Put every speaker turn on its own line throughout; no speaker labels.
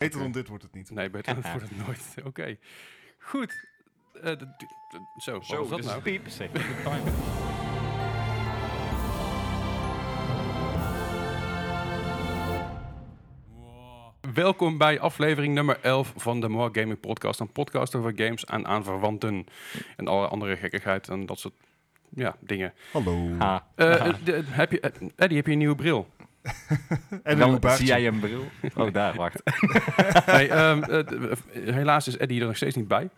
Beter dan dit wordt het niet.
Nee, beter dan voor het nooit. Oké. Goed. Eh, d- d- d- zo, wat
Zo,
dus
was dat
dit is
nou?
piep.
Zeg, de timer.
nou? Welkom bij aflevering nummer 11 van de More Gaming Podcast. Een podcast over games en aanverwanten. En alle andere gekkigheid en dat soort ja, dingen.
Hallo.
Ah.
Eh, eh, de- heb je, eh, Eddie, heb je een nieuwe bril?
En een nieuw
Dan
baardje.
zie jij een bril. Oh, daar, wacht.
Nee, ehm, eh, d- eh, helaas is Eddie er nog steeds niet bij.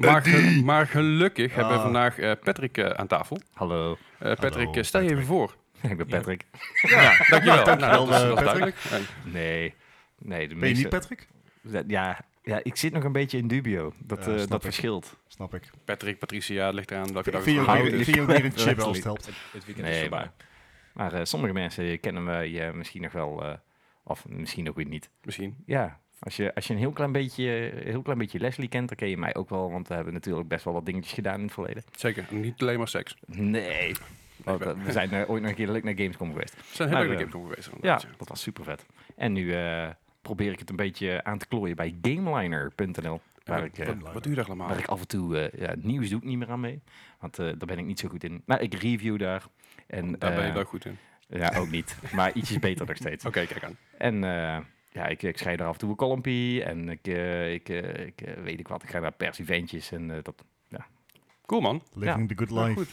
Maar, ge- maar gelukkig hebben we
Ah.
vandaag eh, Patrick eh, aan tafel.
Hallo,
Eh, Patrick,
Hallo,
eh, stel je even voor.
ik ben Patrick.
Ja, dankjewel.
Ja, dankjewel,
Nou, dat is-
eh,
dat is
Patrick.
duidelijk.
Nee, nee, de
Ben je
meeste-
niet Patrick?
Dat- ja, ja, ik zit nog een beetje in dubio. Dat,
Ja,
eh,
snap
dat
ik.
verschilt.
Snap ik.
Eh, Patrick, Patricia, het ligt eraan welke dag
Vind
het
je ook
verhaal
verhouden
weer-
is.
vind je ook weer een chip als het
Letterlijk.
helpt?
Het weekend is
Nee,
voorbij.
maar, maar eh, sommige mensen kennen we je misschien nog wel, eh, of misschien ook weer niet.
Misschien.
Ja, als je, als je een heel klein, beetje, een heel klein beetje Leslie kent, dan ken je mij ook wel. Want we hebben natuurlijk best wel wat dingetjes gedaan in het verleden.
Zeker. En Niet alleen maar seks.
Nee, want, eh, we zijn eh, ooit nog een keer leuk naar Gamescom geweest.
We zijn
Maar,
heel erg
eh,
game over bezig.
Ja,
inderdaad, ja.
dat was super vet. En nu eh, probeer ik het een beetje aan te klooien bij gameliner.nl. Waar ik, eh,
Gamelining.
Wat doe je daar allemaal?
Waar ik af en toe eh, ja, nieuws doe ik niet meer aan mee. Want eh, daar ben ik niet zo goed in. Nou, ik review daar. En,
Daar ben je
eh,
wel goed in.
Ja, ook niet. Maar ietsjes beter nog steeds.
Oké, kijk aan.
En eh, ja, ik, ik schrijf daar af en toe een columnpie. En ik, eh, ik, eh, ik eh, weet ik wat. Ik ga naar perseventjes. En eh, dat,
Cool man.
Living the good
Nou,
life.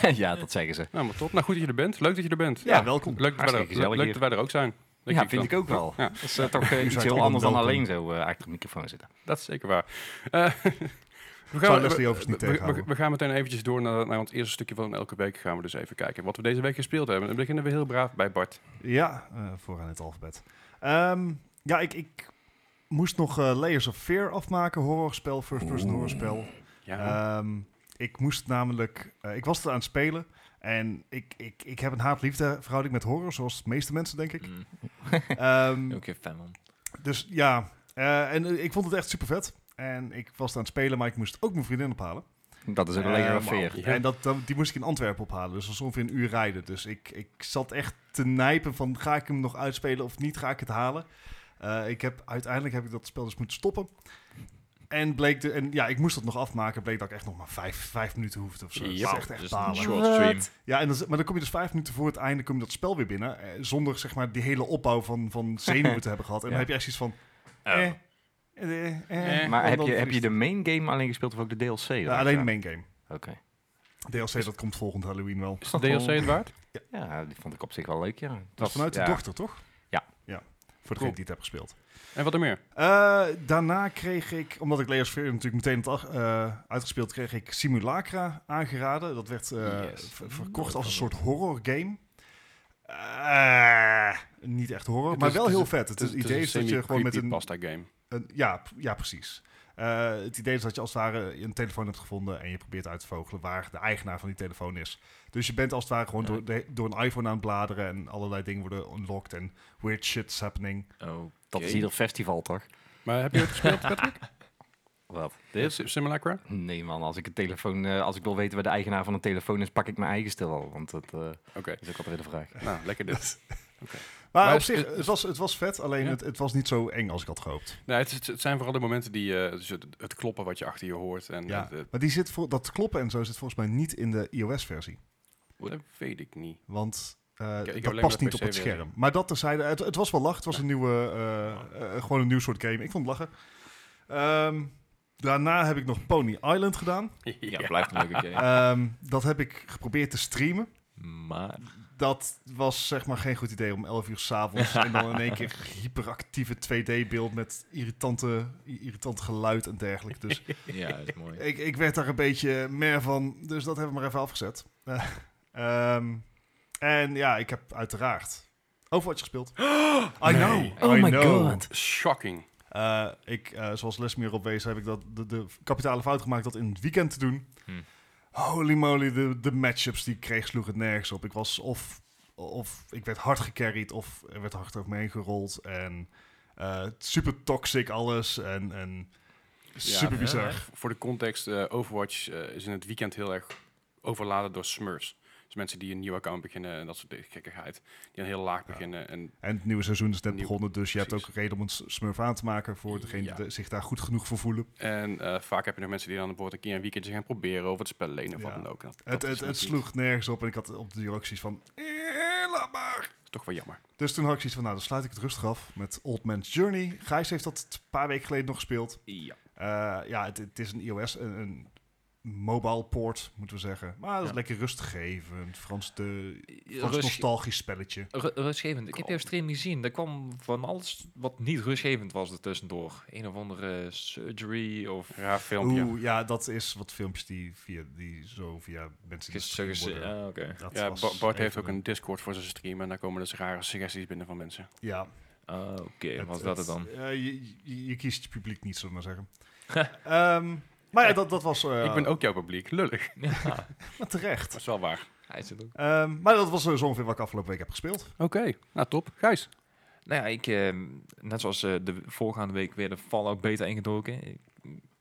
goed.
ja, dat zeggen ze.
Nou, maar top. Nou, goed dat je er bent. Leuk dat je er bent.
Ja, welkom.
Leuk dat, wij
Hartstikke
er, leuk
gezellig
dat
hier.
wij er ook zijn. Denk
ja,
dan.
vind ik ook wel.
Ja.
Dat is eh, toch eh, iets
bent
heel
gewoon
anders dan
welkom.
alleen zo eh, achter de microfoon zitten.
Dat is zeker waar. Eh, we,
Zou
gaan, we,
Leslie overigens niet
we- we-
tegenhouden.
we gaan meteen eventjes door naar, naar ons eerste stukje van elke week. Gaan we dus even kijken wat we deze week gespeeld hebben. Dan beginnen we heel braaf bij Bart.
Ja, eh, vooraan het alfabet. Ehm, ja, ik, ik moest nog eh, Layers of Fear afmaken. Horrorspel, first-person horrorspel.
Ja,
Ehm, ik moest namelijk... eh, ik was er aan het spelen. En ik, ik, ik heb een haat-liefde verhouding met horror, zoals de meeste mensen, denk ik.
Mm,
Ehm,
Ook geen fan man.
Dus ja, eh, en eh, ik vond het echt super vet. En ik was er aan het spelen, maar ik moest ook mijn vriendin ophalen.
Dat is een
Eh,
lekkere
maar-
veer.
Ja.
En dat, dan- die moest ik in Antwerpen ophalen. Dus dat was ongeveer een uur rijden. Dus ik, ik zat echt te nijpen van ga ik hem nog uitspelen of niet? Ga ik het halen? Eh, ik heb, uiteindelijk heb ik dat spel dus moeten stoppen. En, bleek de, en ja, ik moest dat nog afmaken. Bleek dat ik echt nog maar vijf, vijf minuten hoefde of zo. Dat
Yep.
is echt, echt
Dus een
balen.
short stream.
Ja, en dan, z- maar dan kom je dus vijf minuten voor het einde kom je dat spel weer binnen. eh, zonder zeg maar die hele opbouw van, van zenuwen te hebben gehad. En dan
Ja.
heb je echt iets van...
Oh.
eh, eh, eh,
Maar
en
Maar heb
dan
je, heb
verlies-
je de main game alleen gespeeld of ook de DLC?
Ja,
dan?
alleen de main game.
Oké.
DLC, dat komt volgend Halloween wel.
is de DLC het waard?
Ja, die vond ik op zich wel leuk, ja. Het
Dat is vanuit de
ja.
dochter, toch?
Ja.
ja. Voor degene die het hebben gespeeld.
En wat er meer?
Eh, daarna kreeg ik, omdat ik Layers of Fear natuurlijk meteen had ach- eh, uitgespeeld, kreeg ik Simulacra aangeraden. Dat werd eh,
Yes.
ver- verkocht
Nooit
als
van
een soort horror game. Eh, niet echt horror,
Het
maar
is-
wel
het is
heel
een-
vet. Het, het idee is dat je gewoon met een
pasta game.
Een- ja, p- ja, precies. Eh, het idee is dat je als het ware een telefoon hebt gevonden en je probeert uit te vogelen waar de eigenaar van die telefoon is. Dus je bent als het ware gewoon
Ja.
door, de- door een iPhone aan het bladeren en allerlei dingen worden unlocked en weird shit's happening.
Oh,
Dat is ieder festival, toch?
Maar heb je het gespeeld, Patrick?
Wat? Dit?
Dit? Simulacra?
Nee man, als ik, een telefoon, eh, als ik wil weten waar de eigenaar van een telefoon is, pak ik mijn eigen stil al. Want dat eh,
Oké.
is ook altijd de vraag.
Nou, lekker
dus.
dit.
Maar,
Maar
op
is-
zich,
is-
het was, het was vet, alleen
Ja?
het, het was niet zo eng als ik had gehoopt.
Nou, het, het- het zijn vooral de momenten die eh, dus het, het kloppen wat je achter je hoort. En
Ja.
het- het-
Maar die zit voor, dat kloppen en zo zit volgens mij niet in de iOS-versie.
dat weet ik niet.
Want eh,
ik heb
dat
alleen
past
maar
niet
de
op het
PC-versie.
scherm. Maar dat terzijde, het, het was wel lach. Het was een nieuwe, eh,
Oh.
eh, gewoon een nieuw soort game. Ik vond het lachen. Ehm, daarna heb ik nog Pony Island gedaan.
Ja, blijft een leuke game.
Ehm, dat heb ik geprobeerd te streamen.
Maar
Dat was zeg maar geen goed idee om 11 uur s'avonds. en dan in één keer hyperactieve 2D-beeld met irritante, i- irritant geluid en dergelijke. Dus
ja, dat is mooi.
ik, ik werd daar een beetje meer van. Dus dat hebben we maar even afgezet. Eh, ehm, en ja, ik heb uiteraard Overwatch gespeeld. I know.
Oh
I
my
know.
god.
Shocking.
Eh, ik, eh, zoals Lesmere op wees, heb ik dat, de, de kapitale fout gemaakt dat in het weekend te doen.
Hm.
Holy moly, de, de matchups die ik kreeg sloegen het nergens op. Ik was of, of ik werd hard gecarried of er werd hard over me heen gerold. En eh, super toxic alles en, en super
Ja,
bizar.
hè?
Voor de context, eh, Overwatch eh, is in het weekend heel erg overladen door smurfs. Dus mensen die een nieuw account beginnen en dat soort dingen, gekkigheid. Die een heel laag
Ja.
beginnen. En
En het nieuwe seizoen is net
Nieuw,
begonnen, dus je hebt
precies.
ook reden om een s- smurf aan te maken voor degene
Ja.
die zich daar goed genoeg voor voelen.
En eh, vaak heb je nog mensen die dan bijvoorbeeld een keer een weekendje gaan proberen over het spel lenen of
Ja.
wat dan ook. Dat, dat
Het,
is
het, het
natuurlijk-
sloeg nergens op en ik had op de duur ook zoiets van, "Eh, laat maar.
is toch wel jammer.
Dus toen had ik zoiets van, nou dan sluit ik het rustig af met Old Man's Journey. Gijs heeft dat een paar weken geleden nog gespeeld.
Ja.
Eh, ja, het, het is een iOS, een, een mobile port moeten we zeggen. Maar dat is
Ja.
lekker rustig geven, een Frans, de, Frans
Rust,
nostalgisch spelletje.
Ru- rustgevend. Ik heb jouw stream gezien. Daar kwam van alles wat niet rustgevend was er tussendoor. Een of andere surgery of
Raar filmpje.
Oeh, ja, dat is wat filmpjes die, via, die zo via mensen die
gesugges.
gestuurd worden.
Ah, oké.
Dat
ja,
was
Bo- Bart
een
heeft
van
ook
de-
een Discord voor zijn stream en daar komen dus rare suggesties binnen van mensen.
Ja,
Ah, oké.
het-
Wat is dat
het-
er dan?
eh, je, je, je kiest je publiek niet, zullen we maar zeggen. Ehm, maar ja, dat, dat was... eh,
Ik ben ook jouw publiek, lullig.
Ja,
Maar terecht.
Dat is wel waar.
hij zit ook.
Ehm, maar dat was eh, zo ongeveer wat ik afgelopen week heb gespeeld.
Oké, nou top. Gijs.
Nou ja, ik, ehm, net zoals eh, de voorgaande week weer de Fallout beta ingedoken. Ik-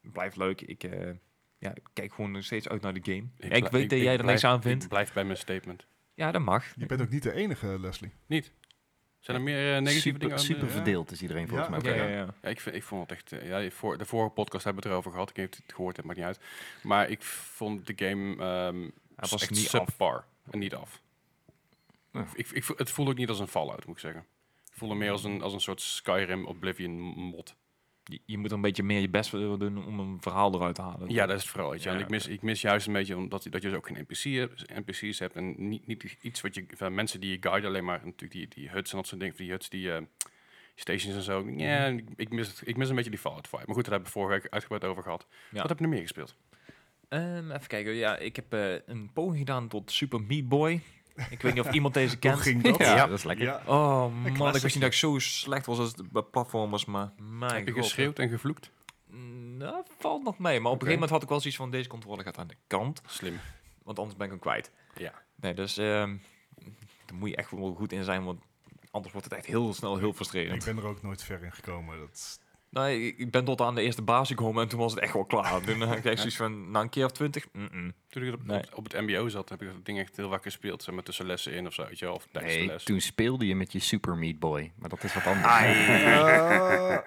Blijft leuk. Ik, eh, ja, ik kijk gewoon nog steeds uit naar de game. Ja, Ik,
blij-
weet dat
ik
jij er
blijf-
niks aan vindt.
Ik blijf bij mijn statement.
Ja, dat mag.
Je bent ook niet de enige, eh, Leslie.
Zijn er meer eh, negatieve
super,
dingen? aan de-
super
ja?
verdeeld is iedereen volgens
Ja,
mij.
oké.
Ja,
ja,
ja.
Ja, ik, vind- ik vond het echt... eh, ja, voor, de vorige podcast hebben we het erover gehad. Ik weet niet of je het gehoord hebt, maakt niet uit. Maar ik vond de game ehm
Hij was
echt
niet af.
subpar. En niet af.
Ja.
Ik, ik, vo- het voelde ook niet als een Fallout, moet ik zeggen. Het voelde meer als een, als een soort Skyrim Oblivion mod.
Je, je moet er een beetje meer je best voor doen om een verhaal eruit te halen.
Ja, dat is het vooral. weet je.
Ja,
en ik mis, ik mis juist een beetje omdat dat je dus ook geen NPC hebt, NPC's hebt. En niet, niet iets wat je... van mensen die je guiden alleen maar. Natuurlijk die, die huts en dat soort dingen. Die huts, die eh, stations en zo.
Mhm.
Ja, ik, ik mis, het- ik mis een beetje die Fallout vibe. Maar goed, daar hebben we vorige week uitgebreid over gehad.
Ja.
Wat heb je nog meer gespeeld?
Ehm, even kijken. Ja, ik heb eh, een poging gedaan tot Super Meat Boy. Ik weet niet of iemand deze
Hoe
kent.
ging dat?
Ja, dat is lekker.
Ja.
Oh man, ik
klassieker.
wist niet dat ik zo slecht was als het bij platformers, maar mijn
heb je
god.
geschreeuwd en gevloekt?
Mm, Nou, valt nog mee. Maar op
Oké.
een gegeven moment had ik wel zoiets van, deze controle gaat aan de kant.
Slim.
Want anders ben ik hem kwijt.
Ja.
Nee, dus ehm daar moet je echt wel goed in zijn, want anders wordt het echt heel snel heel
Ik
frustrerend.
ben er ook nooit ver in gekomen. Dat...
Nou, ik, ik ben tot aan de eerste baas gekomen en toen was het echt wel klaar. Toen eh, kreeg ik zoiets van, na een keer of twintig,
Toen ik op,
Nee.
op, op het MBO zat, heb ik dat ding echt heel vaak gespeeld. Zeg maar tussen lessen in of zo. Weet je, wel, of tijdens de
Nee,
les.
toen speelde je met je Super Meat Boy. Maar dat is wat anders.
Eh,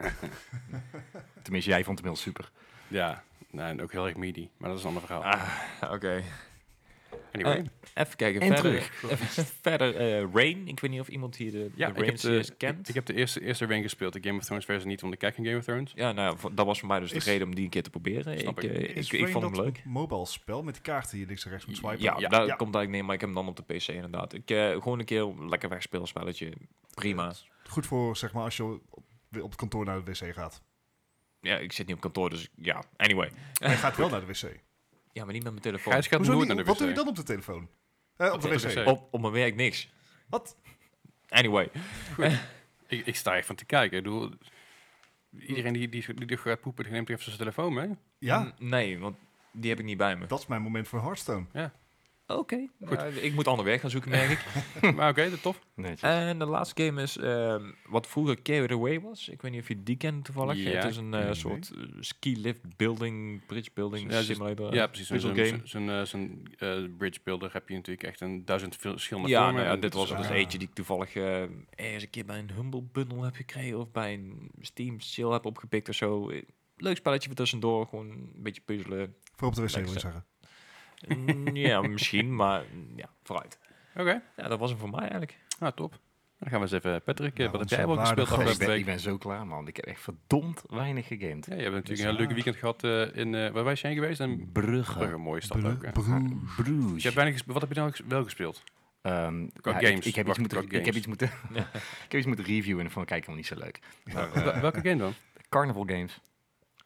Tenminste, jij vond hem heel super.
Ja, nee, en ook heel erg midi. Maar dat is een ander verhaal.
Ah, oké.
Anyway.
Even kijken,
En
verder, even verder eh, Rain. Ik weet niet of iemand hier de,
ja,
de
ik heb de,
Rain-series
ik,
kent.
ik heb de eerste, eerste Rain gespeeld. De Game of Thrones versie niet, want ik kijk geen Game of Thrones.
Ja, nou, ja, v- dat was voor mij dus
Is-
de reden om die een keer te proberen.
Snap
Ik,
ik.
eh, ik,
is
ik,
Rain
vond
dat
hem leuk.
mobile spel met die kaarten die je links en rechts moet swipen?
Ja,
Ja.
daar
Ja.
komt eigenlijk neer, maar ik heb hem dan op de PC inderdaad. Ik, eh, gewoon een keer een lekker wegspelen spelletje. Prima.
Goed voor, zeg maar, als je op op het kantoor naar de wc gaat.
Ja, ik zit niet op kantoor, dus ja, anyway.
En je gaat wel naar de wc.
Ja, maar niet met mijn telefoon.
Gijs gaat
Hoezo
nooit
niet?
naar de
Wat
wc.
doe je dan op de telefoon? Eh, op de
Op de
wc.
wc.
op, op mijn werk niks.
Wat?
Anyway.
Ik, ik sta echt van te kijken. Ik bedoel, iedereen die, die, die, die gaat poepen, die neemt even zijn telefoon mee.
Ja,
N- Nee, want die heb ik niet bij me.
dat is mijn moment voor Hearthstone.
Oké. nou, ik moet ander werk gaan zoeken, merk ik.
maar oké, dat tof.
Netjes.
En de laatste game is ehm, wat vroeger Carried Away was. Ik weet niet of je die kent toevallig.
Ja,
Het is een eh,
nee.
soort eh, ski lift building, bridge building
Ja, dus-
simulator.
ja, precies. Zo'n zo'n-
Puzzle game.
zo'n, eh, zo'n, eh, bridge builder heb je natuurlijk echt een duizend veel- verschillende
Ja,
vormen.
nou ja,
En
dit was
zo-
er dus
Ja.
eentje die ik toevallig eh, ergens een keer bij een Humble Bundle heb gekregen. Of bij een Steam sale heb opgepikt of zo. Eh, Leuk spelletje voor tussendoor. Gewoon een beetje puzzelen.
Voor op de wc,
Lekker
wil ik zeggen.
Mm, ja, misschien, maar mm, ja, vooruit.
Oké,
Ja, dat was hem voor mij eigenlijk.
nou top. Dan gaan we eens even... Patrick, eh,
Nou,
wat heb
onze
jij wel
waarde
gespeeld
gast.
afgelopen
ik, ben, ik
week?
ben zo klaar, man. Ik heb echt verdomd weinig gegamed.
Ja, je hebt natuurlijk
is
een heel leuk
waar.
weekend gehad eh, in... eh waar was je heen geweest? In Brugge,
Brugge.
mooie stad ook. hè.
Bru- Bru-
Dus
Bruges.
je hebt weinig gespe- wat heb je dan ges- wel gespeeld?
Ehm,
Qua
ja,
games.
Ik, ik, heb
Wacht,
iets moeten,
qua games.
ik heb iets moeten, ik heb iets moeten reviewen en van kijk helemaal niet zo leuk. Maar, eh,
Wel- Welke game dan?
Carnival Games.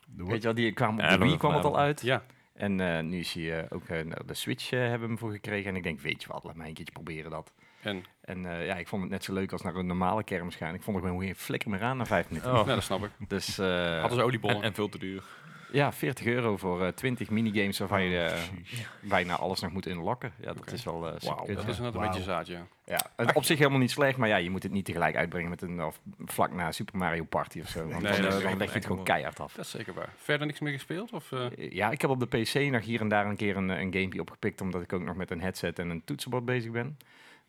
Doe
Weet je wel, die kwam op
Ja,
de
dat
Wii
was
kwam het
vanavond.
al uit.
Ja,
En eh, nu is hij eh, ook eh, nou, de Switch eh, hebben we hem voor gekregen. En ik denk, weet je wat, laat mij een keertje proberen dat.
en...
Oh.
En eh, ja, ik vond het net zo leuk als naar een normale kermis
Oh.
gaan. Ik vond er gewoon weer flikker meer aan na vijf minuten.
Nou, dat snap ik.
Dus eh,
Hadden ze oliebollen?
en, en veel te duur.
Ja, 40 euro voor eh 20 minigames waarvan je eh,
Precies.
bijna alles nog moet unlocken. Ja, dat
Oké.
is wel eh super
Wauw,
kut,
Dat
ja.
is inderdaad een
Wauw.
beetje zaad, ja.
Ja, het- op zich helemaal niet slecht, maar ja, je moet het niet tegelijk uitbrengen met een of vlak na Super Mario Party of zo. Want
Nee,
dan,
dat
eh,
is echt-
dan leg je het
echt
gewoon
wel-
keihard af.
Dat is zeker waar. Verder niks meer gespeeld? Of, eh,
Ja, ik heb op de PC nog hier en daar een keer een, een gamepje opgepikt, omdat ik ook nog met een headset en een toetsenbord bezig ben.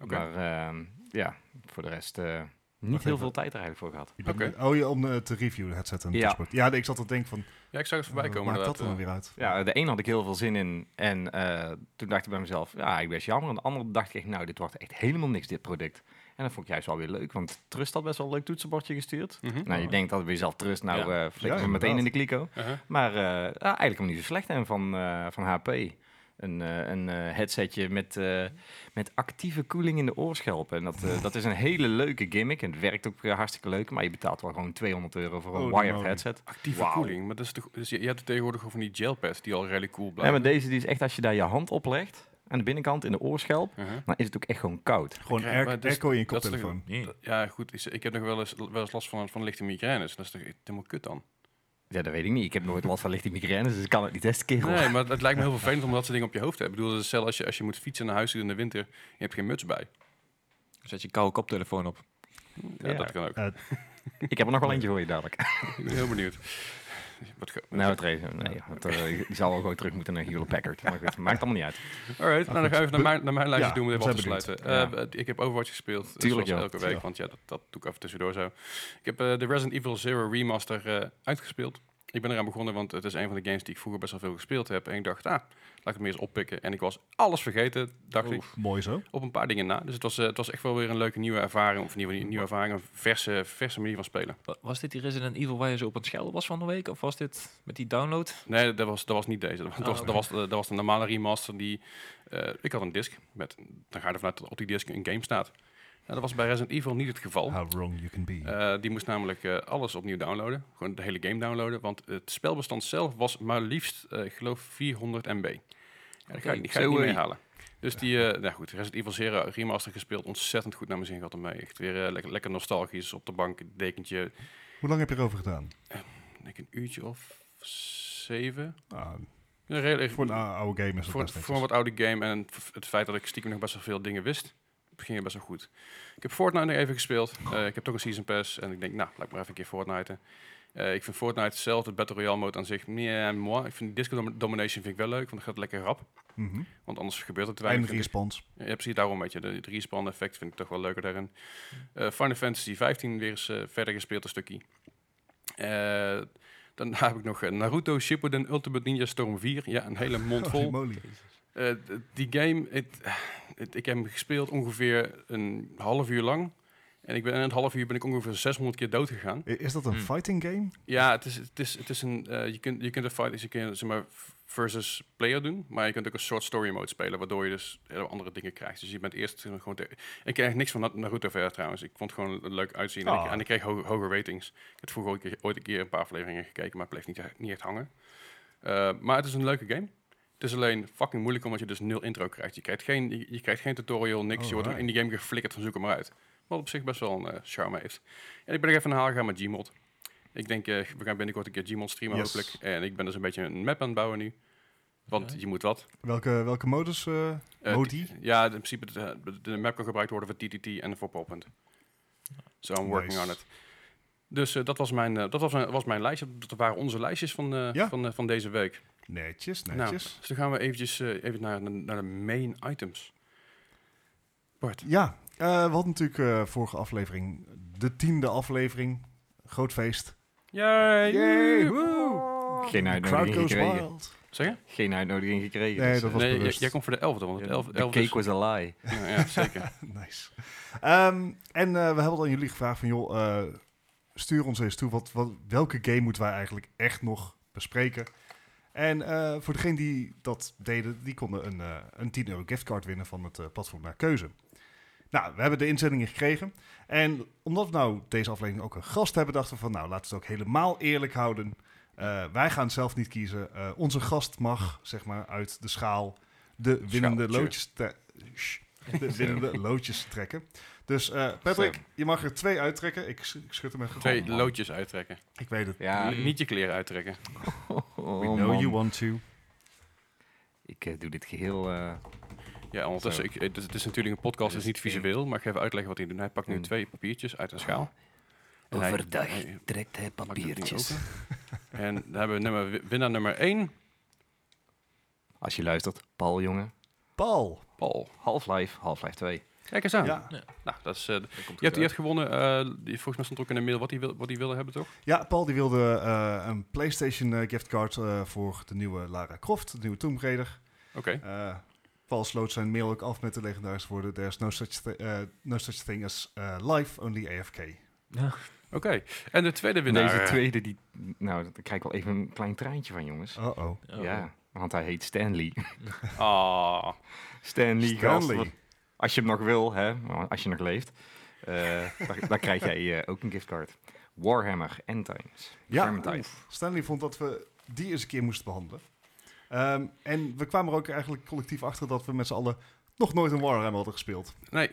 Oké.
Maar ehm, ja, voor de rest eh, niet
Wacht
heel
even.
veel tijd er eigenlijk voor gehad.
Je bent-
Oké.
Oh, ja, om eh, te reviewen, het zetten. en
Ja.
toetsenbord. ja, nee, ik zat te denken van,
Ja, ik zag
Nou,
het voorbij
wat
komen.
maakt dat
inderdaad,
dan
eh.
weer uit?
Ja, de een had ik heel veel zin in en eh, toen dacht ik bij mezelf, ja, ik ben jammer. En de andere dacht ik echt, nou, dit wordt echt helemaal niks, dit product. En dat vond ik juist wel weer leuk, want Trust had best wel een leuk toetsenbordje gestuurd.
Mhm.
Nou, je denkt dat bij jezelf Trust, nou,
Ja.
eh flikken
Ja,
we meteen
inderdaad.
in de kliko.
Uh-huh.
Maar eh, ja, eigenlijk hem niet zo slecht en van, eh, van HP. Een, eh, een eh, headsetje met, eh, met actieve koeling in de oorschelpen. En dat, eh, dat is een hele leuke gimmick. En het werkt ook eh, hartstikke leuk. Maar je betaalt wel gewoon 200 euro voor een
Holy
wired
moly.
headset.
Actieve
Wauw.
koeling. Maar dat is toch, dus je, je hebt tegenwoordig gewoon van die gelpads die al redelijk cool
Ja, maar
blijven.
deze die is echt als je daar je hand op legt. Aan de binnenkant in de oorschelp.
Uh-huh.
Dan is het ook echt gewoon koud.
Gewoon
Oké,
air-
maar dus
airco in je
dat is toch-
koptelefoon.
Nee.
Dat- Ja, goed. is- Ik heb nog wel eens, wel eens last van, van lichte migraines. Dat is toch echt helemaal kut dan?
Ja, dat weet ik niet. Ik heb nooit last van lichte migraines. Dus ik kan het niet testen, kerel.
Nee, maar het lijkt me heel vervelend om dat soort dingen op je hoofd te hebben. Ik bedoel, dat is hetzelfde als je, als je moet fietsen naar huis toe in de winter. Je hebt geen muts bij.
Zet je koude koptelefoon op.
Ja,
Ja.
dat kan ook.
Ik heb er nog wel eentje voor je dadelijk.
Ik ben heel benieuwd. Wat ge-
Nou, het re- nee, want, eh, ik zal wel gewoon terug moeten naar Hewlett Packard. Maar goed, maakt allemaal niet uit.
Alright, nou, dan gaan we even naar mijn, naar mijn lijstje
Ja,
doen om even af
want
te
zij
sluiten.
benieuwd.
Eh, ik heb Overwatch gespeeld, eh,
Tuurlijk,
zoals
joh.
elke week,
Ja.
want ja, dat, dat doe ik even tussendoor zo. Ik heb eh, de Resident Evil Zero Remaster eh, uitgespeeld. Ik ben eraan begonnen, want het is een van de games die ik vroeger best wel veel gespeeld heb. En ik dacht, ah, laat ik het meer eens oppikken. En ik was alles vergeten, dacht ik,
Mooi zo.
op een paar dingen na. Dus het was, eh, het was echt wel weer een leuke nieuwe ervaring, of in ieder geval een nieuwe ervaring, een verse, verse manier van spelen.
Wa- Was dit die Resident Evil waar je zo op aan het schelden was van de week? Of was dit met die download?
Nee, dat was, dat was niet deze. Dat was,
Oh,
dat was-
oké.
dat was, de- dat was de normale remaster die... eh, ik had een disc. Met, dan ga je ervan uit dat op die disc een game staat. Nou, dat was bij Resident Evil niet het geval.
How wrong you can be.
Oh. Eh, die moest namelijk eh, alles opnieuw downloaden. Gewoon de hele game downloaden. Want het spelbestand zelf was maar liefst, eh, ik geloof, 400 MB. Ja, dat ga
Oké,
ik, die ga ik
zo,
niet
eh,
meer halen. Dus die, eh, nou goed, Resident Evil Zero remaster gespeeld. Ontzettend goed naar mijn zin gehad ermee. Echt weer eh, lekker, lekker nostalgisch op de bank, dekentje.
Hoe lang heb je erover gedaan?
Ik denk een uurtje of zeven.
Ah,
Ja, redelijk-
voor een ou- oude game is dat
voor,
best
voor een wat oude game en het f- het feit dat ik stiekem nog best wel veel dingen wist, ging het best wel goed. Ik heb Fortnite nog even gespeeld. Eh, ik heb toch een Season Pass en ik denk, nou, laat ik maar even een keer Fortnite. Eh ik vind Fortnite zelf, de Battle Royale mode aan zich, nee, moi. Ik vind Disco dom- Domination vind ik wel leuk, want dat gaat lekker rap.
Mhm.
Want anders gebeurt er te
En
weinig. vind ik.
response.
Ja, precies, daarom een beetje. De, het respawn effect vind ik toch wel leuker daarin. Eh, Final Fantasy 15 weer eens eh, verder gespeeld een stukje. Eh, daarna heb ik nog eh, Naruto Shippuden Ultimate Ninja Storm 4. Ja, een hele mond vol.
Holy Oh, moly.
Eh, d- die game, het- het- ik heb hem gespeeld ongeveer een half uur lang. En ik ben, in het half uur ben ik ongeveer 600 keer dood gegaan.
I- Is dat een
Hmm.
fighting game?
Ja, het is, het is, het is een, eh, je, kunt, je kunt een fight, je kunt, zeg maar, versus player doen. Maar je kunt ook een soort story mode spelen, waardoor je dus hele andere dingen krijgt. Dus je bent eerst gewoon... te- ik kreeg niks van Na- Naruto verder trouwens. Ik vond het gewoon een leuk uitzien. En, ik,
Ah.
en ik kreeg ho- hoge ratings. Ik heb vroeger ooit, een keer- ooit een keer een paar afleveringen gekeken, maar het bleef niet, echt- niet echt hangen. Eh, maar het is een leuke game. Het is alleen fucking moeilijk omdat je dus nul intro krijgt. Je krijgt geen, je, je krijgt geen tutorial, niks. je wordt er in die game geflikkerd van zoek hem maar uit. Wat op zich best wel een eh, charme heeft. En ik ben nog even een haal gegaan met Gmod. Ik denk, eh, we gaan binnenkort een keer Gmod streamen
Yes.
hopelijk. En ik ben dus een beetje een map aan het bouwen nu. Want
Oké.
je moet wat.
Welke, welke modus? eh,
Eh,
Modi?
d- Ja, in principe de, de map kan gebruikt worden voor TTT en voor Poppunt. So I'm working
Nice.
on it. Dus eh, dat, was mijn, eh, dat was, mijn, was mijn lijstje. Dat waren onze lijstjes van, eh,
Ja.
van, eh, van deze week.
Netjes,
Nou,
netjes.
dus dan gaan we eventjes eh, even naar, naar de main items. Bart.
Ja, eh, we hadden natuurlijk eh, vorige aflevering, de tiende aflevering. Groot feest.
Yay!
Yay, The
Geen
crowd
uitnodiging
goes
gekregen.
wild.
Zeg je?
Geen uitnodiging gekregen.
Nee,
dus,
dat
eh,
was
nee, j-
bewust.
jij komt voor de elfde, want
ja,
het elf,
the
elf
cake
is...
was a lie.
Ja, ja, zeker.
nice. Ehm, en eh, we hebben aan jullie gevraagd van, joh, eh, stuur ons eens toe. Wat, wat, welke game moeten wij eigenlijk echt nog bespreken? En eh, voor degene die dat deden, die konden een, eh, een 10 euro giftcard winnen van het eh, platform naar keuze. Nou, we hebben de inzendingen gekregen. En omdat we nou deze aflevering ook een gast hebben, dachten we van, nou, laten we het ook helemaal eerlijk houden. Eh, wij gaan het zelf niet kiezen. Eh, onze gast mag, zeg maar, uit de schaal de winnende
Schaaltje.
loodjes, tre- Shh. de winnende loodjes trekken. Dus eh, Patrick,
Zo.
je mag er twee uittrekken. Ik, sch- ik schud hem even.
Twee
Oh, man.
loodjes uittrekken.
Ik weet het.
Ja, mm.
Niet je kleren uittrekken.
We
Oh,
know
man.
you want to.
Ik eh, doe dit geheel... eh,
Ja, ondertussen, ik, het, is- het is natuurlijk een podcast, het is niet visueel, maar ik ga even uitleggen wat hij doet. Hij pakt nu
Hmm.
twee papiertjes uit een schaal. En hij-
eh, overdag
hij
trekt hij
pakt het nu
papiertjes.
open. en daar hebben we nummer, winnaar nummer 1,
Als je luistert, Paul, jongen.
Paul.
Paul.
Half-Life, Half-Life 2.
Kijk eens aan.
Ja.
Nou, dat is, eh, je, hebt, je hebt gewonnen, eh, die- volgens mij stond ook in de mail wat hij wil, wat hij wilde hebben, toch?
ja, Paul die wilde eh, een PlayStation eh, giftcard eh, voor de nieuwe Lara Croft, de nieuwe Tomb Raider.
Oké.
Eh, Paul sloot zijn mail ook af met de legendarische woorden: There's no such, thi- eh, no such thing as eh, life, only AFK.
Oké. En de tweede winnaar.
Deze tweede, die... Nou, dan krijg ik wel even een klein traantje van, jongens.
Uh-oh.
Oh.
Ja, want hij heet Stanley.
Oh. Ah.
Stanley, gast,
Stanley.
wat- Als je hem nog wil, hè, maar als je nog leeft, eh, dan, dan krijg jij eh, ook een giftcard. Warhammer Endtimes.
Ja,
Vermintide.
Stanley vond dat we die eens een keer moesten behandelen. Ehm, en we kwamen er ook eigenlijk collectief achter dat we met z'n allen nog nooit een Warhammer hadden gespeeld.
Nee.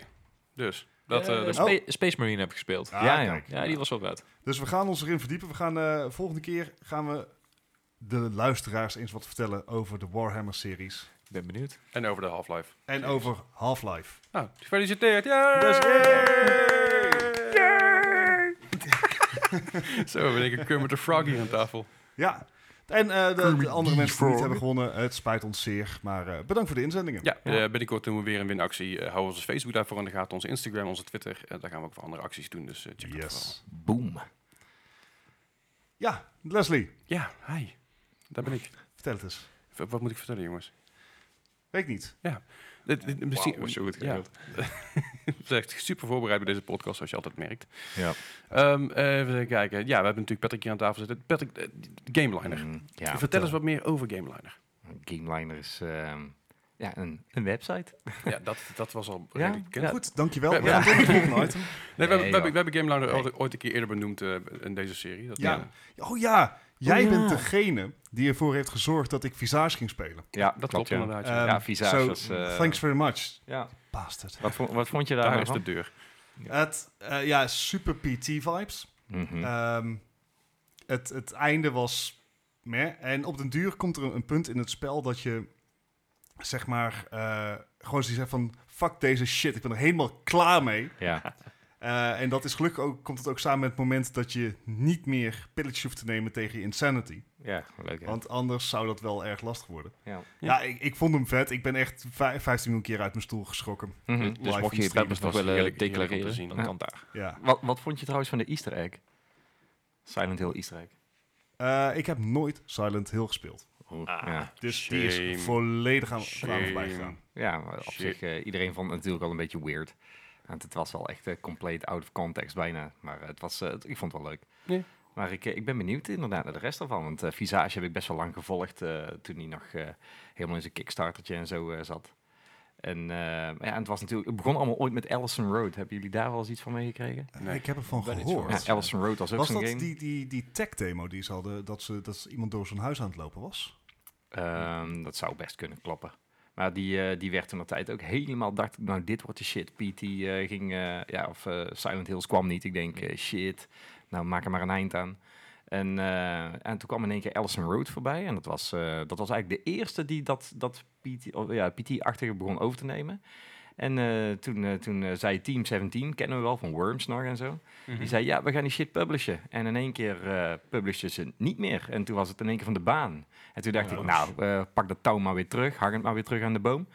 Dus. Dat, eh, dat-
sp-
Spa- Space Marine heb ik gespeeld.
Ah,
ja.
kijk.
Ja, die was wel vet.
Dus we gaan ons erin verdiepen. We gaan eh, volgende keer gaan we de luisteraars eens wat vertellen over de Warhammer-series.
Ik ben benieuwd.
en over de Half-Life.
En over Half-Life.
Nou, gefeliciteerd. Yay!
Dus-
Zo, we denken Kermit de Frog hier aan tafel.
Ja. En eh, de, de andere mensen die niet hebben gewonnen, het spijt ons zeer. Maar eh, bedankt voor de inzendingen.
Ja, eh, binnenkort doen we weer een winactie. Eh, hou onze Facebook daarvoor in de gaten, onze Instagram, onze Twitter. Eh, daar gaan we ook voor andere acties doen, dus eh, check dat
Yes.
Boom.
Ja, Leslie,
vooral. Ja, hi. Daar ben ik.
vertel het eens.
V- wat moet ik vertellen, jongens?
Weet ik niet.
Dit, dit- misschien,
was zo goed
ja.
geregeld.
We zijn echt super voorbereid bij deze podcast, zoals je altijd merkt.
Ja.
Ehm, even kijken. Ja, we hebben natuurlijk Patrick hier aan tafel zitten. Patrick, eh, Gameliner.
Mm, ja,
Vertel eens wat meer over Gameliner.
Gameliner is ehm, ja, een, een website.
ja, dat, dat was al
Ja?
redelijk bekend.
Ja.
Goed, dankjewel.
Ja.
We gaan tot het volgende item.
Nee, we, hebben- we,
Nee,
hebben, we hebben Gameliner
Nee.
ooit- ooit een keer eerder benoemd eh, in deze serie. Dat
Ja.
eh,
Oh ja, jij
ja.
bent degene die ervoor heeft gezorgd dat ik visage ging spelen.
Ja,
dat klopt
ja.
inderdaad. ja.
Ehm,
Ja, Visage
so,
was, eh,
Thanks very much.
Ja.
Bastard.
Wat, vo- wat vond je daar
Daar
nou
is de
van?
deur.
Het, eh, ja, super PT-vibes.
Mhm.
Ehm, het, het einde was meh. En op den duur komt er een, een punt in het spel dat je, zeg maar, eh, gewoon zoiets hebt van... Fuck deze shit, ik ben er helemaal klaar mee.
ja.
Eh, en dat is gelukkig ook, komt het ook samen met het moment dat je niet meer pilletjes hoeft te nemen tegen je insanity.
ja, leuk hè?
Want anders zou dat wel erg lastig worden.
Ja.
Ja, ik, ik vond hem vet. Ik ben echt vijf- 15 miljoen keer uit mijn stoel geschrokken.
Mhm.
Live
Dus mocht
on
je
stream.
Peppers nog
was
willen
heerlijk- heerlijk om te
declareren,
zien.
Ja.
dan kan daar.
Ja.
Wat, wat vond je trouwens van de easter egg? Silent Hill easter egg.
Eh, ik heb nooit Silent Hill gespeeld.
Ah.
Ja,
Dus die
Shame.
is volledig aan, aan
Shame.
voorbij gegaan.
ja maar op
Shit.
zich, eh, iedereen vond het natuurlijk al een beetje weird. Want het was wel echt eh, compleet out of context bijna. Maar het was, eh, het- ik vond het wel leuk.
Ja.
Maar ik, eh, ik ben benieuwd inderdaad naar de rest ervan. Want eh, Visage heb ik best wel lang gevolgd eh, toen hij nog eh, helemaal in zijn kickstartertje en zo eh, zat. En eh, maar ja, het, was natuurlijk, het begon allemaal ooit met Allison Road. Hebben jullie daar wel eens iets van meegekregen?
Nee.
Ik heb ervan
Ben niet
gehoord.
verrast.
Ja, Allison Road was ook
Was
zo'n
dat
game.
die, die, die tech-demo die ze hadden, dat, ze, dat ze iemand door zijn huis aan het lopen was?
Ehm, dat zou best kunnen kloppen. Maar die, eh, die werd toen de tijd ook helemaal, dacht ik, nou dit wordt de shit. PT eh, ging, eh, ja, of eh, Silent Hills kwam niet. Ik denk, eh, shit, nou maak er maar een eind aan. En, eh, en toen kwam in één keer Allison Road voorbij. En dat was, eh, dat was eigenlijk de eerste die dat, dat PT, oh, ja, PT-achtige begon over te nemen. En eh, toen, eh, toen eh, zei Team 17, kennen we wel van Worms nog en zo. Die zei, ja, we gaan die shit publishen. En in één keer eh publishten ze niet meer. En toen was het in één keer van de baan. En toen dacht ik, nou, eh, pak dat touw maar weer terug. Hang het maar weer terug aan de boom.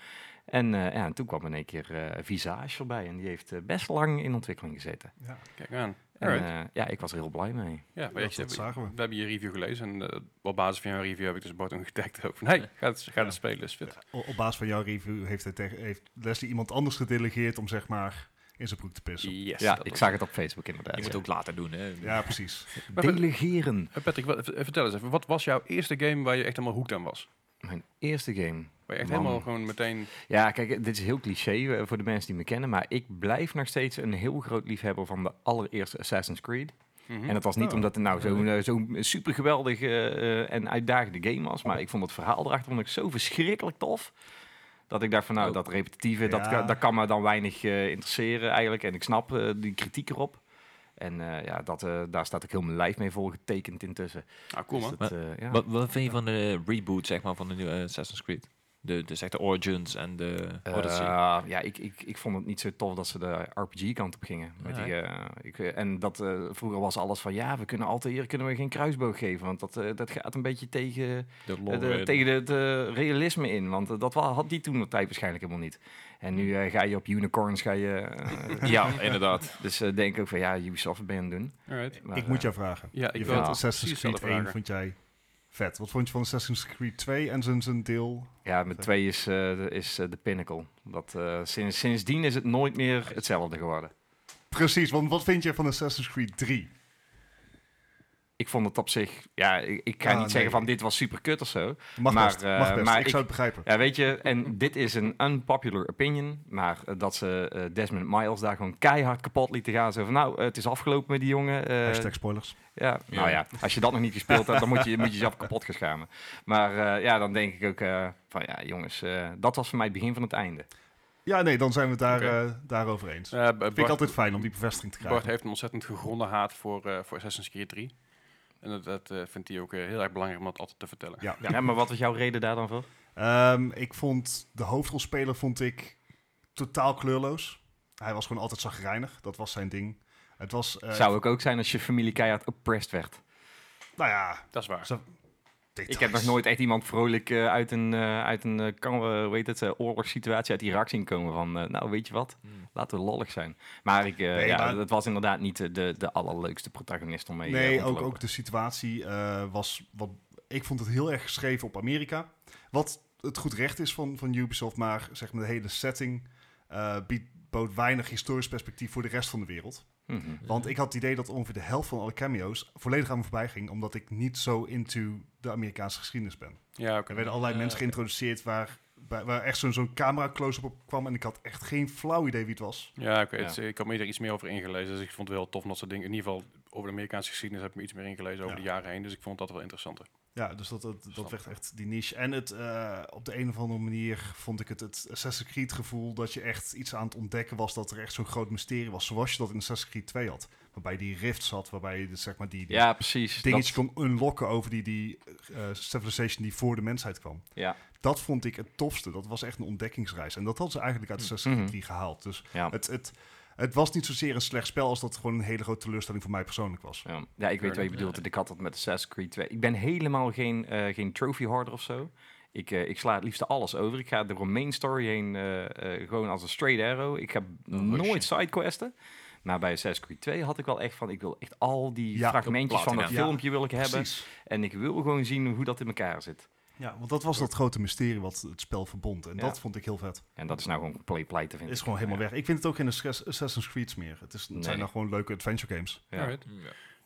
En, eh, ja, en toen kwam in één keer eh, Visage voorbij. En die heeft eh, best lang in ontwikkeling gezeten.
Ja,
Kijk aan.
En
Alright.
eh, ja, ik was er heel blij mee.
Ja, maar
dat,
je-
dat zagen we.
We hebben je review gelezen en eh, op basis van jouw review heb ik dus Bart toen getagd ook van, hey, ga het, ga
Ja.
het spelen, is fit.
O- Op basis van jouw review heeft, hij tegen, heeft Leslie iemand anders gedelegeerd om zeg maar in zijn broek te pissen.
Yes.
ja,
dat
ik
was-
zag het op Facebook inderdaad.
Je moet
ja.
ook later doen, hè.
Ja, precies.
Maar-
Delegeren.
Eh, Patrick, wat, eh, vertel eens even, wat was jouw eerste game waar je echt helemaal hoekt aan was?
Mijn eerste game.
Waar je echt
Man.
helemaal gewoon meteen...
Ja, kijk, eh, dit is heel cliché eh, voor de mensen die me kennen. Maar ik blijf nog steeds een heel groot liefhebber van de allereerste Assassin's Creed.
Mhm.
En dat was niet
Oh.
omdat het nou zo'n eh, zo'n super geweldig en uitdagende game was.
Oh.
Maar ik vond het verhaal erachter vond ik zo verschrikkelijk tof. Dat ik dacht van nou,
Oh.
dat repetitieve, dat,
Ja.
kan- dat kan me dan weinig eh, interesseren eigenlijk. En ik snap eh, die kritiek erop. En eh, ja, dat, eh, daar staat ook heel mijn lijf mee volgetekend intussen.
Ah, cool
Dus
man.
dat, eh, ja.
Wat, wat vind je van de reboot, zeg maar, van de nieuwe eh, Assassin's Creed? De, de, zeg, de Origins en de
Oh,
Odyssey.
Eh, ja, ik, ik, ik vond het niet zo tof dat ze de RPG-kant op gingen. Met
Ja,
die, eh, ik, eh, en dat, eh, vroeger was alles van, ja, we kunnen altijd hier kunnen we geen kruisboog geven. Want dat, eh, dat gaat een beetje tegen,
de
eh, de-
lore-
tegen het eh, realisme in. Want eh, dat wa- had die toen de tijd waarschijnlijk helemaal niet. En
Mm.
nu eh, ga je op unicorns, ga je... eh,
Ja, inderdaad.
Dus eh, denk ik ook van, ja, Ubisoft ben je aan het doen.
Alright.
Maar,
ik moet
eh,
jou vragen.
Ja,
Je
ik wil
vond
het
Assassin's
precies
Creed
dezelfde
1
vragen.
vond jij vet. Wat vond je van Assassin's Creed 2 en zijn, zijn deel?
Ja, met twee is, eh, de- is eh, de pinnacle. Dat, eh, sinds, sindsdien is het nooit meer hetzelfde geworden.
Precies, want wat vind je van Assassin's Creed 3?
Ik vond het op zich, ja, ik, ik ga
Ah,
niet zeggen
nee.
van dit was super kut of zo.
Mag
Maar,
best,
eh,
mag best.
maar
ik,
ik-
zou het begrijpen.
Ja, weet je, en dit is een unpopular opinion, maar eh, dat ze eh, Desmond Miles daar gewoon keihard kapot lieten gaan. Zo van, nou, eh, het is afgelopen met die jongen. eh,
Hashtag spoilers.
ja, nou ja, als je dat nog niet gespeeld hebt, dan moet je, moet je jezelf kapot gaan schamen. Maar eh, ja, dan denk ik ook eh, van, ja, jongens, eh, dat was voor mij het begin van het einde.
Ja, nee, dan zijn we het daar,
Oké.
eh, daarover eens.
Eh, B-
vind ik
Bart-
altijd fijn om die bevestiging te krijgen.
Bart heeft een ontzettend gegronde haat voor, eh, voor Assassin's Creed 3. En dat, dat eh, vindt hij ook eh, heel erg belangrijk om dat altijd te vertellen.
Ja.
Ja, maar wat was jouw reden daar dan voor?
Ehm, ik vond de hoofdrolspeler vond ik totaal kleurloos. Hij was gewoon altijd zagrijnig. Dat was zijn ding. Het was, eh,
Zou ik ook zijn als je familie keihard oppressed werd.
nou ja,
Dat is waar.
zo-
Ik heb nog
details.
nooit echt iemand vrolijk eh, uit een, eh, uit een eh, kan, eh, hoe heet het, eh, oorlogssituatie uit Irak zien komen van, eh, nou weet je wat, laten we lollig zijn. Maar ik, eh,
Nee,
ja,
maar-
dat was inderdaad niet eh, de, de allerleukste protagonist om mee eh,
Nee,
rond te
ook,
lopen.
ook de situatie eh, was... Wat, ik vond het heel erg geschreven op Amerika. Wat het goed recht is van, van Ubisoft, maar zeg maar de hele setting eh, biedt, bood weinig historisch perspectief voor de rest van de wereld.
Mhm.
Want ik had het idee dat ongeveer de helft van alle cameo's volledig aan me voorbij ging, omdat ik niet zo into de Amerikaanse geschiedenis ben.
Ja, oké.
Er werden allerlei
Ja,
mensen
oké.
geïntroduceerd waar, waar waar echt zo'n zo'n camera close-up op kwam en ik had echt geen flauw idee wie het was.
Ja, oké.
Ja.
het is- Ik had me er iets meer over ingelezen. Dus ik vond het wel tof om dat soort dingen. In ieder geval, over de Amerikaanse geschiedenis heb ik me iets meer ingelezen over
Ja.
de jaren heen. Dus ik vond dat wel interessanter.
Ja, dus dat, dat, dat
Snap
werd
ik.
echt die niche. En het, eh, op de een of andere manier vond ik het het Assassin's Creed gevoel dat je echt iets aan het ontdekken was dat er echt zo'n groot mysterie was, zoals je dat in Assassin's Creed 2 had. Waarbij die rift zat, waarbij je dus, zeg maar die, die
Ja, precies.
dingetje kon unlocken over die, die eh, civilization die voor de mensheid kwam.
Dat, ja.
Dat vond ik het tofste. Dat was echt een ontdekkingsreis. En dat hadden ze eigenlijk uit Assassin's Creed
Mhm.
3 gehaald. Dus
Ja.
het, het, het was niet zozeer een slecht spel als dat het gewoon een hele grote teleurstelling voor mij persoonlijk was.
Ja, ja ik weet wat je bedoelt. Ik had dat met Assassin's Creed 2. Ik ben helemaal geen, eh, geen trophy hoarder of zo. Ik, eh, ik sla het liefst alles over. Ik ga de Romain story heen eh, eh, gewoon als een straight arrow. Ik heb
Oh,
nooit sidequesten. Maar bij Assassin's Creed 2 had ik wel echt van... ik wil echt al die
Ja,
fragmentjes van dat
platina.
Ja,
filmpje wil ik hebben.
Precies.
En ik wil gewoon zien hoe dat in elkaar zit.
Ja, want dat was dat grote mysterie wat het spel verbond. En
Ja.
dat vond ik heel vet.
En dat is nou gewoon play play te vinden.
is gewoon helemaal weg. Ik vind het ook geen Assas- Assassin's Creed meer. Het, is, het
Nee.
zijn nou gewoon leuke adventure games.
Ja.
Alright.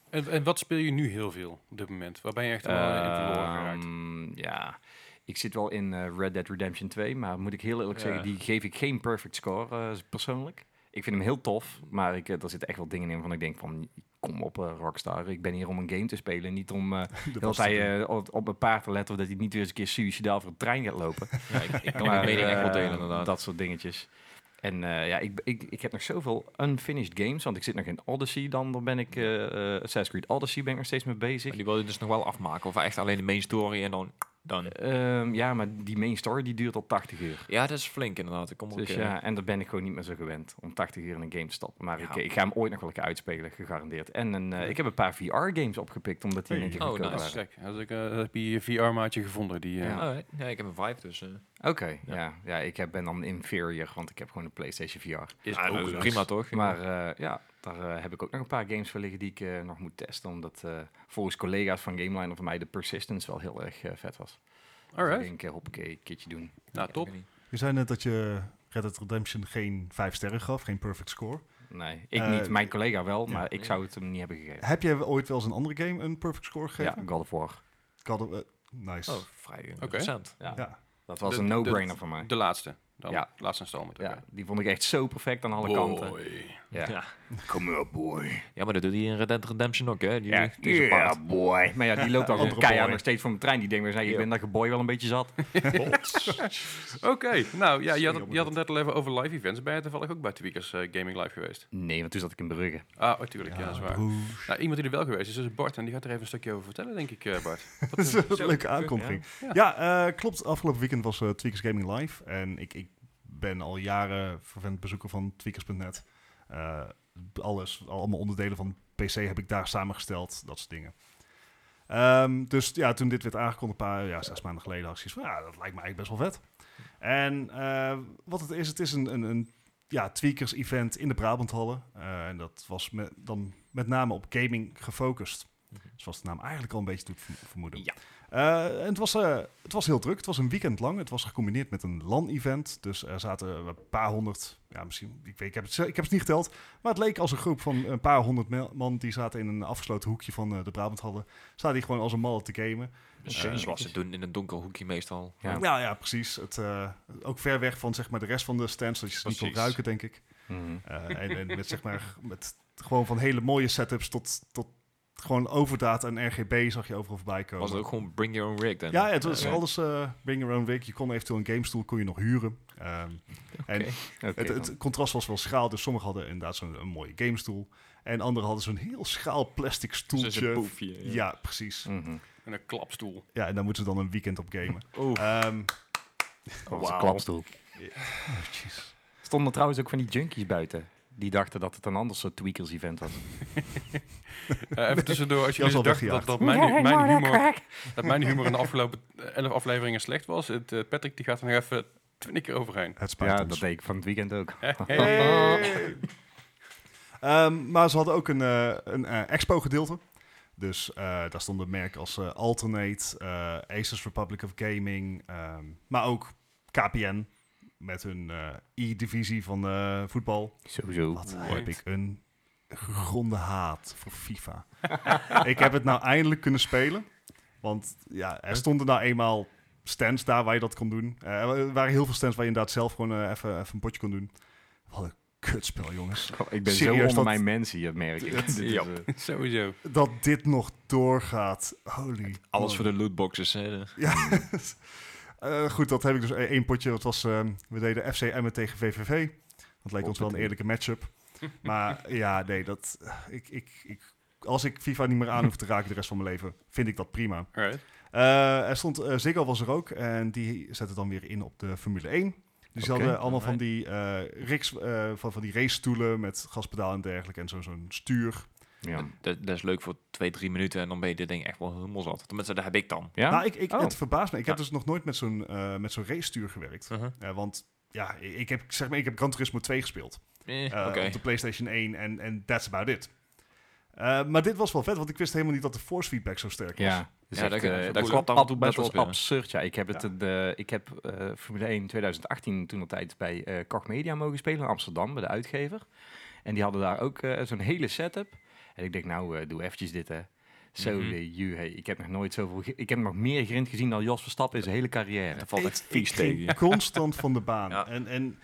En, en wat speel je nu heel veel op dit moment? Waar ben je echt helemaal in verloren geraakt?
Ehm, ja, ik zit wel in eh, Red Dead Redemption 2, maar moet ik heel eerlijk
Ja.
zeggen, die geef ik geen perfect score eh, persoonlijk. Ik vind hem heel tof, maar ik, eh, er zitten echt wel dingen in van ik denk van, kom op eh, Rockstar, ik ben hier om een game te spelen, niet om eh
Dat
dat hij eh, op, op mijn paard te letten of dat hij niet weer eens een keer suicidaal voor een trein gaat lopen.
Ja, ik, ik kan
Maar,
mijn mening echt wel
eh,
delen, inderdaad.
Dat soort dingetjes. En eh, ja, ik, ik, ik heb nog zoveel unfinished games, want ik zit nog in Odyssey dan, dan ben ik, eh eh, Assassin's Creed Odyssey ben ik nog steeds mee bezig.
Maar die wil je dus nog wel afmaken. Of echt alleen de main story en dan... dan.
Ehm, ja, maar die main story die duurt al 80 uur.
Ja, dat is flink inderdaad. Ik kom ook,
Dus
eh,
ja, en daar ben ik gewoon niet meer zo gewend om 80 uur in een game te stappen. Maar
Ja.
ik, ik ga hem ooit nog wel een keer uitspelen, gegarandeerd. En een, eh, ik heb een paar VR-games opgepikt, omdat die in één keer
Hey. Oh,
goedkoop
Dat is
nice.
waren.
gek. Als ik eh, heb je je VR-maatje gevonden. Die, eh,
nou, Ja.
alright. ja, ik heb een vibe dus. eh.
Oké, ja. Ja, ik heb, ben dan inferior, want ik heb gewoon een PlayStation VR.
is
Ah, dat
ook
is
leuk.
prima toch?
Maar eh, ja, daar eh, heb ik ook nog een paar games voor liggen die ik eh, nog moet testen. Omdat eh, volgens collega's van GameLine of mij de Persistence wel heel erg eh, vet was. Dus ik
Alright.
denk, eh, hoppakee, een keertje doen.
Nou, top.
Ik weet niet.
Je zei net dat je Red Dead Redemption geen vijf sterren gaf, geen perfect score.
Nee, ik
Eh,
niet. Mijn collega wel,
ja.
maar ik zou het hem niet hebben gegeven.
Heb jij ooit wel eens een andere game een perfect score
Ja,
gegeven?
God of War.
Ik had, eh, nice.
Oh, vrij interessant.
Ja.
Ja.
Dat was
De-
een
de-
no-brainer voor mij.
De laatste. dan
Ja.
laatst installen met
Ja, die vond ik echt zo perfect aan alle kanten. Ja.
Ja.
Come here, boy.
Ja, maar dat doet hij in Red Dead Redemption ook, hè? Die,
Ja,
deze part.
boy. Maar ja, die loopt dan
Andere
keihard
boy.
nog steeds voor mijn trein. Die denkt, maar, ik
Ja.
ben dat geboy wel een beetje zat.
Oké, nou ja, je had, het,
Jammer
je had het net al even over live events. Ben je toevallig ook bij Tweakers eh, Gaming Live geweest?
Nee, want toen zat ik in Brugge.
Ah, natuurlijk, ja, dat is waar. Nou, iemand die er wel geweest is, is Bart. En die gaat er even een stukje over vertellen, denk ik, eh, Bart.
Dat is een leuke aankondiging.
Ja.
Ja, eh, klopt. Afgelopen weekend was eh Tweakers Gaming Live. En ik, ik ben al jaren vervent bezoeker van tweakers.net. Eh, alles, allemaal onderdelen van PC heb ik daar samengesteld. Dat soort dingen. Ehm, dus ja, toen dit werd aangekondigd, een paar, ja, zes maanden geleden, had ik zoiets van, ja, dat lijkt me eigenlijk best wel vet. En eh, wat het is, het is een, een, een ja, tweakers-event in de Brabanthallen. Eh, en dat was met, dan met name op gaming gefocust. Zoals de naam eigenlijk al een beetje doet verm- vermoeden.
Ja.
Eh, en het was, eh, het was heel druk. Het was een weekend lang. Het was gecombineerd met een LAN-event. Dus er zaten een paar honderd, ja, misschien, ik, weet, ik, heb het, ze- ik heb het niet geteld. Maar het leek als een groep van een paar honderd me- man die zaten in een afgesloten hoekje van eh, de Brabanthallen. Zaten die gewoon als een malle te gamen.
Zo- Zoals ze doen in een donker hoekje meestal.
Ja.
Ja, ja, precies. Het, eh, ook ver weg van zeg maar, de rest van de stands, dat je ze niet kon
Precies.
ruiken, denk ik.
Mhm.
Eh, en, en met, zeg maar, met gewoon van hele mooie setups tot, tot gewoon overdaad en RGB zag je overal voorbij komen.
Was het ook gewoon bring your own rig dan?
Ja, ja, het was
Oké.
alles eh, bring your own rig. Je kon eventueel een gamestoel kon je nog huren. Ehm, En het, het contrast was wel schaal, dus sommigen hadden inderdaad zo'n een mooie gamestoel. En anderen hadden zo'n heel schaal plastic
Dus dat is een
stoeltje.
poefje,
ja.
ja.
precies.
Mhm.
En een klapstoel.
Ja, en daar moeten ze dan een weekend op gamen.
Oeh.
Ehm,
Dat was een
Wauw.
klapstoel.
oh, jeez.
Stonden trouwens ook van die junkies buiten. Die dachten dat het een ander soort tweakers-event was.
Eh, even tussendoor, als je
Jas
dus
al
dacht dat,
weggejaagd.
dat, mijn, mijn humor, dat mijn humor in de afgelopen elf afleveringen slecht was, het, eh, Patrick die gaat er nog even twintig keer overheen.
Het spijt
Ja,
ons.
dat deed ik van het weekend ook.
Hey. Ehm, maar ze hadden ook een, eh, een eh, expo-gedeelte. Dus eh, daar stonden merken als eh, Alternate, eh Aces Republic of Gaming, ehm, maar ook KPN met hun eh E-divisie van eh, voetbal.
Sowieso.
Wat
Mooi.
heb ik een gegronde haat voor FIFA. ik heb het nou eindelijk kunnen spelen. Want ja, er stonden nou eenmaal stands daar waar je dat kon doen. Eh, er waren heel veel stands waar je inderdaad zelf gewoon eh, even, even een potje kon doen. Wat een kutspel, jongens.
Ik ben
Serieus,
zo onder
dat-
mijn mensen, dat merk ik. Dit is,
Ja.
eh,
Sowieso.
Dat dit nog doorgaat. Holy.
Alles
man.
voor de lootboxes, hè.
Ja. Eh, goed, dat heb ik dus e- één potje. Dat was, eh, we deden FC Emmen tegen VVV. Dat leek ons wel een eerlijke matchup. Maar ja, nee, dat, eh, ik, ik, ik, als ik FIFA niet meer aan hoef te raken de rest van mijn leven, vind ik dat prima.
Alright.
Eh, er stond, eh, Ziggo was er ook en die zette dan weer in op de Formule 1. Dus ze
Oké,
hadden allemaal van
alright.
die, eh, riks, eh, van, van die racestoelen met gaspedaal en dergelijke en zo- zo'n stuur.
Ja.
Dat, dat is leuk voor twee, drie minuten en dan ben je dit ding echt wel helemaal zat. Tenminste, dat heb ik dan.
Ja?
Nou, ik, ik,
Oh.
Het verbaast me. Ik heb
Ja.
dus nog nooit met zo'n eh, met zo'n racestuur gewerkt. Eh, want ja, ik ik heb, zeg maar, ik heb Gran Turismo 2 gespeeld.
Eh,
eh,
Oké.
Op de PlayStation 1 en en that's about it. Eh, maar dit was wel vet, want ik wist helemaal niet dat de force feedback zo sterk was.
Ja,
Ja, dat
echt,
kan-
eh,
dat
dat
klopt,
klopt.
dat
ab-
moet
Dat
best wel
was
spelen.
absurd, ja. Ik heb, het,
Ja.
eh, ik heb eh, Formule 1 2018 toen al tijd bij eh Koch Media mogen spelen in Amsterdam, bij de uitgever. En die hadden daar ook eh, zo'n hele setup. En ik denk, nou, eh, doe eventjes dit, hè. Zo,
Mhm.
de ju, hey, ik heb nog nooit zoveel... ge- Ik heb nog meer grind gezien dan Jos Verstappen in zijn hele carrière.
Dat valt echt vies
ging
tegen. je.
constant van de baan.
Ja.
En, en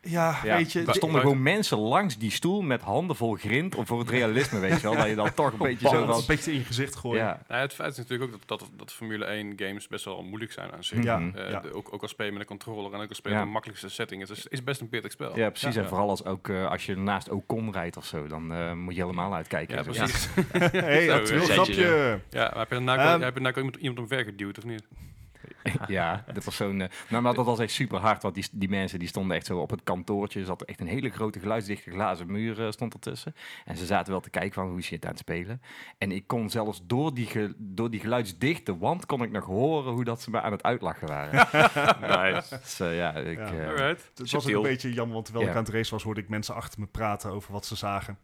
ja,
Ja,
weet je...
er
d-
stonden gewoon mensen langs die stoel met handen vol grind. Of voor het realisme, weet je wel. Dat je dan toch een beetje zo
dat is
van...
een beetje in je gezicht gooien.
Ja,
Nou, het feit is natuurlijk ook dat, dat, dat Formule 1 games best wel moeilijk zijn aan zich.
Mhm.
Ja,
Eh,
ja.
de- ook, ook al speel je met een controller en ook al speel je
Ja.
met de makkelijkste setting. Het is, is best een pittig spel.
Ja, precies.
Oh, Ja.
En vooral als, ook, eh, als je naast Ocon rijdt of zo, dan eh, moet je helemaal uitkijken. Dus
Ja,
en zo.
precies. Ja,
hey,
Zo,
actueel
zet je
grapje.
maar heb je daarna ook-
Ehm.
heb je daarna ook iemand, iemand omver geduwd of niet?
Ja, de persoon... eh, nou, maar dat was echt super hard, want die, die mensen die stonden echt zo op het kantoortje. Er zat echt een hele grote geluidsdichte glazen muur eh, stond ertussen. En ze zaten wel te kijken van hoe is je het aan het spelen. En ik kon zelfs door die, ge- door die geluidsdichte wand kon ik nog horen hoe dat ze me aan het uitlachen waren.
Nice.
dus eh, ja, ik...
Ja.
eh,
Alright.
Het was ook
Subtiel.
een beetje jammer, want terwijl
Ja.
ik aan het race was, hoorde ik mensen achter me praten over wat ze zagen.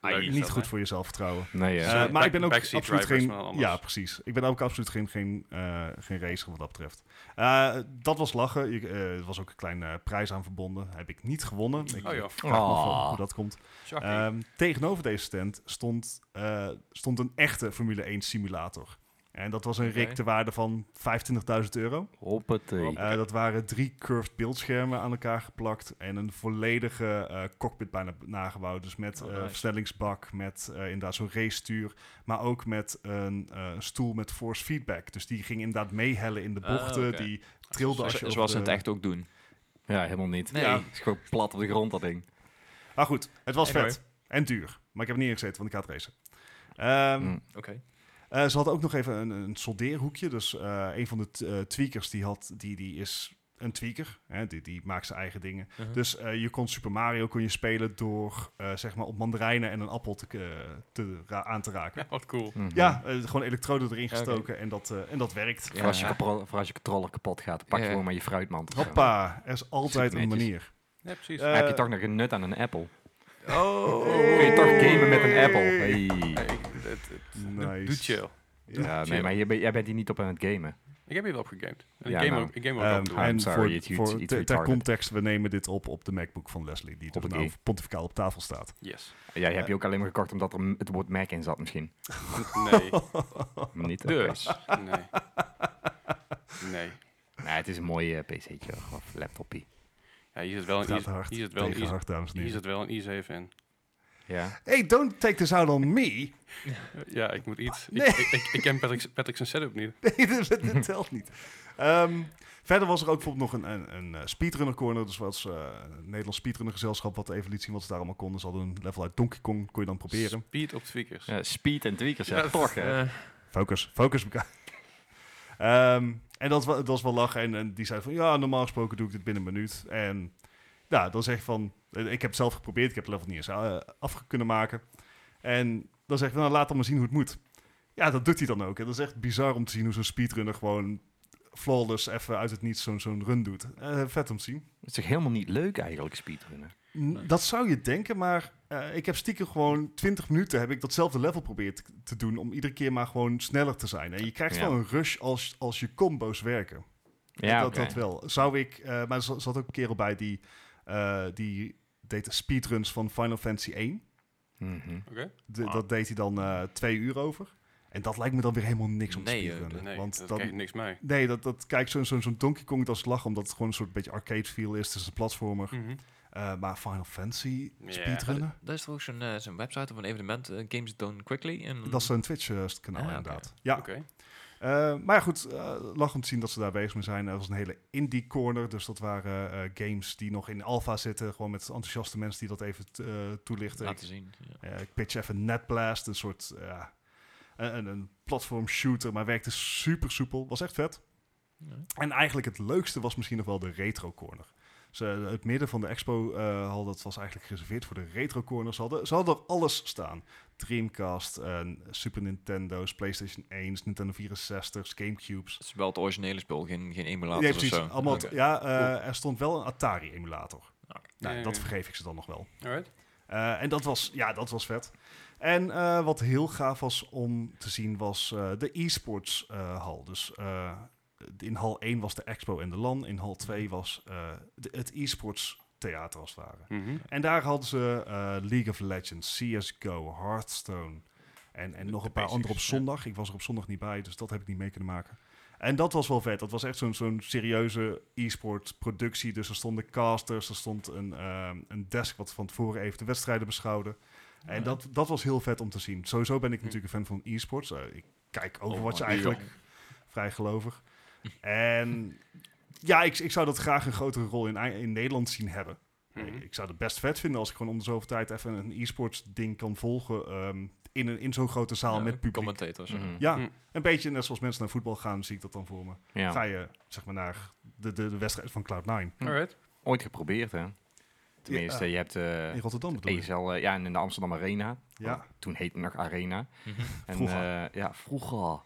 Leuk.
Niet goed voor jezelf vertrouwen.
nee, ja.
Eh,
Zo,
maar
back-
ik ben ook
backseat
absoluut
drivers,
geen...
maar dan anders.
Ja, precies. Ik ben ook absoluut geen, geen, eh, geen racer wat dat betreft. Eh, dat was lachen. Ik, eh, er was ook een klein eh, prijs aan verbonden. Heb ik niet gewonnen. Ik
Oh ja,
vraag me af wel
Ah.
hoe dat komt.
shocking.
eh, Ehm, tegenover deze stand stond, eh, stond een echte Formule 1 simulator. En dat was een
Oké.
rig te waarde van 25.000 euro.
Hoppatee.
Eh, dat waren drie curved beeldschermen aan elkaar geplakt en een volledige eh, cockpit bijna nagebouwd. Dus met
Oh,
eh,
nice.
versnellingsbak, met eh, inderdaad zo'n racestuur, maar ook met een eh, stoel met force feedback. Dus die ging inderdaad meehellen in de
Ah,
bochten,
oké.
die trilde als je
Zo-
op
Zoals ze
de-
het echt ook doen.
Ja, helemaal niet.
Nee. Ja.
Het is gewoon plat op de grond, dat ding.
Maar goed, het was
Anyway.
vet en duur. Maar ik heb er niet in gezeten, want ik had racen. Ehm,
Mm.
Oké.
Eh, ze had ook nog even een, een soldeerhoekje. Dus eh, een van de t- eh, tweakers die had, die, die is een tweaker. Hè, die, die maakt zijn eigen dingen.
Hm.
Mhm.
Dus eh, je kon Super Mario kon je spelen door eh, zeg maar op mandarijnen en een appel te, eh, te ra- aan te raken.
Ja, wat cool.
Mhm.
Ja, eh, gewoon elektroden erin
Oké.
gestoken en, dat, eh, en dat werkt.
Voor als, je
Ja.
kapro- voor als je controller kapot gaat, pak je
Ja.
gewoon maar je fruitmand. of zo.
Hoppa, er is altijd een
netjes.
manier.
Ja, precies.
Eh,
Dan heb je toch nog een nut aan een Apple.
Oh.
Kun je toch
Hey.
gamen met een Apple?
Hey.
Nee,
Hey.
ik- het- het-
Nice.
Doe chill.
Ja,
chill.
nee, maar je bent- jij bent hier niet op aan het gamen.
Ik heb hier wel op gegamed. En
Ja,
ik game
nou.
ook, ik game ook af en
Ehm,
toe.
I'm
en
sorry,
voor,
it's-
voor
it's- it's
ter- ter
retarded.
context, we nemen dit op op de MacBook van Leslie, die dus
Op het
nou
i.
pontificaal op tafel staat.
Yes.
Ja, je hebt je ook alleen maar gekocht omdat er m- het woord Mac in zat misschien.
Nee.
Maar niet oké.
Dus. Nee. Nee.
Nee, het is een eh, mooie pc'tje of laptopje.
Ja, hier zit wel
Het
een,
gaat
hier,
hard
hier zit wel een,
tegen
hier,
hard, dames en
hier
heren.
zit wel een i7 in.
Ja.
Hey, don't take this out on me.
Eh, Ja, ik moet iets.
Nee.
Ik, ik, ik, ik ken Patrick, Patrick zijn setup niet.
Nee, dat, dat- dat telt niet. Ehm, verder was er ook bijvoorbeeld nog een, een, een eh, speedrunner corner. Dus was eh, een Nederlands speedrunner gezelschap wat even liet zien wat ze daar allemaal konden. Ze hadden een level uit Donkey Kong, kon je dan proberen.
Speed op tweakers.
Ja, speed en tweakers, ja,
Ja,
toch hè.
Eh,
Focus, focus elkaar. Ehm, en dat, wa- dat was wel lachen. En, en die zei van, ja, normaal gesproken doe ik dit binnen een minuut. En ja, dan zeg je van, eh, ik heb het zelf geprobeerd. Ik heb het level niet eens eh, af kunnen maken. En dan zeg je van, nou, laat dan maar zien hoe het moet. Ja, dat doet hij dan ook. En dat is echt bizar om te zien hoe zo'n speedrunner gewoon flawless even uit het niets zo'n zo'n run doet. Eh, vet om te zien.
Het is toch helemaal niet leuk eigenlijk, speedrunnen?
N- Dat zou je denken, maar eh, ik heb stiekem gewoon 20 minuten heb ik datzelfde level probeerd te- te doen om iedere keer maar gewoon sneller te zijn. En je krijgt
Ja.
wel een rush als, als je combo's werken.
Ja,
dat,
oké.
dat wel. Zou ik, eh, maar er za- zat ook een kerel bij die, eh, die deed speedruns van Final Fantasy 1.
Mhm.
Oké.
De- Dat deed hij dan eh, twee uur over. En dat lijkt me dan weer helemaal niks om te
Nee, eh,
speedrunnen.
Nee,
want
dat
dan,
krijg je niks mee.
nee, dat, dat kijk, zo'n zo'n zo'n Donkey Kong dat is lachen, omdat het gewoon een soort beetje arcade feel is. Het is een platformer.
Mhm.
Eh, maar Final Fantasy
Ja.
speedrunnen?
dat is toch ook zo'n eh, zo'n website of een evenement, eh, Games Done Quickly. En,
Dat is een Twitch-kanaal,
Mm. Ah, oké.
inderdaad. Ja,
Oké.
eh, maar ja, goed, eh lach om te zien dat ze daar bezig mee zijn. Er was een hele indie corner, dus dat waren eh, games die nog in alpha zitten. Gewoon met enthousiaste mensen die dat even eh, toelichten.
laten zien. Ja.
Eh, ik pitch even Netblast, een soort ja, een, een- een platform shooter, maar werkte super soepel. Was echt vet.
Ja.
En eigenlijk het leukste was misschien nog wel de retro corner. Ze, het midden van de expo eh hal dat was eigenlijk gereserveerd voor de retro corners. Ze hadden, ze hadden er alles staan. Dreamcast, en Super Nintendo's, PlayStation 1's, Nintendo 64's, Gamecubes.
Het is wel het originele spul, geen, geen emulator
Nee,
of
precies.
zo.
Allemaal
Oké.
t- ja, eh, er stond wel een Atari-emulator. Nou,
Ja,
dat
ja.
vergeef ik ze dan nog wel.
Alright.
Eh, en dat was, ja, dat was vet. En eh, wat heel gaaf was om te zien was eh, de e-sports eh, hal. Dus eh, in hal 1 was de expo en de LAN. In hal 2 was eh, de- het e-sports theater als het ware.
Mhm.
En daar hadden ze eh, League of Legends, CSGO, Hearthstone en, en
De-
nog
de
een paar andere op
basics, ja.
zondag. Ik was er op zondag niet bij, dus dat heb ik niet mee kunnen maken. En dat was wel vet. Dat was echt zo'n zo'n serieuze e-sport productie. Dus er stonden casters, er stond een, ehm, een desk wat van tevoren even de wedstrijden beschouwde. En
Ja.
dat, dat was heel vet om te zien. Sowieso ben ik
Hm.
natuurlijk een fan van e-sports. Eh, ik kijk Overwatch
Oh,
eigenlijk vrij gelovig. En ja, ik, ik zou dat graag een grotere rol in, in Nederland zien hebben.
Mhm.
Ik zou het best vet vinden als ik gewoon om de zoveel tijd even een e-sports ding kan volgen ehm, in, een- in zo'n grote zaal
Ja,
met publiek.
Commentators. ja.
Mhm.
Ja,
Hm.
een beetje net zoals mensen naar voetbal gaan, zie ik dat dan voor me.
Ja.
Ga je zeg maar naar de, de, de wedstrijd van Cloud9
Alright.
Ooit geprobeerd hè? Tenminste,
Ja.
je hebt eh
in Rotterdam bedoel ik.
ESL, eh, ja, en in de Amsterdam Arena.
Ja,
Toen heette het nog Arena.
Mhm.
En,
Vroeger.
eh, ja, vroeger.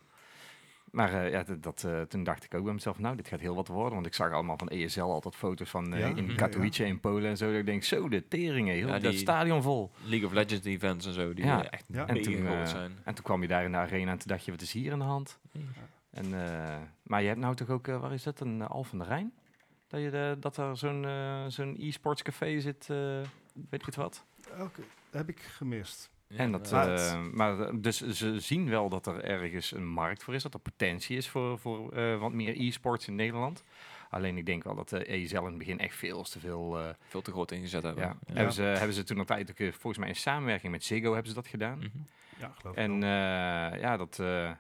Maar eh, ja, dat, dat, eh, toen dacht ik ook bij mezelf, nou, dit gaat heel wat worden. Want ik zag allemaal van ESL altijd foto's van eh,
Ja?
in
Mhm.
Katowice in Polen en zo. Dat ik denk, zo, de teringen, heel
Ja,
dat
die-
stadion vol.
League of Legends events en zo, die
Ja.
eh, echt
Ja.
En
mega
toen,
groot
eh,
zijn.
En toen kwam je daar in de arena en toen dacht je, wat is hier aan de hand? En, eh, maar je hebt nou toch ook, eh, waar is dat, een eh, Al van de Rijn? Dat, je de- dat er zo'n eh, zo'n e-sports café zit, eh, weet je het wat?
Oké, heb ik gemist.
en dat,
inderdaad.
eh, maar dus ze zien wel dat er ergens een markt voor is, dat er potentie is voor, voor eh, wat meer e-sports in Nederland. Alleen ik denk wel dat eh, de ESL in het begin echt veel te veel... eh,
Veel te groot ingezet hebben.
ja. Hebben, ze, hebben ze toen nog tijd ook eh, volgens mij in samenwerking met Ziggo hebben ze dat gedaan.
Mhm.
Ja, geloof ik.
En
wel.
eh, ja, dat, eh,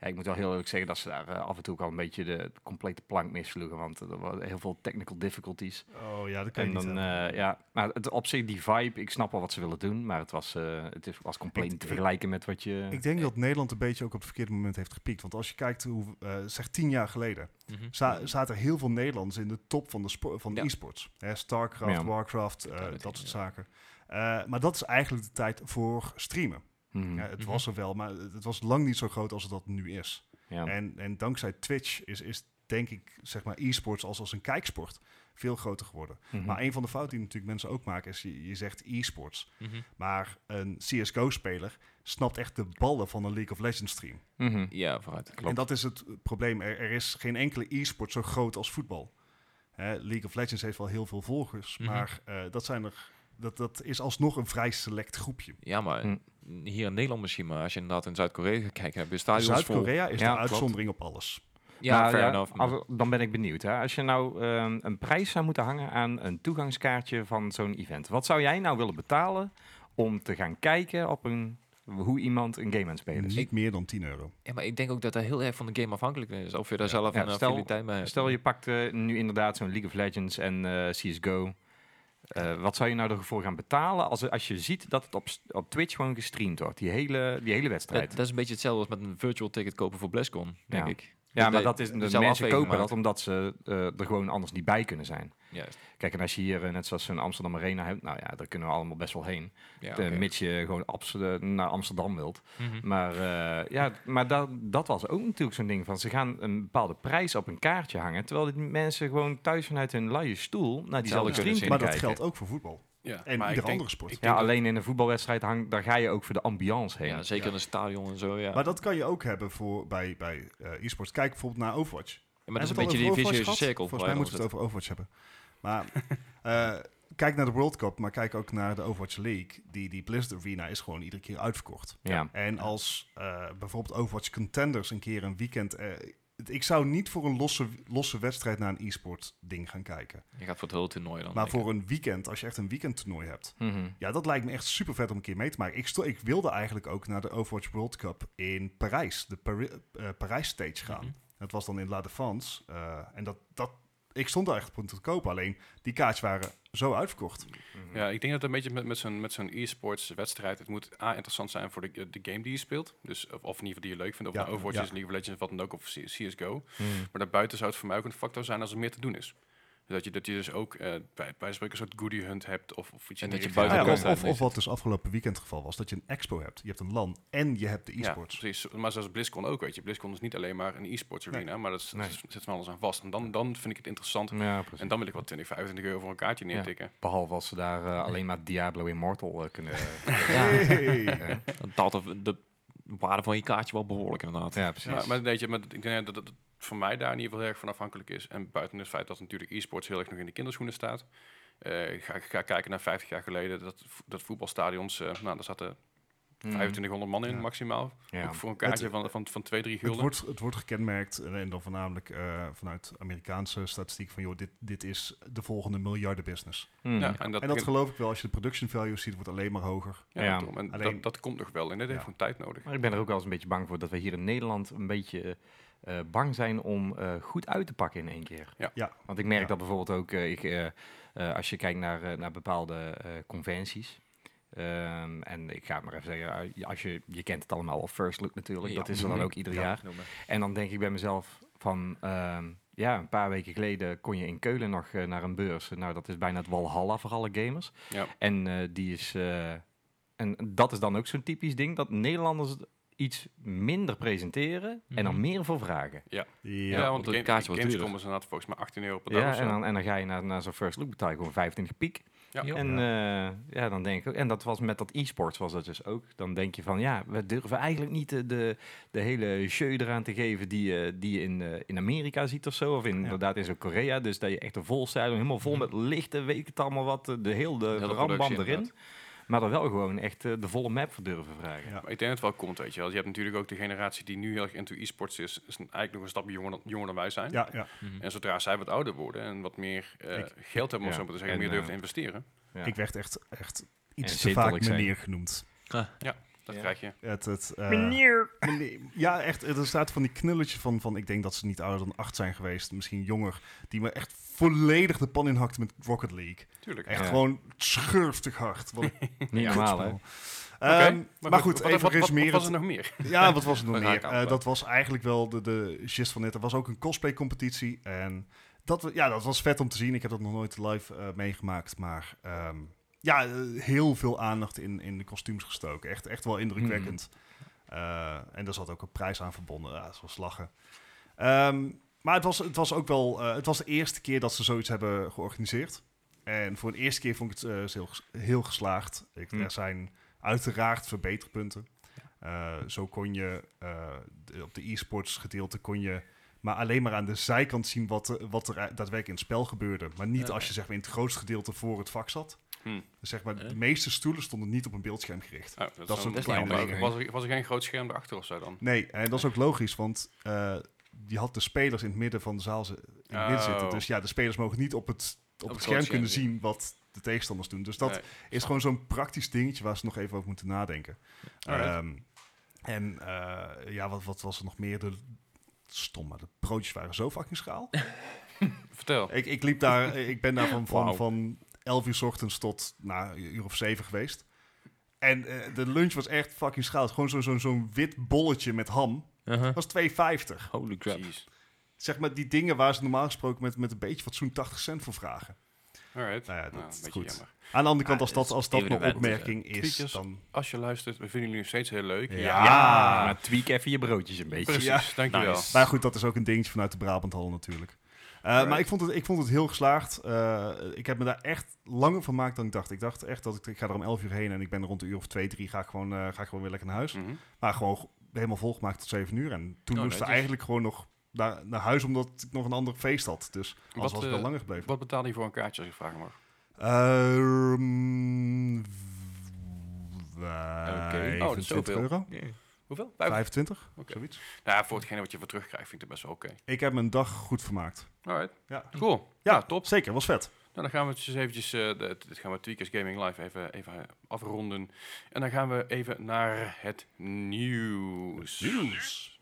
ja, ik moet wel heel eerlijk zeggen dat ze daar eh, af en toe ook al een beetje de complete plank missloegen. Want er waren heel veel technical difficulties.
oh ja, dat kan je
eh, En
niet
dan,
hebben.
eh, ja, maar het, op zich die vibe, ik snap wel wat ze willen doen. Maar het was, eh, het is, was compleet
Ik-
niet te vergelijken met wat je...
Ik denk dat Nederland een beetje ook op het verkeerde moment heeft gepiekt. Want als je kijkt hoe, eh, zeg tien jaar geleden,
Mhm.
za- zaten heel veel Nederlanders in de top van de, spo- van de
Ja.
e-sports. Hè, Starcraft,
Ja.
Warcraft, eh,
dat
dat
ding,
soort
ja.
zaken. Eh, maar dat is eigenlijk de tijd voor streamen.
Mhm,
Ja, het
Mhm.
was er wel, maar het het was lang niet zo groot als het dat nu is.
ja.
En, en dankzij Twitch is, is denk ik, zeg maar, e-sports als, als een kijksport veel groter geworden.
Mhm.
Maar een van de fouten die natuurlijk mensen ook maken is, je, je zegt e-sports.
Mhm.
Maar een CSGO-speler snapt echt de ballen van een League of Legends stream.
Mhm.
Nou,
Ja, vooruit.
En dat is het eh, probleem. Er, er is geen enkele e-sport zo groot als voetbal. Hè, League of Legends heeft wel heel veel volgers,
Mhm.
maar eh, dat, zijn er, dat, dat is alsnog een vrij select groepje.
Ja, maar
Hm.
hier in Nederland misschien, maar als je inderdaad in Zuid-Korea gaat kijken, heb je stadions vol.
Zuid-Korea is
Ja,
de
klopt.
uitzondering op alles.
Ja,
Nou,
fair
ja,
enough.
als- dan ben ik benieuwd. Hè. Als je nou ehm, een prijs zou moeten hangen aan een toegangskaartje van zo'n event, wat zou jij nou willen betalen om te gaan kijken op een, hoe iemand een game aan het spelen is?
Niet meer dan 10 euro.
Ja, maar ik denk ook dat dat heel erg van de game afhankelijk is. Of je daar zelf
Ja,
een
stel-
affiniteit mee hebt.
Stel je pakt eh, nu inderdaad zo'n League of Legends en eh, CSGO. Eh, wat zou je nou ervoor gaan betalen als, als je ziet dat het op, s- op Twitch gewoon gestreamd wordt, die hele, die hele
dat,
wedstrijd?
dat is een beetje hetzelfde als met een virtual ticket kopen voor BlizzCon, denk
Ja.
ik.
ja, maar
dat-
dat is,
dat
de
zou
mensen
afweging
kopen
maken.
dat omdat ze eh, er gewoon anders niet bij kunnen zijn.
Juist.
Kijk, en als je hier eh, net zoals zo'n Amsterdam Arena hebt, nou ja, daar kunnen we allemaal best wel heen.
Ja,
Eh,
oké.
mits je gewoon Amsterdam- naar Amsterdam wilt.
Mhm.
Maar, eh, ja, maar dat, dat was ook natuurlijk zo'n ding van ze gaan een bepaalde prijs op een kaartje hangen. Terwijl die mensen gewoon thuis vanuit hun luie stoel naar diezelfde
Hetzelfde kunnen
stream
zien.
Maar
kunnen
dat
kijken.
geldt ook voor voetbal.
Ja,
En
maar
ieder
ik denk-
andere sport.
ik denk
Ja,
dat-
alleen in een voetbalwedstrijd hang, daar ga je ook voor de ambiance heen.
Ja, zeker in een stadion en zo, ja.
Maar dat kan je ook hebben voor, bij, bij eh, e-sports. Kijk bijvoorbeeld naar Overwatch.
Ja, maar dat is
Hebben
een
we
beetje
het al
die
over Overwatch
vicieuze
gehad?
cirkel.
Volgens mij moeten we het over Overwatch hebben. Maar eh, kijk naar de World Cup, maar kijk ook naar de Overwatch League. Die, die Blizzard Arena is gewoon iedere keer uitverkocht.
ja.
En als eh, bijvoorbeeld Overwatch Contenders een keer een weekend... eh, het- ik zou niet voor een losse, losse wedstrijd naar een e-sport ding gaan kijken.
Je gaat voor het hele toernooi dan.
Maar
denk ik.
voor een weekend, als je echt een weekendtoernooi hebt...
Mhm.
Ja, dat lijkt me echt super vet om een keer mee te maken. Ik, sto- ik wilde eigenlijk ook naar de Overwatch World Cup in Parijs, de Pari- eh, Parijs stage gaan.
Mhm.
Dat was dan in La Défense. eh, en dat, dat, ik stond daar echt op om te kopen, alleen die kaartjes waren zo uitverkocht.
Mhm.
Ja, ik denk dat het een beetje met, met zo'n met zo'n e-sports wedstrijd, het moet A, interessant zijn voor de, eh, de game die je speelt. Dus, of, of in ieder geval die je leuk vindt, of
Ja,
nou Overwatch
ja.
is, League of Legends, wat dan ook, of C- CSGO.
Mhm.
Maar daarbuiten zou het voor mij ook een factor zijn als er meer te doen is. Dat je, dat je dus ook eh, bij, bij spreken een soort goodie hunt hebt, of, of iets
En
in
dat
die
je
richting.
Ah ja,
de
of,
wedstrijd
of,
niet.
of wat dus afgelopen weekend het geval was, dat je een expo hebt. Je hebt een LAN en je hebt de
Ja,
e-sports.
precies. Maar zoals BlizzCon ook, weet je. BlizzCon is niet alleen maar een e-sports arena, maar dat is,
Nee.
dat is- zit van alles aan vast. En dan, dan vind ik het
Mm,
interessant.
Ja, precies.
En dan wil ik wat 20, 25 euro voor een kaartje
Ja.
neertikken.
Behalve als ze daar eh, alleen maar Diablo Immortal eh, kunnen...
Ja,
Hey.
eh,
dan daalt de, de waarde van je kaartje wel behoorlijk inderdaad.
ja, precies.
Maar, maar, weet je, maar ik denk dat het voor mij daar in ieder geval heel erg van afhankelijk is. En buiten het feit dat natuurlijk e-sports heel erg nog in de kinderschoenen staat. Eh, ik ga, ik ga kijken naar 50 jaar geleden, dat, vo- dat voetbalstadions, eh, nou, daar zaten 2500 man in
Ja.
maximaal.
Mhm. Hmm. Ja.
Ook voor een kaartje
Het-
van, van, van 2, 3
Het
gulden.
wordt, het wordt gekenmerkt, en, en dan voornamelijk eh, vanuit Amerikaanse statistiek, van joh, dit, dit is de volgende miljarden business.
Mhm.
ja, en dat,
en dat geloof ik wel, als je de production value ziet, wordt alleen maar hoger.
ja,
Ja.
daarom. En
Alleen-
dat, dat komt nog wel. En dat heeft
Ja.
gewoon tijd nodig.
Maar ik ben er ook wel eens een beetje bang voor dat we hier in Nederland een beetje eh, bang zijn om eh, goed uit te pakken in één keer.
Ja.
Ja.
Want ik merk
Ja.
dat bijvoorbeeld ook, eh, ik, eh, eh, als je kijkt naar, eh, naar bepaalde eh, conventies. Ehm, en ik ga het maar even zeggen, eh, als je, je kent het allemaal al, First Look natuurlijk,
Ja.
dat is er dan ook ieder jaar. En dan denk ik bij mezelf van, ehm, ja, een paar weken geleden kon je in Keulen nog eh, naar een beurs. Nou, dat is bijna het Walhalla voor alle gamers.
Ja.
En eh, die is, eh, en dat is dan ook zo'n typisch ding, dat Nederlanders iets minder presenteren en dan
Mhm.
meer voor vragen.
Ja,
Ja,
want
want
de
het kaartje
game, de
wordt
games
duurder.
komen ze inderdaad volgens mij 18 euro per dag.
Ja,
of zo.
en dan, en dan ga je naar, naar zo'n first look betaal je gewoon 25 piek.
Ja.
En eh, ja, dan denk ik ook, en dat was met dat e-sports was dat dus ook. Dan denk je van, ja, we durven eigenlijk niet de, de, de hele jeu eraan te geven die, je- die je in, eh, in Amerika ziet of zo. Of in,
Ja.
inderdaad in zo'n Korea. Dus dat je echt een vol stadion, helemaal vol met lichten, weet ik het allemaal wat, eh, de hele de
hele
rambam
productie
erin.
inderdaad.
Maar dan wel gewoon echt eh, de volle map voor durven vragen.
Ja.
Maar ik denk dat het wel komt, weet je wel. Je hebt natuurlijk ook de generatie die nu heel erg into e-sports is, is eigenlijk nog een stapje jonger dan, jonger dan wij zijn.
Ja, ja.
En zodra zij wat ouder worden en wat meer eh,
Hm. Ik-
geld hebben, om
Ja.
zo maar te zeggen,
En,
meer durven
eh,
te investeren,
Ja.
ik werd echt, echt
En
iets te
zit dat
vaak
ik zei.
meneer genoemd.
dat
Ja.
krijg je.
Het, het, eh,
Meneer!
meneer. Ja, echt. Er staat van die knulletje van, van, ik denk dat ze niet ouder dan acht zijn geweest, misschien jonger, die me echt volledig de pan inhakte met Rocket League.
Tuurlijk.
Echt
Ja.
gewoon schurftig hard. Wat een
Niet normaal, hè?
kutspel.
Oké,
Ehm, maar, goed,
wat-
even
wat, wat, wat,
resumeren.
was er nog meer? Oh,
Ja, wat was het nog
We gaan
meer?
kappen.
Eh, dat was eigenlijk wel de, de gist van dit. Er was ook een cosplay-competitie. En dat, we- ja, dat was vet om te zien. Ik heb dat nog nooit live eh, meegemaakt. Maar ehm, ja, eh, heel veel aandacht in, in de kostuums gestoken. Echt, echt wel indrukwekkend. Eh, en daar zat ook een prijs aan verbonden. Ja, dat was lachen. Ehm, maar het was, het was ook wel... eh, het was de eerste keer dat ze zoiets hebben georganiseerd. En voor de eerste keer vond ik het eh, heel, ges- heel geslaagd. Ik,
Hmm.
Er zijn uiteraard verbeterpunten. Eh, zo kon je eh, de- op de e-sports gedeelte kon je maar alleen maar aan de zijkant zien wat, er- wat er daadwerkelijk in het spel gebeurde. Maar niet
Oké.
als je zeg maar, in het grootste gedeelte voor het vak zat.
Hm.
Dus zeg maar, de
Eh?
meeste stoelen stonden niet op een beeldscherm gericht.
Oh, dat,
is
is
een
dan- dat is
klein
niet handig.
ding.
was, er, was er geen groot scherm erachter of zo dan?
Nee, en dat is ook logisch, want eh, je had de spelers in het midden van de zaal zi- in het midden
Oh.
zitten. Dus ja, de spelers mogen niet op het, op
het
het scherm
grote
kunnen
scherm,
zien wat de tegenstanders doen. Dus dat
Nee.
is gewoon zo'n praktisch dingetje waar ze nog even over moeten nadenken.
Alright.
Ehm, en eh, ja, wat, wat was er nog meer? De, stom, maar de broodjes waren zo fucking schaal.
Vertel.
ik, ik liep daar, ik ben daar van, van,
Wauw.
van 11 uur 's ochtends tot nou, een uur of 7 geweest. En eh, de lunch was echt fucking schaal. Gewoon zo'n zo'n zo'n wit bolletje met ham.
Uh-huh.
Dat was 2,50.
Holy crap.
Jeez.
Zeg maar die dingen waar ze normaal gesproken met, met een beetje fatsoen 80 cent voor vragen.
Alright.
Nou ja,
Nou,
dat
een
is
beetje
goed.
jammer.
Aan de andere kant,
Ah,
als dat,
is
als dat een
irrelevant,
opmerking is,
eh, Tweetjes.
dan...
Als je luistert, we vinden jullie nog steeds heel leuk.
Ja.
Ja, maar tweak even je broodjes een beetje.
Precies, dankjewel.
Nice.
Maar Nou goed, dat is ook een dingetje vanuit de Brabanthal natuurlijk. Eh, Maar ik vond, het, ik vond het heel geslaagd. Eh, ik heb me daar echt langer van gemaakt dan ik dacht. Ik dacht echt dat ik, ik ga er om 11 uur heen en ik ben rond de uur of 2, 3 ga ik gewoon, eh, ga ik gewoon weer lekker naar huis.
Mhm.
Maar gewoon g- helemaal volgemaakt tot 7 uur. En toen moesten
Oh,
we
netjes.
eigenlijk gewoon nog naar, naar huis omdat ik nog een ander feest had. Dus anders
Wat,
was ik
eh,
wel langer gebleven.
Wat betaalde je voor een kaartje, als ik vragen mag?
Ehm, w-
Oh, dat is
25
zoveel.
euro.
Hoeveel? Vijf-
25,
Oké.
zoiets.
Nou, voor hetgene wat je voor terugkrijgt, vind ik het best wel oké.
Ik heb mijn dag goed vermaakt.
Alright.
Ja.
Cool.
Ja,
Ja, top.
Zeker, was vet.
Nou, dan gaan we het dus eventjes, eh, de- dit gaan we Tweakers Gaming Live even, even eh, afronden. En dan gaan we even naar het nieuws.
Nieuws.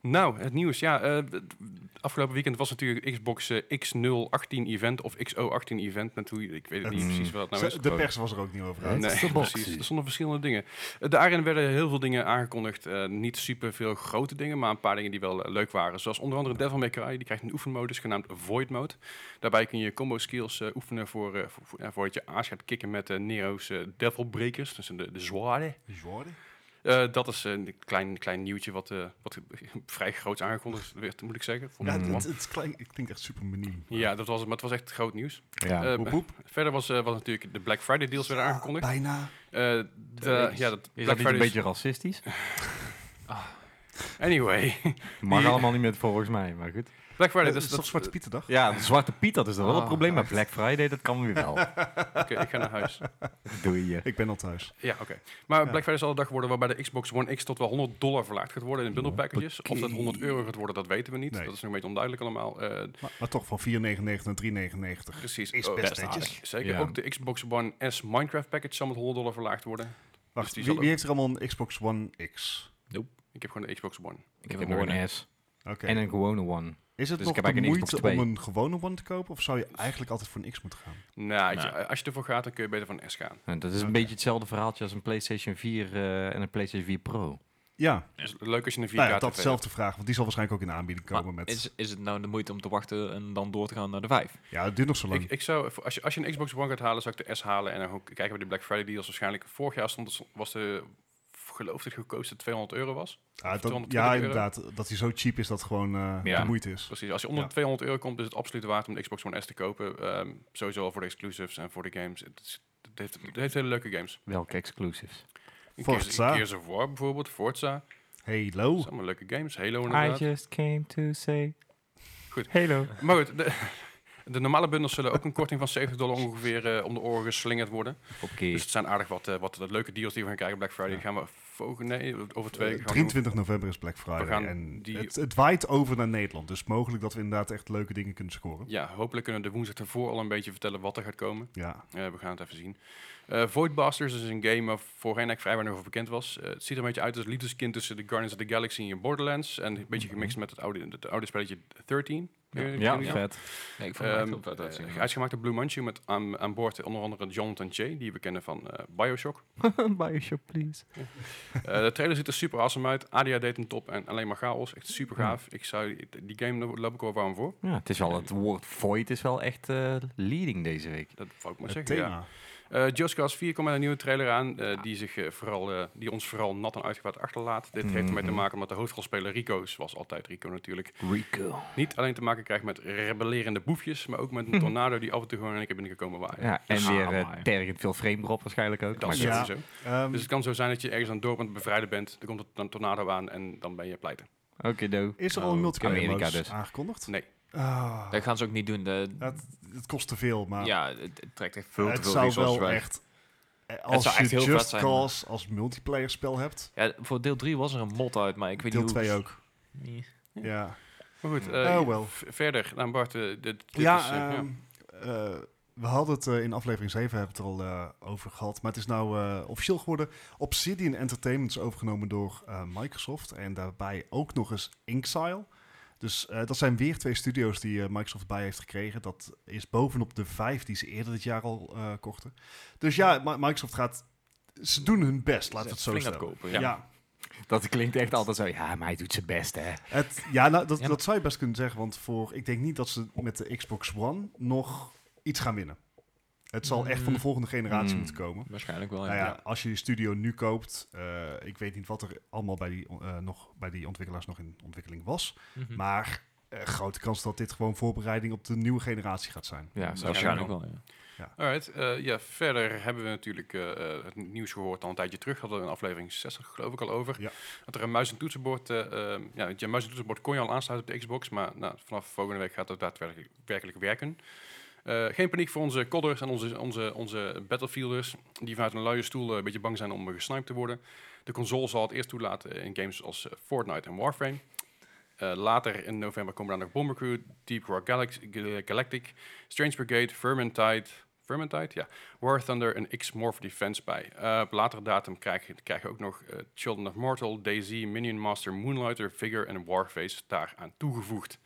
Nou, het nieuws. Ja, eh, d- d- afgelopen weekend was natuurlijk Xbox eh, X018 event of XO18 event. Met hoe, je- ik weet het niet
Het-
precies wat het nou
Mm. Ze-
is.
de pers was er ook niet over uit.
Nee, precies. Er stonden verschillende dingen. Eh, Daarin werden heel veel dingen aangekondigd. Eh, niet super veel grote dingen, maar een paar dingen die wel eh, leuk waren. Zoals onder andere Devil May Cry. Die krijgt een oefenmodus genaamd Void Mode. Daarbij kun je combo skills eh, oefenen voor, eh, voor, voor- ja, voordat je aas gaat kicken met eh, Nero's eh, Devil Breakers. Dus de, de zwaarden. Eh, dat is eh, een klein, klein nieuwtje wat, eh, wat vrij groot aangekondigd werd, moet ik zeggen.
Ja,
Volgens
het,
mij.
het, het klinkt, het klinkt echt super menu.
Mm. ja, dat was het. Maar het was echt groot nieuws.
Ja.
Eh,
Hoep, hoep.
verder was, eh, was natuurlijk de Black Friday deals werden aangekondigd.
Bijna.
Eh, de- ja, dat
Is
Black
dat niet een
Friday is-
beetje racistisch?
Anyway,
Mag
Die-
allemaal niet meer volgens mij, maar goed.
Black Friday,
Eh, Het
dat
is
is
toch
dat.
Zwarte Pieterdag?
Ja, de Zwarte Piet, dat is dan wel een probleem. Maar Black Friday, dat kan weer wel.
Oké, ik ga naar huis.
Doe je.
Ik ben al thuis.
Ja, oké. Maar
Ja.
Black Friday zal de dag worden waarbij de Xbox One X tot wel 100 dollar verlaagd gaat worden in bundle packages. Of dat 100 euro gaat worden, dat weten we niet.
Nee.
Dat is nog een beetje onduidelijk allemaal. Eh,
Maar, maar toch van 4,99 naar 3,99.
precies.
Is
Oh,
best netjes.
aardig. Zeker.
Ja.
Ook de Xbox One S Minecraft package zal met 100 dollar verlaagd worden.
Wacht,
Dus die
wie,
zal
wie heeft er allemaal een Xbox One X?
Ik heb gewoon de Xbox One.
Ik heb nog een S.
Oké.
En een gewone one.
Is het
dus ik
nog
heb
de
eigenlijk een Xbox
moeite om
twee.
een gewone One te kopen? Of zou je eigenlijk altijd voor een X moeten gaan?
Nou,
Nou.
je- als je ervoor gaat, dan kun je beter van een S gaan.
En dat is een
Oké.
beetje hetzelfde verhaaltje als een PlayStation 4 eh, en een PlayStation 4 Pro.
Ja,
Dus leuk als je een 4K
nou ja,
TV
dat zelfde vraag. Want die zal waarschijnlijk ook in de aanbieding komen.
Maar
Met,
is, is het nou de moeite om te wachten en dan door te gaan naar de 5?
ja, het duurt nog zo
hebt.
lang.
Ik, ik zou, als je, als je een Xbox One gaat halen, zou ik de S halen. En dan ook kijken we de Black Friday deals. Waarschijnlijk vorig jaar stond, was de, geloof ik, de goedkoopste 200 euro was.
Ah, dat-
220
ja,
euro.
inderdaad. Dat hij zo cheap is dat het gewoon eh,
Ja.
de moeite is.
Precies, als je onder
Ja.
de 200 euro komt, is het absoluut waard om de Xbox One S te kopen. Ehm, sowieso al voor de exclusives en voor de games. Het, is- het heeft, het heeft hele leuke games.
Welke exclusives?
Forza.
Gears of War bijvoorbeeld, Forza. Dat
Halo.
zijn allemaal leuke games. Halo
I
inderdaad.
just came to say
Goed.
Hello.
Maar goed, de, de normale bundels zullen ook een korting van 70 dollar ongeveer eh, om de oren geslingerd worden.
Oké.
Dus het zijn aardig wat, eh, wat leuke deals die we gaan krijgen. Black Friday gaan we volgende, nee, over
Eh,
twee weken gaan we-
23 november is Black Friday.
We gaan
en
die-
het, het waait over naar Nederland. Dus mogelijk dat we inderdaad echt leuke dingen kunnen scoren.
Ja, hopelijk kunnen we de woensdag ervoor al een beetje vertellen wat er gaat komen.
Ja,
Eh, we gaan het even zien. Eh Voidbusters is een game waar voorheen eigenlijk vrijwel nog over bekend was. Eh, het ziet er een beetje uit als een liefdeskind tussen de Guardians of the Galaxy en Borderlands. En een beetje
Mhm.
gemixt met het oude, het oude spelletje 13.
Ja.
Eh,
Ja,
ken je dat?
vet.
Nee, ik vond het
Ehm,
echt heel vet uitzien.
eh, uitgemaakt door Blue Mansion met aan, aan boord onder andere Jonathan Che, die we kennen van eh, Bioshock.
Bioshock, please.
Eh, de trailer ziet er super awesome uit. ADHD ten top en alleen maar chaos. Echt super gaaf. Ik zou, die game daar loop ik wel warm voor.
Ja, het, is wel, het woord void is wel echt eh, leading deze week.
Dat wou ik maar
het
zeggen. ja.
thema.
Eh Just Cause 4 komt met een nieuwe trailer aan, eh, die, zich, eh, vooral, eh, die ons vooral nat en uitgepraat achterlaat. Dit
Mhm.
heeft ermee te maken omdat de hoofdrolspeler Rico, zoals altijd Rico natuurlijk,
Rico.
niet alleen te maken krijgt met rebellerende boefjes, maar ook met een tornado die af en toe gewoon in één keer binnengekomen waaien.
Ja, en
Ah,
weer
maar.
eh tergend veel frame drop waarschijnlijk ook.
Dat
Maar
is
ja.
sowieso.
Ehm,
Dus het kan zo zijn dat je ergens aan het dorp aan het bevrijden bent, er komt een to- tornado aan en dan ben je pleiten.
Oké, doe.
is er al een multiplayer
Amerika
modus
dus.
aangekondigd?
Nee.
Ah,
Dat gaan ze ook niet doen. De,
het, het kost te veel, maar
ja, het, het trekt echt veel te
het
veel
zou
resources
wel
weg.
echt... eh, Als
zou
je
echt heel vet
Just
zijn.
Cause als multiplayer spel hebt,
Ja, voor deel 3 was er een mod uit, maar ik weet
deel
niet hoe...
2 ook.
Nee.
Ja.
Maar goed, eh,
Oh, wel.
v- verder, nou Bart, eh, dit, dit
Ja,
is... eh, ja.
ehm, eh, we hadden het eh, in aflevering 7 hebben we het er al eh, over gehad. Maar het is nou eh, officieel geworden. Obsidian Entertainment is overgenomen door eh, Microsoft. En daarbij ook nog eens Inxile. Dus eh, dat zijn weer twee studio's die eh, Microsoft bij heeft gekregen. Dat is bovenop de vijf die ze eerder dit jaar al eh, kochten. Dus ja, Mi- Microsoft gaat... Ze doen hun best, laten we het zo
Flink aan
stellen.
het kopen,
Ja,
ja.
ja.
Dat klinkt echt altijd zo. Ja, maar hij doet zijn best, hè.
Het, ja, nou, dat,
Ja, maar-
dat zou je best kunnen zeggen. Want voor, ik denk niet dat ze met de Xbox One nog iets gaan winnen. Het zal echt van de
Mm.
volgende generatie
Mm.
moeten komen.
Waarschijnlijk wel, ja.
Nou ja, als je die studio nu koopt, eh, ik weet niet wat er allemaal bij die, eh, nog, bij die ontwikkelaars nog in ontwikkeling was.
Mhm.
Maar eh, grote kans dat dit gewoon voorbereiding op de nieuwe generatie gaat zijn.
ja,
zou
waarschijnlijk
kunnen.
wel, ja.
Alright, eh, ja, verder hebben we natuurlijk eh, eh, het nieuws gehoord al een tijdje terug. Hadden we in aflevering 60 geloof ik al over.
Ja.
Dat er een muis en toetsenbord... eh, eh, ja, je muis en toetsenbord kon je al aansluiten op de Xbox. Maar nou, vanaf volgende week gaat het daadwerkelijk werkelijk werken. Eh, geen paniek voor onze codders en onze, onze, onze battlefielders... die vanuit een luie stoel eh, een beetje bang zijn om eh, gesniped te worden. De console zal het eerst toelaten in games als eh, Fortnite en Warframe. Eh, later in november komen dan nog Bomber Crew, Deep Rock Galax- Gal- Galactic, Strange Brigade, Vermintide, Vermintide, ja, War Thunder en X-Morph Defense bij. Eh, op latere datum krijg je- krijgen we ook nog eh, Children of Mortal, DayZ, Minion Master, Moonlighter, Figure en Warface daaraan toegevoegd.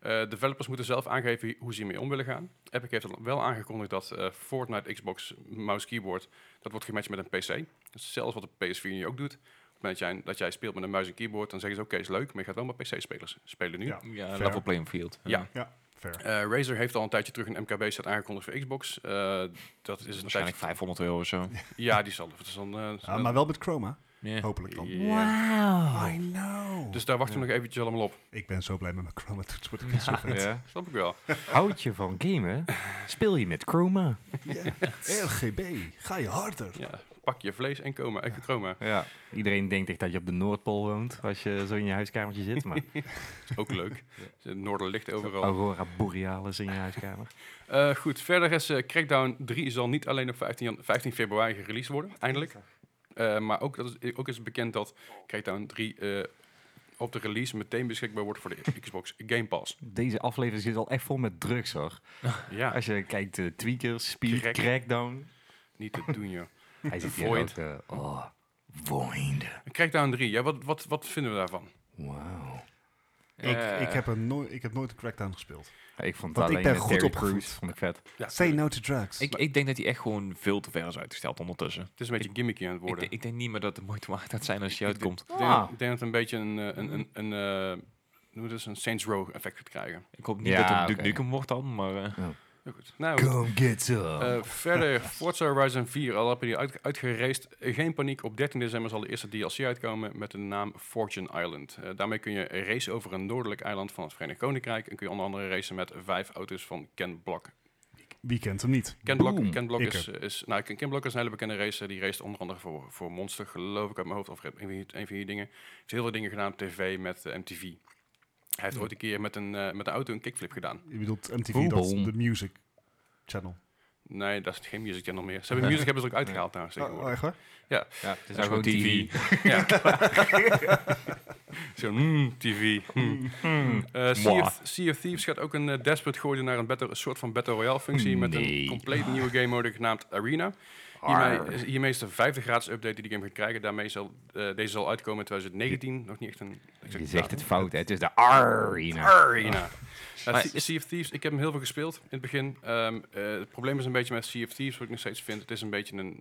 Eh, developers moeten zelf aangeven hoe ze hiermee om willen gaan. Epic heeft al wel aangekondigd dat eh, Fortnite Xbox mouse keyboard, dat wordt gematcht met een PC. Dat is zelfs wat de PS4 nu ook doet. Op het moment dat jij, dat jij speelt met een muis en keyboard, dan zeggen ze oké, is leuk, maar je gaat wel met PC-spelers spelen nu.
Ja,
Ja,
Fair.
level playing field.
Ja.
fair.
Eh, Razer heeft al een tijdje terug een MKB-set aangekondigd voor Xbox. Eh, dat is een
Waarschijnlijk
tijdje...
500 euro of zo.
Ja, die zal... Dat is dan, eh,
Ja, maar wel met Chroma,
Ja.
hopelijk dan.
ja.
I know.
Dus daar wachten we nog eventjes allemaal op.
ik ben zo blij met mijn Chroma toetsenbord. Ik vind het zo vet.
Ja.
Snap ik wel.
Houd je van gamen? Speel je met Chroma?
Ja. RGB, ga je harder.
Ja, pak je vlees en coma. En chroma.
Ja. Iedereen denkt echt dat je op de Noordpool woont als je zo in je huiskamertje zit, maar
Is ook leuk. Het noorderlicht overal.
Oh.
Aurora Borealis in je huiskamer.
Eh, goed, verder is eh, Crackdown 3 zal niet alleen op 15, jan- 15 februari gereleased worden, eindelijk. Eh, maar ook, dat is, ook is bekend dat Crackdown 3 eh, op de release meteen beschikbaar wordt voor de Xbox Game Pass.
Deze aflevering zit al echt vol met drugs, hoor.
Ja,
Als je kijkt, eh, tweakers, speed,
Crack.
crackdown.
niet te doen, joh.
Hij zit hier
Void.
ook, eh, oh, void.
Crackdown 3, ja, wat, wat, wat vinden we daarvan?
Wauw.
Ik, ik, heb er nooit, ik heb nooit een Crackdown gespeeld.
Ik vond
Want
alleen
ik ben
eh,
goed
Terry
opgevoed.
Crews vond ik vet.
Ja,
Say no to drugs.
Ik, ik denk dat hij echt gewoon veel te ver is uitgesteld ondertussen.
Het is een beetje gimmicky aan het
Ik,
worden.
denk- ik denk niet meer dat het moeite waard gaat zijn als hij uitkomt.
Ik
Ah.
denk,
Ah.
ik denk dat het een beetje een, eh,
Mm-hmm.
een, een, een, eh, noem het eens, een Saints Row effect gaat krijgen.
Ik hoop niet
Ja,
dat het
oké.
Duke Nukem wordt dan, maar... eh,
Ja, goed. Nou, goed.
Come get some.
Eh, verder, Forza Horizon 4, al heb je die uit, uitgeraced. Geen paniek, op 13 december zal de eerste DLC uitkomen met de naam Fortune Island. Eh, daarmee kun je racen over een noordelijk eiland van het Verenigd Koninkrijk. En kun je onder andere racen met vijf auto's van Ken Block.
Wie kent hem niet?
Ken Block,
Boom.
Ken Block
Ik
is, is, nou, Ken, Ken Block is een hele bekende racer. Die race onder andere voor, voor Monster, geloof ik uit mijn hoofd. Of een van die- een van die dingen. Heeft heel veel dingen gedaan op tv met eh, MTV. Hij heeft ooit een keer met een, eh, met de auto een kickflip gedaan.
Je bedoelt MTV, dat,
Boebel.
de music channel.
Nee, dat is geen Music Channel meer. Ze hebben Music hebben ze ook uitgehaald daar.
Oh, oh, echt waar?
Ja, het is
nou gewoon TV.
Ja. Zo, mm, TV. mm.
Hmm.
Eh, sea, of, Sea of Thieves gaat ook een eh, Desperate gooien naar een, battle, een soort van Battle Royale functie met een
Nee.
compleet nieuwe game mode genaamd Arena. Hiermee, is- hiermee is de vijfde gratis update die die game gaat krijgen. Daarmee zal eh, deze zal uitkomen in 2019. Nog niet echt een exacte
Je
datum.
zegt het fout, hè? Het is de arena.
Arena. Eh,
Maar-
Sea- sea of Thieves, ik heb hem heel veel gespeeld in het begin. Ehm, eh, het probleem is een beetje met Sea of Thieves, wat ik nog steeds vind. Het is een beetje een...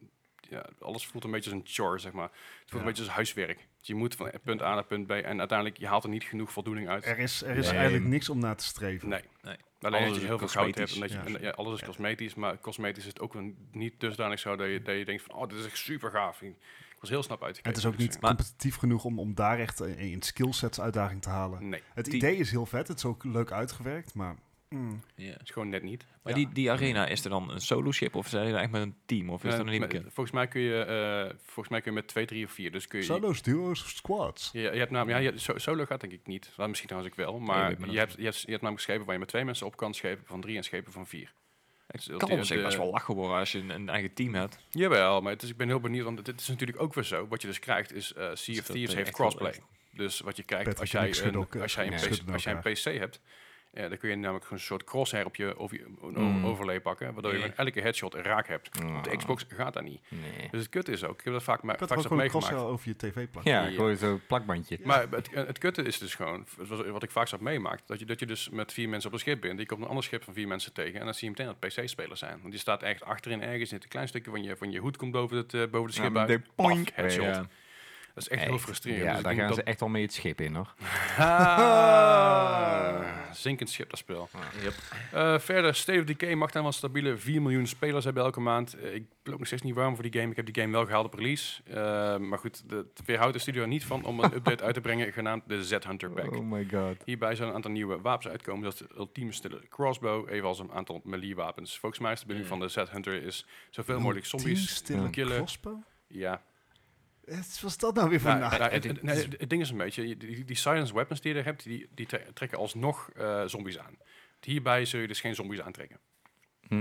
Ja, alles voelt een beetje als een chore, zeg maar. Het voelt een
Ja.
beetje als huiswerk. Dus je moet van punt A naar punt B. En uiteindelijk, je haalt er niet genoeg voldoening uit.
Er is, er is
Nee.
eigenlijk niks om naar te streven.
Nee.
Nee.
Alleen dat
Alles
je
is
heel veel goud hebt. En dat je,
cosmetisch.
en, ja, alles is
Ja.
cosmetisch, maar cosmetisch is het ook een, niet dusdanig zo dat je, dat je denkt van... Oh, dit is echt super gaaf. Ik was heel snap uit.
En het is ook niet
Maar-
competitief genoeg om, om daar echt een, een skillsets uitdaging te halen.
Nee,
Het
Die-
idee is heel vet, het is ook leuk uitgewerkt, maar... mm.
Ja.
het is gewoon net niet.
Maar
Ja.
die, die arena, is er dan een solo ship of zijn er echt met een team? Of is dat
Eh,
nog niet
maar
bekend?
volgens, mij kun je, eh, volgens mij kun je met twee, drie of vier. Dus kun je,
Solo's, duo's of squads?
Ja, je hebt namelijk, ja, je, so- solo gaat denk ik niet. Nou, misschien trouwens ik wel, maar
weet maar
je,
dat-
hebt, je, hebt, je hebt namelijk schepen waar je met twee mensen op kan, schepen van drie en schepen van vier. Dus dat
Kan
die-
op zich
de-
best wel lachen worden als je een, een eigen team hebt.
Jawel, maar het is, ik ben heel benieuwd, want dit is natuurlijk ook weer zo. Wat je dus krijgt is, eh Sea
Is
of
dat,
Thieves
eh,
heeft
echt wel
crossplay.
echt?
Dus wat je krijgt
Patrick
als
en
jij
ik schudden
een,
elkaar-
als jij een,
nee,
PC,
schudden
als jij een PC hebt, eh, dan kun je namelijk gewoon een soort crosshair op je over,
Mm.
overlay pakken, waardoor je
Nee.
met elke headshot een raak hebt. Op Mm. de
Ah,
Xbox gaat dat niet.
Nee.
Dus het kut is ook, ik heb dat vaak, ma-
Ik had
vaak
ook
zelf
gewoon een
meegemaakt.
crosshair over je tv plakken.
Ja, gewoon zo'n plakbandje.
Maar het, het kutte is dus gewoon, wat- wat ik vaak zelf meemaak, dat je, dat je dus met vier mensen op een schip bent. Die komt een ander schip van vier mensen tegen en dan zie je meteen dat het PC-spelers zijn. Want die staat echt achterin ergens, zit een klein stukje van je, van je hoed komt boven het, eh, boven het schip
Ja,
uit.
de
Paf,
poink.
headshot.
Ja.
Dat is echt heel
Echt.
frustrerend.
Ja,
Dus ik
daar
moet
gaan ze
dat-
echt al mee het schip in, hoor.
Ah, zinkend schip, dat spel.
Yep.
Eh, verder, State of Decay mag dan wel stabiele 4 miljoen spelers hebben elke maand. Eh, ik ben ook nog steeds niet warm voor die game. Ik heb die game wel gehaald op release. Eh, maar goed, de- het weerhoudt de studio er niet van om een update uit te brengen genaamd de Z-Hunter Pack.
Oh my god.
Hierbij zullen een aantal nieuwe wapens uitkomen. Dat is de ultieme stille crossbow, evenals een aantal melee wapens. Volgens mij is de bedoeling van de Z-Hunter is zoveel mogelijk zombies
stille
killen.
crossbow?
Ja.
Wat was dat nou weer voor
Nou,
naam?
nou, het, het- nee, het- het ding is een beetje, je- die, die silence weapons die je er hebt, die, die tre- trekken alsnog eh, zombies aan. Hierbij zul je dus geen zombies aantrekken.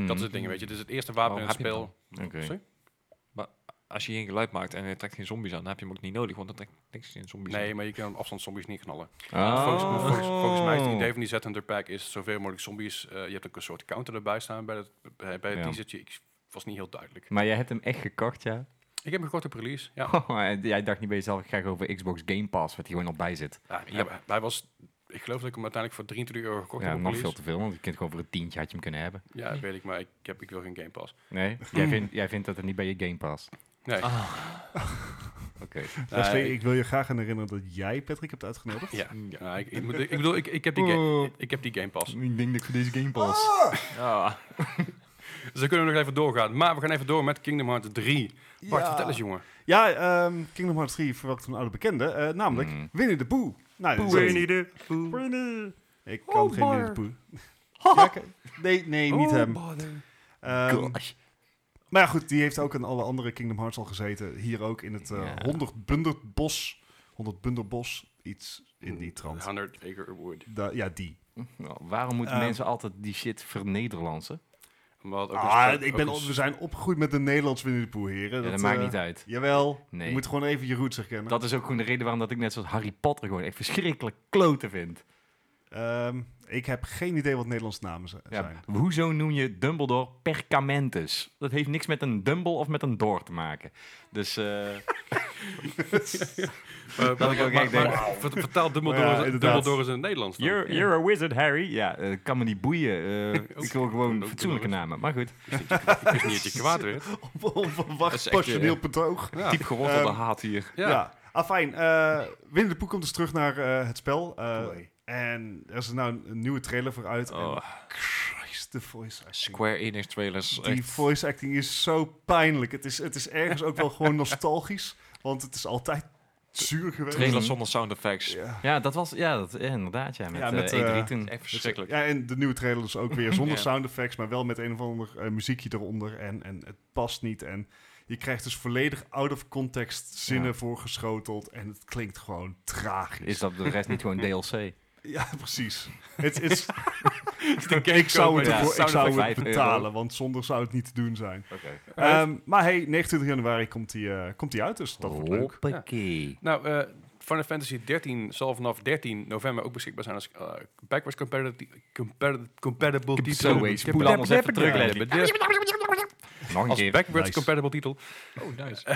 Dat is het ding, weet je. Het is het eerste wapen
Waarom
in het
heb je hem
spel.
Hmm, Oké.
Sorry?
Als je geen geluid maakt en je trekt geen zombies aan, dan heb je hem ook niet nodig, want dan trekt niks geen zombies
Nee,
aan.
maar je kan afstand zombies niet knallen.
Oh.
Volgens, volgens- volgens mij is het idee van die Z-Hunter pack is zoveel mogelijk zombies. eh, je hebt ook een soort counter erbij staan bij, dat, bij, bij
Ja.
die zit je. Ik was niet heel duidelijk.
Maar jij hebt hem echt gekocht, ja? Oh,
Ik heb hem gekocht op release. Ja.
jij dacht niet bij jezelf, ik ga gewoon voor Xbox Game Pass, wat hier gewoon al bij zit.
Ja, hij- Hij was, ik geloof dat ik hem uiteindelijk voor 23 euro gekocht
Ja,
heb. op
nog veel
release.
te veel, want je kunt gewoon voor een tientje had je hem kunnen hebben.
Ja, dat weet ik, maar ik, heb, ik wil geen Game Pass.
Nee? jij, vindt, jij vindt dat het niet bij je Game Pass.
Nee.
Ah. Oké.
eh,
Leslie,
ik-
ik wil je graag aan herinneren dat jij Patrick hebt uitgenodigd.
Ja, ja, ik, ik, moet- ik bedoel, ik, ik, heb die ga- ik, ik heb die Game Pass.
Ik denk dat ik voor deze Game Pass...
Ah,
Dus dan kunnen we nog even doorgaan. Maar we gaan even door met Kingdom Hearts 3. Bart, vertel eens, jongen.
Ja, ehm, Kingdom Hearts 3 verwacht een oude bekende, eh, namelijk
Mm.
Winnie de Pooh. Nou, dit is-
de...
Winnie. Ik kan
Oh,
geen Winnie de
maar.
Pooh. Ja, ik- nee, nee, niet hem. Ehm, maar ja, goed, die heeft ook in alle andere Kingdom Hearts al gezeten. Hier ook in het eh,
Ja.
100 Bunderbos. 100 Bunderbos, iets in die trant.
100 Acre Wood.
Da- ja, die.
nou, waarom moeten
Ehm.
mensen altijd die shit vernederlandsen?
Omdat ook een
Ah,
spel-
ik
ook
ben,
een
op-
s-
we zijn opgegroeid met de Nederlands Winnie de Pooh, heren.
Ja, dat maakt
eh,
niet uit.
Jawel,
Nee.
je moet gewoon even je roots herkennen.
Dat is ook gewoon de reden waarom dat ik net zoals Harry Potter gewoon echt verschrikkelijk kloten vind.
Ehm, ik heb geen idee wat Nederlandse namen z- zijn.
Ja, hoezo noem je Dumbledore Percamentus? Dat heeft niks met een Dumble of met een door te maken. Dus eh,
Eh, maar-
ik ook
maar-
echt denk-
maar- vert- Vertaal
Maar ja,
Dumbledore
inderdaad.
Dumbledore is in het Nederlands. dan.
you're, you're a wizard, Harry. Ja, eh, kan me niet boeien. Eh, ik wil gewoon
ook
fatsoenlijke
door.
namen. Maar goed.
Ik wist niet dat je kwaad werd.
Dat is
Onverwacht
echt, eh,
passioneel betoog.
Ja.
diep gewortelde
Ehm,
haat hier.
Ja.
Ja.
Afijn, eh Winnie de Pooh komt dus terug naar eh, het spel. eh,
Mooi.
en er is nou een, een nieuwe trailer voor uit. En
Oh,
Christ, de voice acting.
Square Enix trailers.
Die
echt.
voice acting is zo pijnlijk. Het is, het is ergens ook wel gewoon nostalgisch. Want het is altijd zuur geweest.
Trailers zonder sound effects.
Ja.
Ja, dat was... Ja, dat, ja, inderdaad. Ja, met,
Ja,
ja,
met, eh,
E3 toen.
Echt verschrikkelijk.
Ja, en de nieuwe trailer is ook weer zonder
Ja.
sound effects, maar wel met een of ander eh, muziekje eronder. En, en het past niet. En je krijgt dus volledig out of context zinnen
Ja.
voorgeschoteld. En het klinkt gewoon tragisch.
Is dat de rest niet gewoon DLC?
Ja, precies. Het is, ik
cake
zou het,
kopen, ja.
ervoor- ik
Zouden
zou
voor
het
€5
betalen,
euro.
want zonder zou het niet te doen zijn.
Oké.
Ehm, maar hey, 29 januari komt die, eh, komt die uit, dus dat wordt
Oh.
leuk.
Hoppakee.
Nou, eh, Final Fantasy 13 zal vanaf 13 november ook beschikbaar zijn als eh, backwards compatibility- compatible, compatible
Zo,
titel.
hey,
Ik heb
spoel
het
anders even terug,
al-
Leslie. Nog een
Als
keer.
backwards
Nice.
compatible titel.
Oh, nice.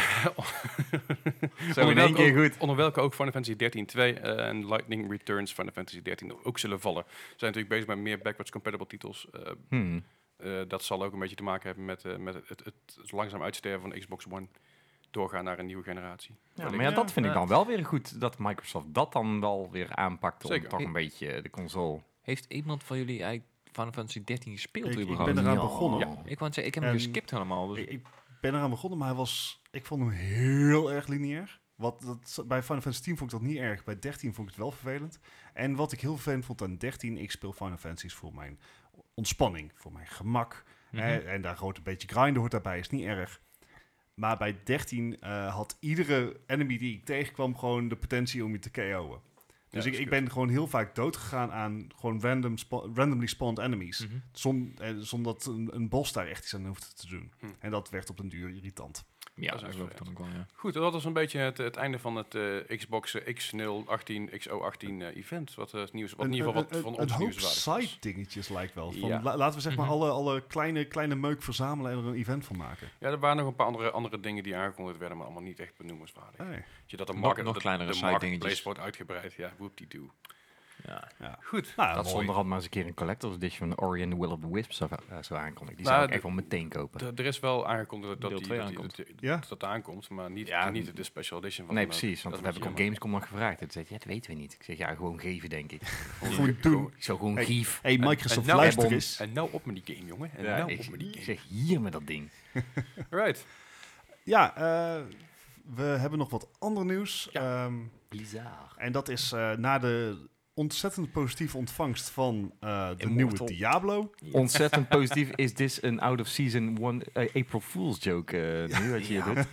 Zo in
Onder
één
welke
keer goed.
ook- Onder welke ook Final Fantasy 13 2 eh, en Lightning Returns Final Fantasy 13 ook zullen vallen. Ze zijn natuurlijk bezig met meer backwards compatible titels. eh,
Hmm.
eh, dat zal ook een beetje te maken hebben met, eh, met het, het, het langzaam uitsterven van de Xbox One. Doorgaan naar een nieuwe generatie.
Ja, maar
Wellicht.
ja, dat vind ik
Ja.
dan wel weer goed dat Microsoft dat dan wel weer aanpakt om
Zeker.
toch een beetje de console.
Heeft iemand van jullie eigenlijk Final Fantasy 13
Ik,
gespeeld
ik
überhaupt?
ben eraan
Ja.
begonnen.
Ik wou net zeggen, ik heb hem
En-
geskipt helemaal. Dus
Ik, ik ben eraan begonnen, maar hij was, ik vond hem heel erg lineair. Wat, dat, bij Final Fantasy 10 vond ik dat niet erg, bij 13 vond ik het wel vervelend. En wat ik heel vervelend vond aan 13, ik speel Final Fantasies voor mijn ontspanning, voor mijn gemak.
Mhm.
Hè, en daar groot een beetje grinden hoort daarbij, is niet erg. Maar bij 13 eh, had iedere enemy die ik tegenkwam gewoon de potentie om je te KO'en. Dus
Ja,
ik,
dat is
ik ben gewoon heel vaak doodgegaan aan gewoon random spa- randomly spawned enemies.
Mhm.
Zon- eh, Zonder dat een, een bos daar echt iets aan hoeft te doen.
Hm.
En dat werd op den duur irritant.
ja,
dat is
dat geloof ik dan ook wel, ja.
Goed, dat was een beetje het, het einde van het eh, Xbox eh, X018, XO18 eh, event. Wat eh, het nieuws, wat in ieder geval wat van
een
ons
hoop
nieuws was.
side dingetjes lijkt wel. Van,
Ja.
la- laten we zeg maar
Mhm.
alle, alle kleine, kleine meuk verzamelen en er een event van maken.
Ja, er waren nog een paar andere, andere dingen die aangekondigd werden, maar allemaal niet echt benoemenswaardig.
Hey.
Dat je dat een
Nog-
market,
nog
dat
kleinere
de
side
marketplace
dingetjes.
wordt uitgebreid. Ja, whoop-de-doo.
Goed. Nou,
dat
mooi.
zonder had maar eens een keer een collector's edition van Ori and the Will of the Wisps zou, eh, zou aankondigen. Die
Nou,
zou ik
de-
echt wel meteen kopen.
D- er is wel aangekondigd dat
Deel
die,
twee
dat, die-
aankomt.
dat die-
Ja.
dat dat aankomt, maar niet,
Ja,
niet de special edition van
nee,
hem ook.
precies. Want
is
dat
een
heb ik
beetje
op Gamescom nog gevraagd. Het zei, ja, dat weten we niet. Ik zeg, ja, gewoon geven, denk ik.
Goed doen.
Ik zou gewoon
Hey,
geef.
Hey, Microsoft,
en nou-
luister
Bon.
eens.
jammer. En nou op met die game, jongen. En
Ja,
nou
ik,
op met die
ik
game.
zeg, hier met dat ding.
Right.
Ja, eh, we hebben nog wat ander nieuws. Ehm,
Bizar.
en dat is eh, na de ontzettend positieve ontvangst van eh, de
Immortal.
nieuwe Diablo.
Ontzettend positief is dit een out-of-season one eh, April Fool's joke eh, nu wat je hier doet.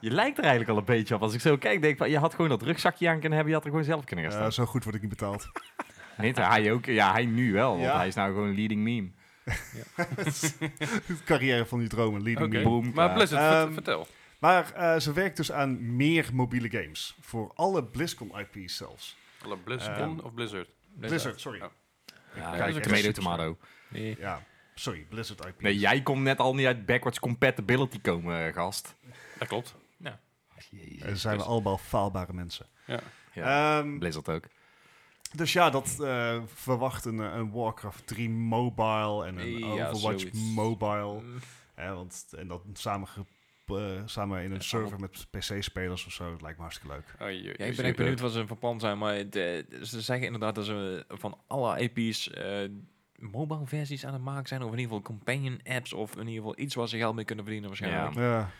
Je lijkt er eigenlijk al een beetje op. Als ik zo kijk, denk ik, van, je had gewoon dat rugzakje aan kunnen hebben. Je had er gewoon zelf kunnen gaan staan.
Eh, zo goed word ik niet betaald.
Niet, hij ook. Ja, hij nu wel, want
Ja.
hij is nou gewoon een leading meme.
De carrière van die dromen, leading
Oké.
me.
boom.
Maar
Ja.
Blizzard, vert-
Ehm,
vertel.
Maar eh, ze werkt dus aan meer mobiele games. Voor alle BlizzCon IP's zelfs.
Alle
ehm,
Blizzcon of Blizzard?
Blizzard, sorry.
Oh.
Ja,
Kijk,
tomato,
echt.
tomato.
dus Nee.
Ja, sorry, Blizzard IP's.
Nee, jij kon net al niet uit backwards compatibility komen, eh, gast.
Dat klopt.
Eh, zijn we allemaal faalbare mensen.
Ja. Oh,
Ja.
Blizzard ook.
dus ja, dat eh, verwacht een, eh, een Warcraft 3 mobile en een
Ja,
Overwatch
zoiets.
mobile.
Mm.
Hè, want, en dat samen, ge- eh, samen in een server met PC-spelers of zo. Dat lijkt me hartstikke leuk.
Oh, je-
Ja,
je
ik ben
ziet,
echt benieuwd
eh,
wat ze van plan zijn, maar het, eh, ze zeggen inderdaad dat ze eh, van alle AP's eh, mobile versies aan het maken zijn, of in ieder geval companion apps, of in ieder geval iets waar ze geld mee kunnen verdienen waarschijnlijk.
Ja.
Ja,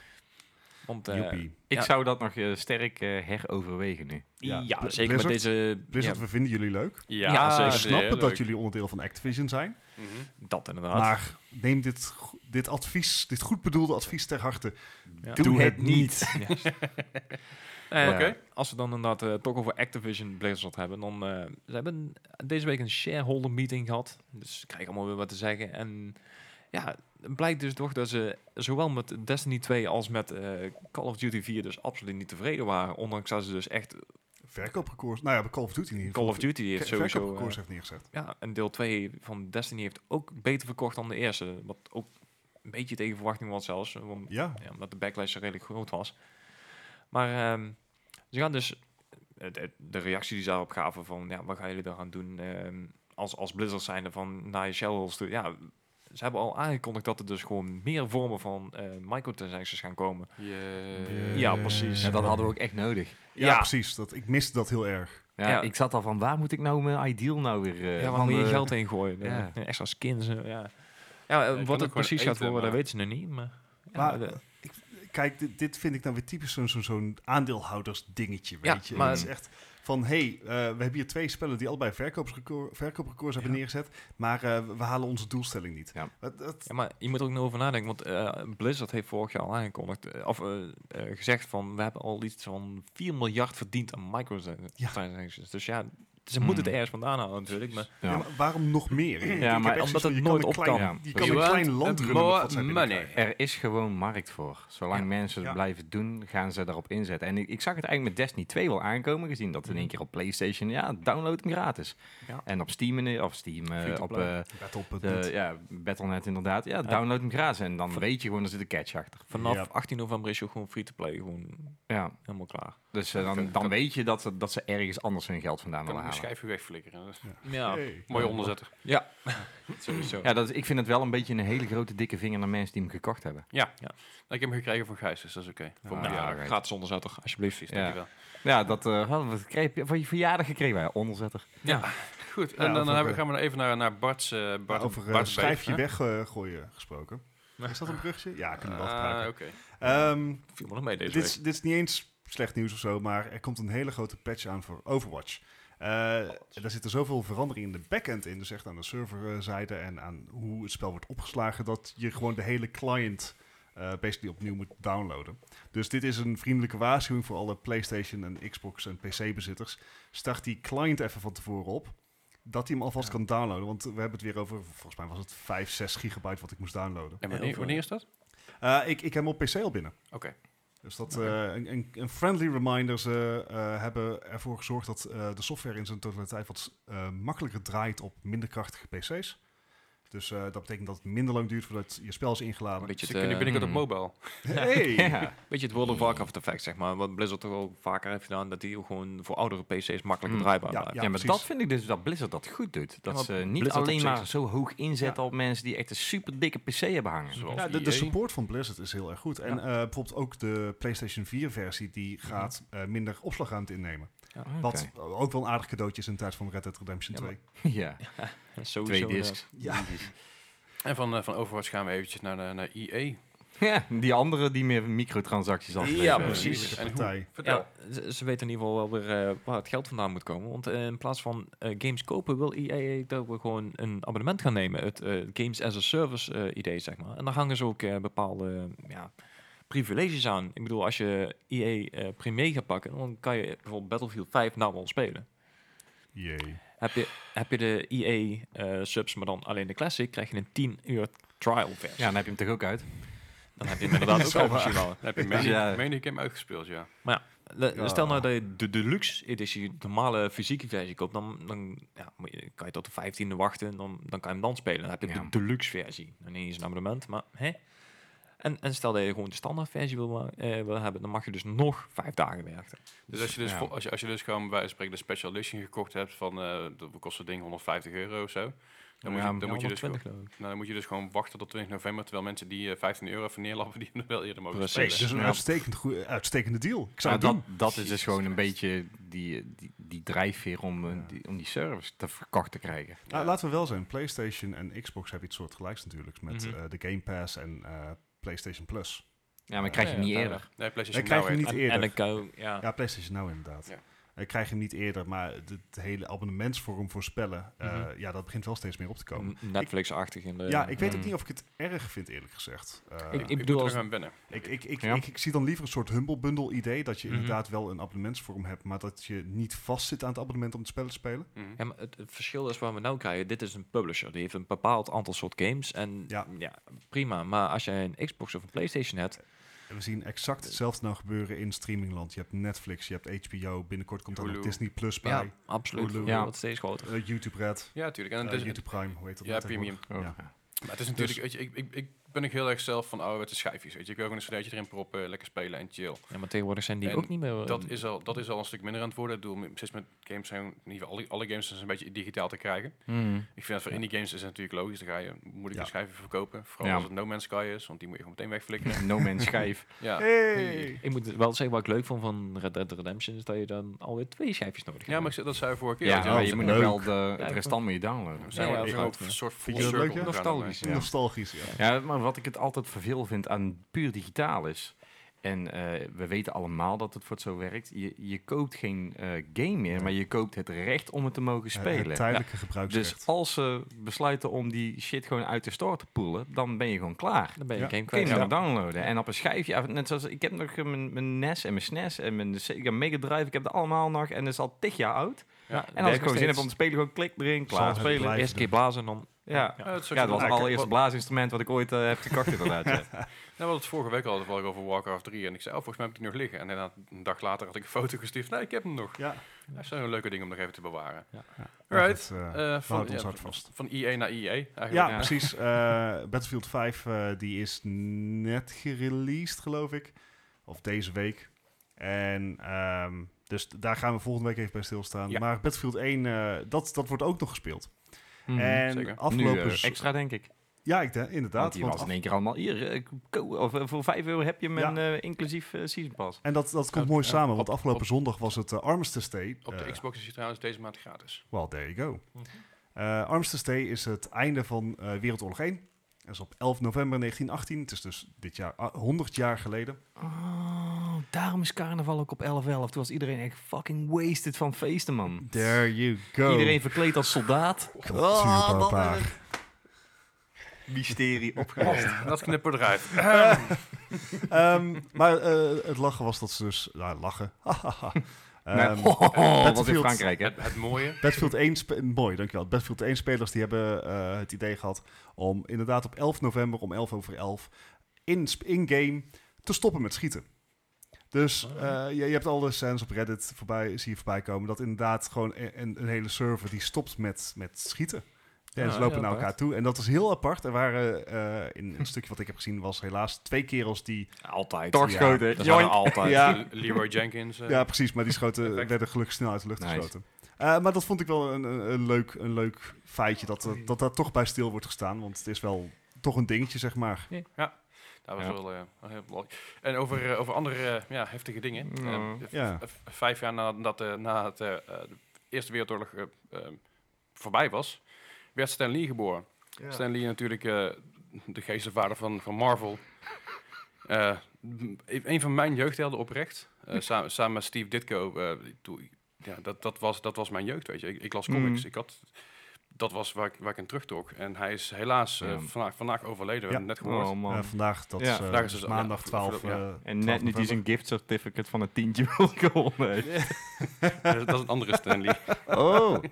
Want, eh,
joepie.
Ik
Ja.
zou dat nog eh, sterk eh, heroverwegen nu.
ja,
Ja, Bl-
zeker met
Blizzard?
deze...
Blizzard,
ja,
we vinden jullie leuk.
Ja,
Ja,
We
zeker.
zeker.
snappen
Heel
dat
leuk.
jullie onderdeel van Activision zijn.
Mhm.
dat inderdaad.
Maar neem dit, go- dit advies, dit goed bedoelde advies ter harte.
Ja.
Doe het niet.
Eh,
Oké.
Als we dan inderdaad eh, toch over Activision Blizzard hebben, dan eh, ze hebben deze week een shareholder meeting gehad. Dus ik krijg allemaal weer wat te zeggen. En ja, het blijkt dus toch dat ze zowel met Destiny 2 als met eh, Call of Duty 4 dus absoluut niet tevreden waren. Ondanks dat ze dus echt
Verkooprecords. Nou ja, bij Call of Duty niet.
Call of Duty heeft sowieso... eh,
Verkooprecords heeft neergezet.
ja, en deel 2 van Destiny heeft ook beter verkocht dan de eerste. Wat ook een beetje tegen verwachting was zelfs. Want
Ja.
Ja, omdat de backlash er redelijk groot was. Maar ehm, ze gaan dus... het- het- De reactie die ze daarop gaven van... Ja, wat gaan jullie daaraan doen ehm, als, als Blizzard zijnde van... Naar je shareholders toe. Ja, ze hebben al aangekondigd dat er dus gewoon meer vormen van eh, microtransactions gaan komen.
Yeah.
ja, precies.
Eh, Ja, dat hadden we ook echt nodig.
Ja,
Ja.
precies. Dat, ik miste dat heel erg.
Ja,
Ja.
Ik zat al van, waar moet ik nou mijn ideal nou weer... eh,
ja, waar
van
moet je
de-
geld in gooien?
Ja.
Ja, Extra skins, eh, ja. Ja, eh,
je kan ook
wat
gewoon
het precies gaat
eten,
worden, dat
maar-
weten ze nog niet. Maar, ja,
Maar-
de-
Kijk, dit, dit vind ik nou weer typisch zo'n zo'n- zo'n aandeelhouders dingetje,
Ja,
weet je.
maar-
Het is echt van, hé, hey, eh, we hebben hier twee spellen die allebei verkooprecords verkooprecords hebben neergezet, maar eh, we halen onze doelstelling niet.
Ja.
Dat, dat-
Ja, maar je moet er ook nog over nadenken, want eh, Blizzard heeft vorig jaar al aangekondigd, eh, of eh, eh, gezegd van, we hebben al iets van 4 miljard verdiend aan microtransactions. Dus ja, Ze moeten het ergens vandaan halen natuurlijk. Maar
Ja. maar waarom nog meer? Ik heb
maar
echt
omdat
zoiets van,
het
je kan
nooit
een
op
klein-
kan.
Je
You
kan een
want
klein land
more
runnen met wat zij
money.
binnenkrijgen.
Er is gewoon markt voor. Zolang
Ja.
mensen het
Ja.
blijven doen, gaan ze daarop inzetten. En ik, ik zag het eigenlijk met Destiny 2 wel aankomen, gezien dat in één keer op PlayStation, ja, download hem gratis.
Ja.
En op Steam, in- of Steam, eh,
Free to
op
play.
eh,
Battle.net.
de, ja, Battle.net inderdaad. Ja, download hem gratis. En dan weet je gewoon, er zit een catch achter.
vanaf
Ja.
18 november is je gewoon free to play. Gewoon
Ja,
helemaal klaar.
dus eh, dan, dan weet je dat, ze- dat ze ergens anders hun geld
kan
vandaan willen
ik een
halen.
schijfje wegflikkeren. Dat is
Ja,
Hey.
Mooie onderzetter.
ja. sowieso.
Ja, dat, is- ik vind het wel een beetje een hele grote dikke vinger naar mensen die hem gekocht hebben.
Ik heb hem gekregen van Gijs, dus dat is oké. Voor mijn
Ah,
verjaardag.
right.
Gaat zonder toch alsjeblieft.
Precies,
Ja.
dankjewel.
Ja, dat eh, wat- wat kreeg je, voor je verjaardag gekregen wij onderzetter.
Goed, en dan,
over,
hebben-
eh,
gaan we nou even naar, naar Bart's... eh, Bart,
Maar over eh,
Bart's
schijfje
beef, hè?
weggooien gesproken. Is dat een brugje? Ja, kunnen we wel
Ah,
gebruiken.
oké.
Ehm,
Viel me nog mee deze
dit,
week.
is, dit is niet eens slecht nieuws of zo, maar er komt een hele grote patch aan voor Overwatch. Eh daar zitten zoveel veranderingen in de backend in, dus echt aan de serverzijde en aan hoe het spel wordt opgeslagen, dat je gewoon de hele client eh basically opnieuw moet downloaden. Dus dit is een vriendelijke waarschuwing voor alle PlayStation en Xbox en PC-bezitters. Start die client even van tevoren op, dat hij hem alvast kan downloaden, want we hebben het weer over, volgens mij was het 5, 6 gigabyte wat ik moest downloaden.
En
Heel
wanneer,
veel.
wanneer is dat?
Eh, ik, ik heb hem op PC al binnen.
Oké.
Dus dat, eh, een, een, een friendly reminder. Ze eh, hebben ervoor gezorgd dat eh, de software in zijn totaliteit wat eh, makkelijker draait op minder krachtige PC's. Dus eh, dat betekent dat het minder lang duurt voordat je spel is
Een
ingeladen.
beetje
Ze
het,
kunnen
eh,
binnenkort op
hmm.
mobile.
Hey!
Ja.
Een beetje het World of Warcraft effect, zeg maar. Wat Blizzard toch wel vaker heeft gedaan. Dat die gewoon voor oudere PC's makkelijker
Mm.
draaibaar
Ja,
blijft.
Ja,
ja,
maar
precies.
dat vind ik dus dat Blizzard dat goed doet. Dat
maar
ze niet
Blizzard op
alleen
zich
maar zo hoog inzetten op mensen die echt een super dikke PC hebben hangen.
Zoals
Ja, de, de
EA.
support van Blizzard is heel erg goed. En
Ja.
eh, bijvoorbeeld ook de PlayStation 4 versie, die gaat eh, minder opslagruimte innemen.
Oké.
Wat ook wel een aardig cadeautje is in de tijd van Red Dead Redemption
Ja,
2.
Ja. Twee
Sowieso.
discs.
Ja.
En van, eh, van Overwatch gaan we eventjes naar, naar, E naar EA.
Ja, die andere die meer microtransacties afleveren.
Ja,
Een
precies.
eerlijke
En hoe-
partij.
Vertel.
Ja, ze, ze weten in ieder geval wel weer eh, waar het geld vandaan moet komen. Want eh, in plaats van eh, games kopen wil EA dat we gewoon een abonnement gaan nemen. Het eh, Games as a Service eh, idee, zeg maar. En daar hangen ze ook eh, bepaalde eh, ja, privileges aan. Ik bedoel, als je EA eh premier gaat pakken, dan kan je bijvoorbeeld Battlefield 5 nou wel spelen.
Jee.
Heb je, heb je de EA eh, subs, maar dan alleen de Classic, krijg je een 10 uur trial versie.
Ja, dan heb je hem toch ook uit.
Dan heb je hem inderdaad ook wel misschien wel.
Dan heb je Mania,
Ja.
Mania Game uitgespeeld, ja.
Le-
Ja.
Stel nou dat je de deluxe editie, de normale fysieke versie koopt, dan, dan ja, moet je, kan je tot de 15e wachten en dan, dan kan je hem dan spelen. Dan heb je
Ja.
de deluxe versie. Dan is een abonnement, maar hè? En, en stel dat je gewoon de standaard versie wil, ma- eh, wil hebben, dan mag je dus nog vijf dagen werken.
Dus als je dus,
Ja.
vo- als je, als je dus gewoon bij wijze van spreken de special edition gekocht hebt van, eh dat kost het ding 150 euro of zo. Dan,
Ja,
moet, je, dan, moet, je dus, gewoon-
120 geloof ik.
nou, dan moet je dus gewoon wachten tot 20 november, terwijl mensen die eh, 15 euro even neerlappen, die hem wel eerder mogen
Precies.
Nee,
spelen.
dat is een
Ja.
uitstekend goeie- uitstekende deal. Ik zou
Nou,
het doen.
dat, dat is dus gewoon een beetje die, die, die drijfveer om, eh, die, om die service te verkocht te krijgen.
Nou, laten we wel zijn. PlayStation en Xbox hebben iets soortgelijks natuurlijk. Met
Mhm.
eh, de Game Pass en eh, PlayStation Plus.
Ja, maar dan krijg je hem niet
Ja, ja,
eerder.
Nee,
Ik
PlayStation
krijg
Now
hem
heet
niet
En-
eerder.
En dan kan je ook- ja.
Ja, PlayStation nou inderdaad.
Ja.
Ik krijg hem niet eerder, maar het het hele abonnementsvorm voor spellen, eh,
Mhm. Mm,
ja, dat begint wel steeds meer op te komen.
N- Netflix-achtig in de...
Ja, ik weet ook
Mm.
niet of ik het erg vind, eerlijk gezegd. Eh,
Ik-
het.
ik
moet
bedoel
er
als-
nog aan wennen.
ik, ik, ik,
Ja.
ik, ik zie dan liever een soort humble bundle idee, dat je
Mhm.
inderdaad wel een abonnementsvorm hebt, maar dat je niet vastzit aan het abonnement om het spel te spelen.
Mhm.
Ja, maar het, het verschil is wat we nou krijgen. Dit is een publisher. Die heeft een bepaald aantal soort games. En ja,
Ja.
prima. Maar als jij een Xbox of een PlayStation hebt,
En we zien exact hetzelfde nou gebeuren in streamingland. Je hebt Netflix, je hebt HBO, binnenkort komt er
Hulu.
nog Disney Plus bij.
ja, absoluut.
Hulu.
Ja.
Ja. Wordt steeds groter.
Eh, YouTube Red.
Ja, natuurlijk. En
Eh,
het is,
YouTube Prime, hoe heet dat?
ja,
nou
premium.
tegenwoordig?
Oh.
Ja.
Maar het is natuurlijk, weet je, ik, ik, ik ben ook heel erg zelf van oh, ouderwetse schijfjes. Weet je. Ik wil gewoon een cd'tje erin proppen, lekker spelen en chill.
Ja, maar tegenwoordig zijn die
En
ook niet meer. eh,
Dat is, al, dat is al een stuk minder aan het worden. Ik bedoel, precies met games zijn, in ieder geval alle, alle games zijn een beetje digitaal te krijgen.
Hmm.
Ik vind dat voor indie games is het natuurlijk logisch. Dan ga je, moet ik
Ja.
een schijfje verkopen. Vooral
Ja.
als het No Man's Sky is, want die moet je gewoon meteen wegflikkeren.
No Man's Schijf.
ja.
Hey!
Ik moet wel zeggen wat ik leuk vond van Red Dead Redemption. Is dat je dan alweer twee schijfjes
ja,
nodig
maar ik
hebt.
zei- dat zei je vorige keer.
Ja,
weet je
maar
wel.
je
dat
moet
is
nog
leuk.
wel de, het
Ja,
restant moet je downloaden.
We zijn
Ja,
wel
ja,
gewoon
goed,
een
ja.
soort
Vind
full
je dat
circle
leuk, ja?
gegaan daarmee.
Nostalgisch, ja.
Ja, maar wat ik het altijd verveel vind aan puur digitaal is... En eh, we weten allemaal dat het voor het zo werkt. Je, je koopt geen eh, game meer,
Nee.
maar je koopt het recht om het te mogen
Het
spelen.
tijdelijke gebruiksrecht.
dus als ze besluiten om die shit gewoon uit de store te poelen, dan ben je gewoon klaar.
Dan ben je
Ja.
een game
Kun je
kwijt.
hem nog downloaden. En op een schijfje, af- net zoals ik heb nog eh, mijn, mijn NES en mijn SNES en mijn Sega Mega Drive, ik heb het allemaal nog en dat is al tig jaar oud.
Ja,
En als ik gewoon zin heb om te spelen, gewoon klik erin, klaar.
het
spelen.
blijven
Eerste
doen.
keer blazen en dan...
Ja.
Ja, dat,
Ja, dat was het
Ja,
allereerste blaasinstrument wat ik ooit eh, heb gekocht inderdaad. ja.
we hadden het vorige week al toevallig over Warcraft 3. En ik zei, oh, volgens mij heb ik die nog liggen. En inderdaad, een dag later had ik een foto gestuurd. Nee, ik heb hem nog.
Ja,
Dat is zo'n leuke ding om nog even te bewaren.
Ja.
Alright.
dat, eh,
Eh,
houdt ons
ja,
hart vast.
Van IE naar IE. Eigenlijk.
Ja,
Ja.
precies. Eh, Battlefield 5 eh, die is net gereleased, geloof ik. Of deze week. En ehm, dus daar gaan we volgende week even bij stilstaan.
Ja.
Maar Battlefield 1, eh, dat, dat wordt ook nog gespeeld.
Mhm.
en
zeker.
afgelopen...
Nu eh,
z-
extra denk ik.
ja, ik, denk-
Want
inderdaad.
die
want
was
af-
in één keer allemaal hier. eh, ko- of, eh, voor 5 euro heb je hem
Ja.
en, eh, inclusief eh, season pass.
en dat, dat komt
Ja,
mooi
ja.
samen, want
Op-
afgelopen
op-
zondag was het eh, Armistice Day.
Op de
Eh,
Xbox is hij trouwens deze maand gratis.
Well, there you go.
Mhm.
Eh, Armistice Day is het einde van eh, Wereldoorlog 1. Dat is op 11 november 1918. Het is dus dit jaar ah, 100 jaar geleden.
Oh, daarom is carnaval ook op 11.11. Toen was iedereen echt fucking wasted van feesten, man.
There you go.
Iedereen verkleed als soldaat. Oh,
Cultuurbarbaar.
Mysterie op.
Oh.
dat knippen we eruit.
Ehm, maar eh, het lachen was dat ze dus... Nou, lachen. Hahaha. Ehm,
dat was in
Battlefield.
Oh, Frankrijk, hè?
Het, het mooie.
Battlefield 1... spe- Mooi, dankjewel. Battlefield 1 spelers die hebben eh, het idee gehad om inderdaad op 11 november om 11 over 11 in- in-game te stoppen met schieten. Dus
Oh.
eh, je, je hebt alle scènes op Reddit voorbij, zie je voorbij komen... dat inderdaad gewoon e- een, een hele server die stopt met, met schieten. En
Ja,
ze lopen
Ah, heel
naar
apart.
elkaar toe. En dat is heel apart. Er waren eh, in een stukje wat ik heb gezien... was helaas twee kerels die
Altijd.
Torschoten.
Ja, dat zijn er
Joink.
altijd.
Ja.
Eh, Leroy Jenkins. eh,
Ja, precies, maar die schoten
Perfect.
werden gelukkig snel uit de lucht
Nice.
geschoten. Eh, maar dat vond ik wel een, een, een leuk, een leuk feitje, dat, eh, dat, dat daar toch bij stil wordt gestaan. Want het is wel toch een dingetje, zeg maar.
Dat was
Ja.
wel eh, wel heel belangrijk. En over, eh, over andere eh, ja, heftige dingen.
Ja.
Ehm, v-
Mm. Ja.
v- vijf jaar nadat eh, na het, eh, eh, de Eerste Wereldoorlog eh, eh, voorbij was, werd Stan Lee geboren. Stan Lee natuurlijk eh, de geestenvader van, van Marvel. Eh, m- een van mijn jeugdhelden oprecht.
Hm.
Eh, samen, samen met Steve Ditko. eh, toen- ja, dat, dat, was, dat was mijn jeugd, weet je. Ik, ik las
Mhm.
comics.
Hm.
Ik had, dat was waar ik, waar ik in terugtrok. En hij is helaas eh,
Ja.
vandaag, vandaag overleden. We
Ja.
hebben het net gehoord.
Oh, man.
Eh, vandaag, dat is,
Ja,
eh,
vandaag is
dus
het-
maandag
ja,
12.
voor- ja.
eh,
en
12
net niet die
november.
zijn gift certificate van een tientje wil gewonnen heeft.
dat, is- dat is een andere Stanley.
Oh.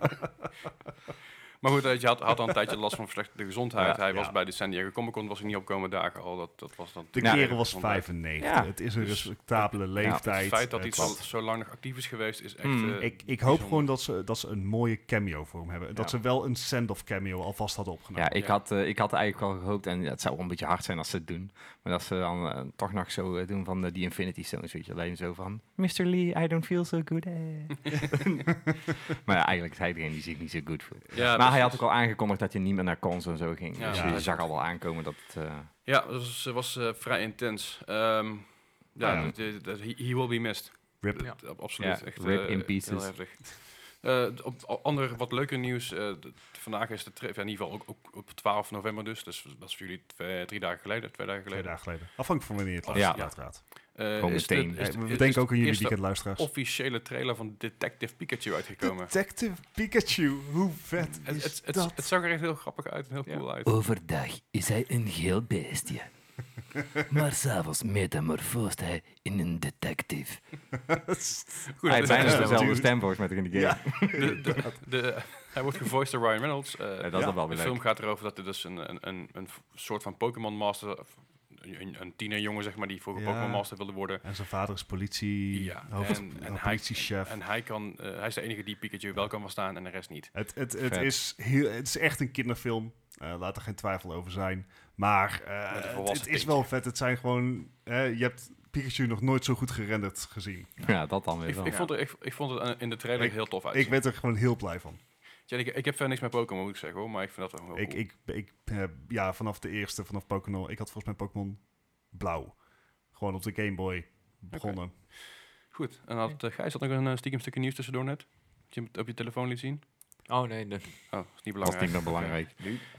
Maar goed, eh, je had, had al een tijdje last van slechte gezondheid.
Ja,
hij
ja.
was bij de San Diego Comic Con, was hij niet opkomen dagen al. Dat, dat was dan
De
Ja.
kerel was
gezondheid.
95.
Ja.
Het is een
Dus-
respectabele leeftijd.
Het feit dat
Eh,
hij zo,
klopt. Hm,
zo lang nog actief is geweest, is echt...
Hmm.
eh,
ik, ik hoop
bijzonder.
gewoon dat ze, dat ze een mooie cameo voor hem hebben. En Dat
Ja.
ze wel een send-off cameo alvast hadden opgenomen.
Ja, ik,
Ja.
Had, eh, ik had eigenlijk al gehoopt, en het zou wel een beetje hard zijn als ze het doen, maar dat ze dan eh, toch nog zo eh, doen van eh, die Infinity Stones, weet je, alleen zo van, Mr. Lee, I don't feel so good. eh." maar ja, eigenlijk is hij degene die zich niet zo goed voelt.
Ja,
maar hij
precies.
had ook al aangekondigd dat je niet meer naar cons en zo ging.
Ja,
dus je
precies.
zag al wel aankomen dat... het, eh,
Ja, dat was, was eh, vrij intens. Ehm, ja,
Ah, Ja.
dat- dat- dat- he, he will be missed.
Rip.
Dat- dat- absoluut.
Ja,
echt,
rip
eh,
in
heel
pieces.
heftig. Eh, d- op, op ander wat leuker nieuws. eh, d- vandaag is de trip, ja, in ieder geval ook, ook op 12 november dus. Dus dat is voor jullie twee- drie dagen geleden, twee dagen
Twee
geleden.
dagen geleden. Afhankelijk van wanneer je het
Ja.
luistert,
Ja.
uiteraard.
Eh,
Gewoon
is de-
meteen.
is
Eh,
de-
we
is-
denken
is
ook aan jullie
de
weekendluisteraars.
officiële trailer van Detective Pikachu uitgekomen.
Detective Pikachu, hoe vet
Het,
is
het, het,
dat?
het zag er echt heel grappig uit en heel
Ja.
cool uit.
Overdag is hij een geel beestje. Maar s'avonds metamorfoost hij in een detective.
Goed,
hij
dus-
heeft bijna
dus-
dezelfde
duur.
stem volgens mij toch in de game.
Ja.
de- de- de- Hij wordt gevoiced door Ryan Reynolds. eh,
Ja, dat is
Ja.
dan wel
de
weer
film
leuk.
gaat erover dat er dus een, een, een, een v- soort van Pokémon Master, of een, een tienerjongen zeg maar, die vroeger
Ja.
Pokémon Master wilde worden.
En zijn vader is politie,
Ja,
hoofd,
en- en
hoofd-
hij-
politiechef.
En hij, kan, eh, hij is de enige die Pikachu wel kan verstaan en de rest niet.
het, het, het,
Vet.
is heel, het is echt een kinderfilm, Eh, laat er geen twijfel over zijn. Maar eh,
een
het,
volwassen
het is wel vet, het zijn gewoon... eh, je hebt Pikachu nog nooit zo goed gerenderd gezien.
Ja, dat dan weer
Ik,
wel.
ik, vond het, ik, ik vond het eh, in de trailer
Ik-
heel tof uit.
Ik ben er gewoon heel blij van.
Ja, ik, ik heb verder niks met Pokémon, moet ik zeggen hoor, maar ik vind dat wel heel
Ik,
Oh, cool.
ik, ik heb, ja, vanaf de eerste, vanaf Pokémon... Ik had volgens mij Pokémon blauw. Gewoon op de Game Boy begonnen.
Goed, en had, eh, Gijs had nog een eh, stiekem stukje nieuws tussendoor net. Dat je hem op je telefoon liet zien.
Oh nee, de,
Oh, is niet
Dat is
belangrijk.
niet meer belangrijk.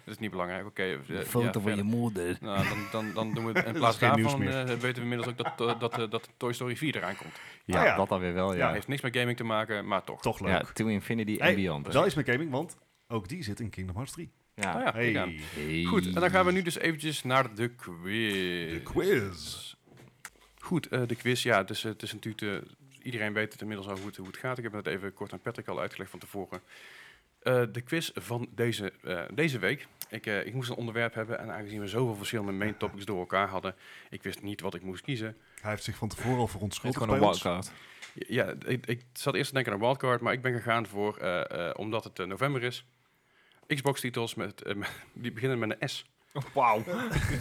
Dat is niet belangrijk. Oké. eh, ja,
Een foto van je
verder.
moeder.
Nou, dan, dan, dan doen we het in
is
plaats
geen nieuws
daarvan.
meer.
eh, weten we inmiddels ook dat, eh, dat, eh, dat Toy Story 4 eraan komt.
Ja,
Ah, ja.
dat dan weer wel,
Ja.
ja.
Heeft niks met gaming te maken, maar toch.
Toch
Ja,
leuk.
To Infinity
Hey,
en Beyond.
Wel is met gaming, want ook die zit in Kingdom Hearts 3.
Ja.
Oh ja,
Hey.
kijk aan. Goed, en dan gaan we nu dus eventjes naar de quiz.
De quiz.
Goed, eh, de quiz, ja, dus, eh, het is natuurlijk... eh, iedereen weet het inmiddels al hoe het, hoe het gaat. Ik heb het even kort aan Patrick al uitgelegd van tevoren. Eh, de quiz van deze, eh, deze week. Ik, eh, ik moest een onderwerp hebben en aangezien we zoveel verschillende main topics door elkaar hadden, ik wist niet wat ik moest kiezen.
Hij heeft zich van tevoren al
Heet
verontschuldigd
gewoon een
bij ons.
wildcard.
Ja, ik, ik zat eerst te denken aan een wildcard, maar ik ben gegaan voor, eh, eh, omdat het eh, november is, Xbox-titels met, eh, met- die beginnen met een S.
Wauw.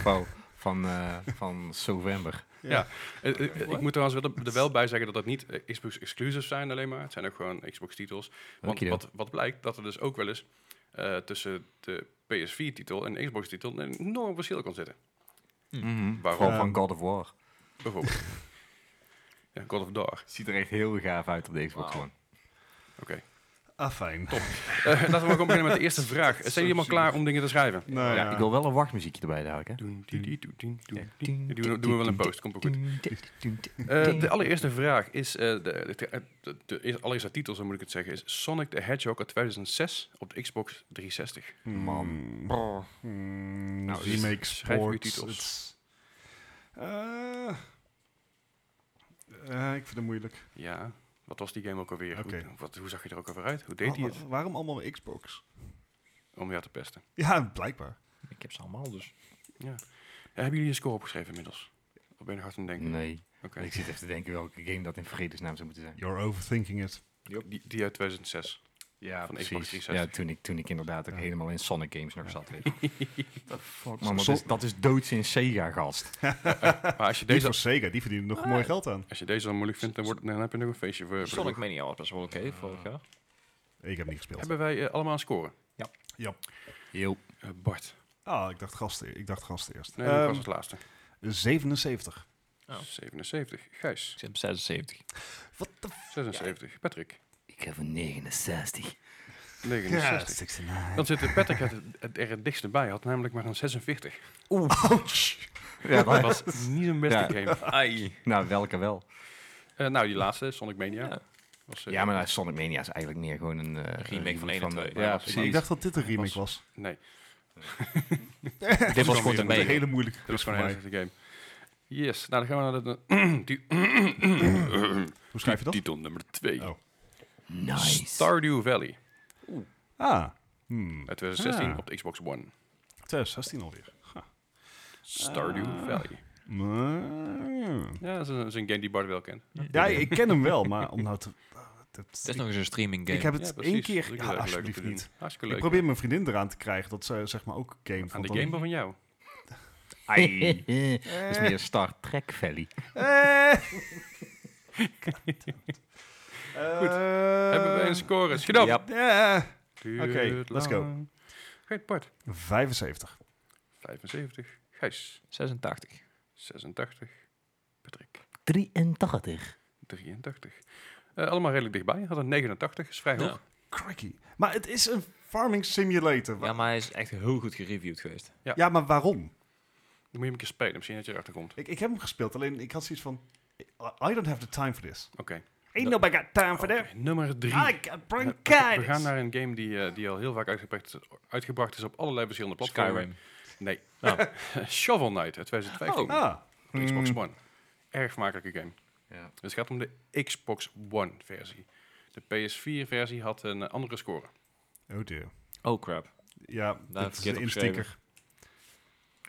Wauw, Van, eh, van November.
Eh, eh, eh, ik moet trouwens wel, er wel bij zeggen dat dat niet eh, Xbox exclusives zijn alleen maar. Het zijn ook gewoon Xbox titels. Want
Okido.
wat, wat blijkt dat er dus ook wel eens eh, tussen de PS4 titel en de Xbox titel een enorm verschil kan zitten.
Mhm.
Hm. Waarom? Ehm.
Vooral van God of War.
Bijvoorbeeld. ja, God of War.
Ziet er echt heel gaaf uit op de Xbox One.
Oké.
Ah, fijn. Top.
Eh, laten we maar gewoon beginnen met de eerste vraag. Zijn jullie allemaal klaar om dingen te schrijven?
Nou, ja.
Ik wil wel een wachtmuziekje erbij dadelijk, hè.
Doen, die, die, doen, die, doen, die. Die Doen we- doen we wel een post, komt ook goed. Eh, de
Eh,
allereerste vraag is, eh, de, de, de, de eer- allereerste titel, zo moet ik het zeggen, is Sonic the Hedgehog uit 2006 op de Xbox 360.
Man.
Oh. Nou,
Nou,
Hmm. dus
remake
schrijf uw
sports.
titels.
it's- Eh, eh, ik vind het moeilijk.
Ja, wat was die game ook alweer? Hoe-
Oké. Oh,
Wat, hoe zag je er ook alweer uit? Hoe deed hij
Wa-
het?
wa- Waarom allemaal Xbox?
Om jou te pesten.
Ja, blijkbaar.
ik heb ze allemaal dus.
Eh, hebben jullie een score opgeschreven inmiddels? Of ben je nog hard aan het denken?
Nee,
Oké.
ik zit even te denken welke game dat in vredesnaam zou moeten zijn.
You're overthinking it.
Die, die uit 2006.
Ja,
Van de Xbox 360.
Ja, toen ik, toen ik inderdaad ook
Ja.
helemaal in Sonic games nog zat. Weet je. The fuck, man, dat
Son-
is, dat is doods in Sega, gast.
Maar als
Deze
je, deze, Ah.
was Sega, die verdienen nog mooi geld aan.
als je deze al moeilijk vindt, dan, wordt, dan heb je nog een feestje voor. voor de
Sonic
boeg.
Mania was best wel oké vorig jaar.
Ik heb niet gespeeld.
Hebben wij eh, allemaal een score?
Ja.
Yo.
Eh, Bart.
Ah, ik dacht gast, e- ik dacht gast eerst.
Nee, dat
Ehm,
was het laatste.
77.
Oh.
77. Gijs.
Ik zit op 76.
Wat de f...
76. Patrick.
Ik heb een 69.
69.
69.
Dan zit eh, Patrick het, het er het dichtst bij. Hij Had namelijk maar een 46.
Ouch.
Oh Ja,
Dat was niet een beste
Ja.
game.
Ai.
nou, welke wel?
Eh, nou, die laatste, Sonic Mania.
Ja.
Was, eh,
Ja, maar nou, Sonic Mania is eigenlijk meer gewoon een... eh,
Remake van 1 en
eh,
2.
Ja,
Ja,
Ik
precies.
dacht dat dit een remake was.
Nee.
Dit was
gewoon
gewoon een
weer
Een
mega.
hele moeilijke
Dat
quiz
is
voor
gewoon een
mij.
hele game. Yes, nou dan gaan we naar de die-
Hoe schrijf je dat?
titel nummer 2.
Oh.
Nice.
Stardew Valley
Ah. Hmm.
uit 2016
Ah.
op de Xbox One.
2016 alweer.
Stardew
Ah.
Valley.
Maar-
Ja, dat is een, dat is een game die Bart wel kent.
Ja, ik ken hem wel, maar om nou te... dat-
Het is nog eens een streaming game.
ik heb
ja,
het
precies.
één
Dat
keer...
is
Ja,
ook leuk om te
alsjeblieft
doen.
niet.
Hartstikke leuk.
Ik probeer mijn vriendin eraan te krijgen dat ze zeg maar ook game
Aan
vond,
de
want
game
dan-
van jou.
Ai. Dat is meer Star Trek Valley.
Eh,
Goed. Hebben we een score? Schiet op!
Eh, Ja.
Duurt
Oké, let's go.
lang. Oké, Bart.
75.
75. Gijs.
86.
86. Patrick.
83.
83. Eh, allemaal redelijk dichtbij. Had een 89. Is vrij
Ja.
hoog.
Cracky. Maar het is een farming simulator. Wa-
Ja, maar hij is echt heel goed gereviewd geweest.
ja. maar waarom?
Dan moet je hem een keer spelen. Misschien dat je erachter komt.
Ik, ik heb hem gespeeld, alleen ik had zoiets van... I I don't have the time for this.
Oké.
Ain't nobody got time for that.
Oké, Nummer 3.
I got
We
bronchitis.
gaan naar een game die, eh, die al heel vaak uitgebracht, uitgebracht is op allerlei verschillende platformen.
Skyrim.
Nee. Shovel Knight uit 2015.
Oh.
Ah,
op de Xbox One. Erg makkelijke game.
Ja.
Dus het gaat om de Xbox One versie. De PS4 versie had een eh, andere score.
oh dear.
Oh crap.
Ja,
Nou,
heb
dat
ik
is
verkeerd
een instikker.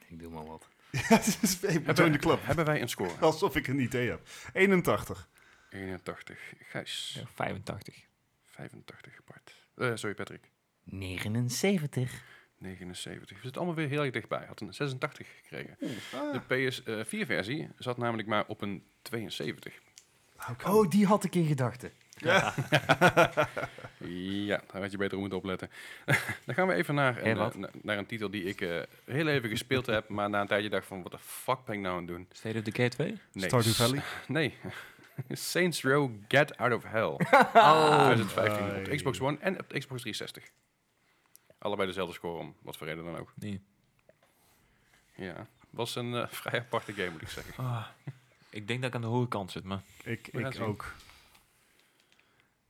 Ik doe maar wat.
Ja, het is hey, join the club.
Hebben wij een score?
Alsof ik een idee heb. 81.
81. Gijs.
Ja, 85.
85. Bart. Eh, sorry, Patrick.
79.
79. We zitten allemaal weer heel erg dichtbij. Had een 86 gekregen.
Ah.
De PS4 versie zat namelijk maar op een 72.
Ah,
Oh, die had ik in gedachten.
Ja, daar had je beter op moeten opletten. Dan gaan we even naar een,
Hé, wat?
eh, na- naar een titel die ik eh, heel even gespeeld heb, maar na een tijdje dacht van, wat de fuck ben ik nou aan het doen?
State of the K 2?
Nee,
Stardew
s-
Valley.
Nee. Saints Row Get Out of Hell. 2015 op de
Ai.
Xbox One en op de Xbox 360. Allebei dezelfde score om, wat voor reden dan ook.
Nee.
Ja, was een eh, vrij aparte game moet ik zeggen.
Ah. Ik denk dat ik aan de hoge kant zit, maar...
Ik,
We gaan
ik
zien.
ook.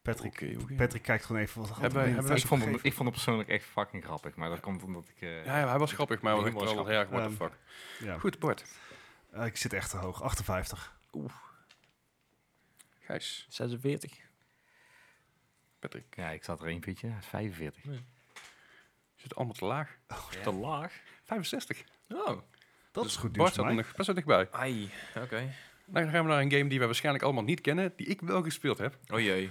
Patrick,
Oké, oké.
Patrick kijkt gewoon even wat er
Hebben wij-
allemaal binnen
hebben
Ik
is
vond, hem,
opgegeven.
ik vond hem persoonlijk echt fucking grappig, maar dat komt omdat ik... eh,
Ja, ja, hij was grappig, maar
Die
ik
was
was wel heel erg what the
grappig.
fuck.
Ja.
Goed, Bart.
Eh, ik zit echt te hoog. 58.
Gijs,
46.
Patrick.
ja, ik zat er een beetje, hij is 45.
Je zit allemaal te laag.
Te laag.
65.
Oh.
Dat is goed nieuws
Dus Bart
voor
zat er
mij.
nog best wel dichtbij.
Ai. Oké.
Dan gaan we naar een game die we waarschijnlijk allemaal niet kennen, die ik wel gespeeld heb.
Oh jee.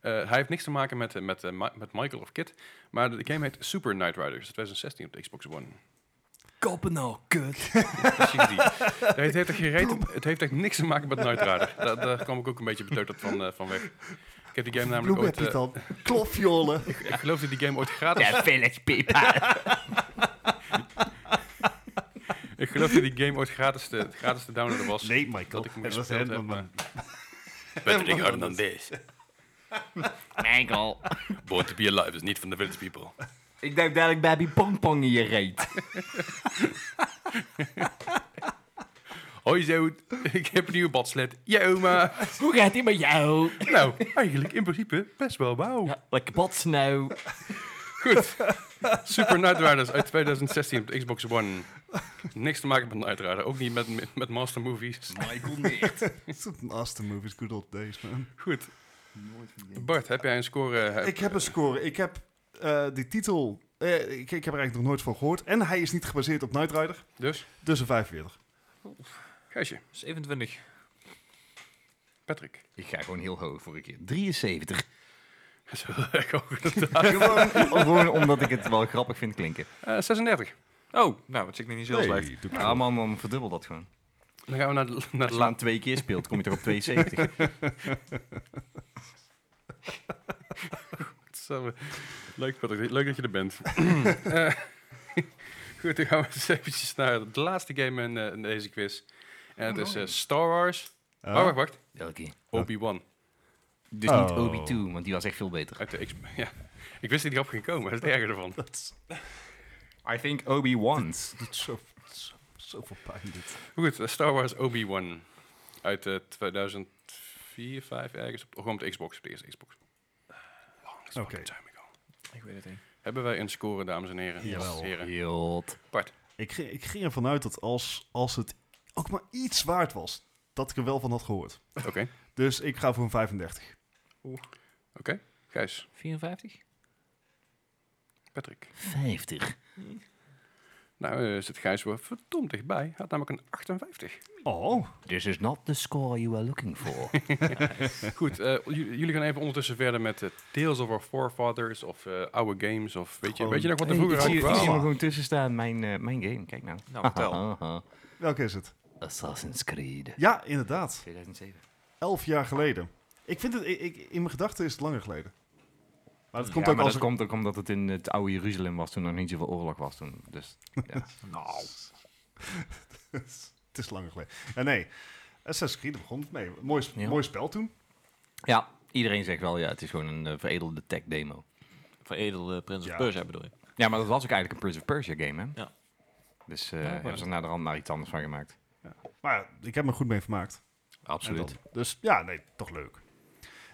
Eh, hij heeft niks te maken met, eh, met, eh, Ma- met Michael of Kit, maar de game heet Super Knight Rider. is 2016 op de Xbox One.
Koppen nou, kut.
Precies die. Het heeft, echt gereed, het heeft echt niks te maken met Knight Rider. Daar, daar kwam ik ook een beetje beteuterd van, eh, van weg. Ik heb die game namelijk
Bloem heb
ooit...
je het
eh,
dan. Klofjolen.
ik geloof dat die game ooit gratis...
Ja, Felix Pepa.
Ik geloof dat die game ooit gratis te, gratis te downloaden was.
Nee, Michael.
Dat ik hem
Dat was
gespeeld
helemaal
heb, maar-
Patrick Hernandez.
Michael.
Born to be alive is niet van de Village People.
Ik duik dadelijk Baby Pong Pong in je reet.
Hoi zo, ik heb een nieuwe badslet. Ja, oma.
Hoe gaat het met jou?
Nou, eigenlijk in principe best wel wauw.
Lekker bots nou.
Goed. Super Night Riders uit 2016 op de Xbox One. Niks te maken met Night Rider. Ook niet met, met Master Movies.
Michael niet.
Aston movies, good old days, man.
Goed. Bart, heb jij een score? eh,
Ik heb een score. Ik heb eh, die titel... eh, ik, ik heb er eigenlijk nog nooit van gehoord. En hij is niet gebaseerd op Knight Rider.
Dus,
Dus een 45.
Gijsje,
27.
Patrick.
Ik ga gewoon heel hoog voor een keer. 73.
Dat is wel erg hoog.
gewoon, gewoon omdat ik het wel grappig vind klinken.
Eh, 36.
Oh, nou, wat zit ik nu niet zo slecht.
Ja man, dan verdubbel dat gewoon.
Dan gaan we naar de, naar
Als
de
je laan
laatste.
twee keer speelt, kom je toch op 72.
Zo, eh, Leuk, Patrick. Leuk dat je er bent. Eh, goed, dan gaan we eens eventjes naar de laatste game in, eh, in deze quiz. En het is eh, Star Wars. Oh, wacht, wacht.
Welke?
Obi-Wan.
Dus niet
Oh.
Obi-2, want die was echt veel beter.
Uit de X. Ja. Ik wist dat die op ging komen. Dat is het erger ervan.
Dat is,
I think Obi-Wan.
dat is zo, zo, zoveel pijn, dit.
Goed, eh, Star Wars Obi-Wan. Uit eh, 2004, 5 ergens. Op, gewoon op de Xbox, op de eerste Xbox. Long as
Oké.
fucking time ago.
Ik weet het niet.
Hebben wij een score, dames en heren?
Jawel.
Heren.
Jot.
Ik, ging- ik ging ervan uit dat als, als het ook maar iets waard was... dat ik er wel van had gehoord.
Oké,
Dus ik ga voor een 35.
oké. Gijs,
54?
Patrick.
50.
Nou, eh, zit Gijs wel verdomd dichtbij. Had namelijk een 58.
Oh.
This is not the score you are looking for.
Goed, eh, j- jullie gaan even ondertussen verder met eh, Tales of Our Forefathers of eh, oude games. Of weet je,
Gewoon-
weet je nog wat er
Hey,
vroeger
ik zie, ik
uitkwam?
zie hem er gewoon tussen staan, mijn, eh, mijn game. Kijk nou.
Nou, vertel.
Welke is het?
Assassin's Creed.
Ja, inderdaad.
2007.
Elf jaar geleden. Ik vind het, ik, ik- in mijn gedachten is het langer geleden. Maar dat komt
ja,
ook
maar
als
dat
ik-
komt ook omdat het in het oude Jeruzalem was toen er niet zoveel oorlog was toen. Dus ja.
Nou.
het is langer geleden. Ja, nee. Assassin's Creed daar begon het mee. Mooi, sp-
Ja.
mooi spel toen.
ja, iedereen zegt wel, ja, het is gewoon een eh, veredelde tech demo.
Veredelde eh, Prins
Ja.
of Persia bedoel je?
Ja, maar dat was ook eigenlijk een Prince of Persia game, hè?
Ja.
Dus eh hebben ze er naar de rand maar iets anders van gemaakt.
Maar ik heb me goed mee vermaakt. En
Absoluut.
dan- Dus ja, nee, toch leuk.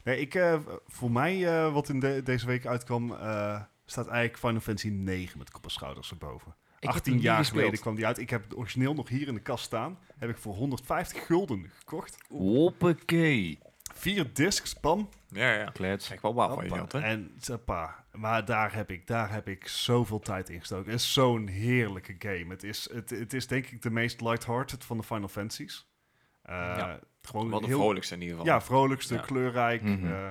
Nee, ik, eh, voor mij, eh, wat in de- deze week uitkwam, eh, staat eigenlijk Final Fantasy 9 met kop en schouders erboven.
heb
18
hem
jaar
niet
geleden
gespeeld.
kwam die uit. Ik heb het origineel nog hier in de kast staan. Heb ik voor 150 gulden gekocht.
Hoppakee.
Vier discs, pam.
Ja, ja.
Klets.
Echt wel waar van je
Hoppa.
geld, hè?
En tjapa. Maar daar heb, ik, daar heb ik zoveel tijd in gestoken. Het is zo'n heerlijke game. Het is, het, het is denk ik de meest lighthearted van de Final Fantasies. Eh,
Ja.
Gewoon
Wel de
heel,
vrolijkste in ieder geval.
Ja, vrolijkste,
Ja.
kleurrijk.
Mhm.
eh,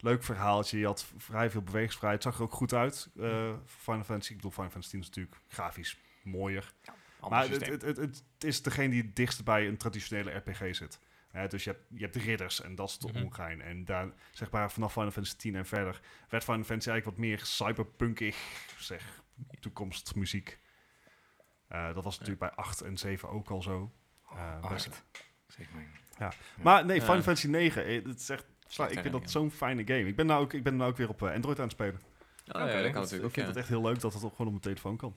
leuk verhaaltje. Je had v- vrij veel beweegsvrijheid. Het zag er ook goed uit. eh, voor Final Fantasy. Ik bedoel, Final Fantasy 10 is natuurlijk grafisch mooier.
Ander
Maar het,
systeem.
het, het, het is degene die het dichtst bij een traditionele RPG zit. Hè, dus je hebt, je hebt de ridders en dat is de
Mhm.
ongein. En daar, zeg maar, vanaf Final Fantasy 10 en verder werd Final Fantasy eigenlijk wat meer cyberpunkig, zeg, toekomstmuziek. Eh, dat was natuurlijk bij 8 en 7 ook al zo. Eh, best-
Zeg maar.
Maar nee, Final
Oh, Ja.
Fantasy 9, eh, het is echt, ik vind dat zo'n fijne game. Ik ben nou ook, ik ben nou ook weer op eh, Android aan het spelen.
Oh,
Ah,
ja, dat kan
eh, ik vind
natuurlijk. ja.
het echt heel leuk dat het ook gewoon op mijn telefoon kan.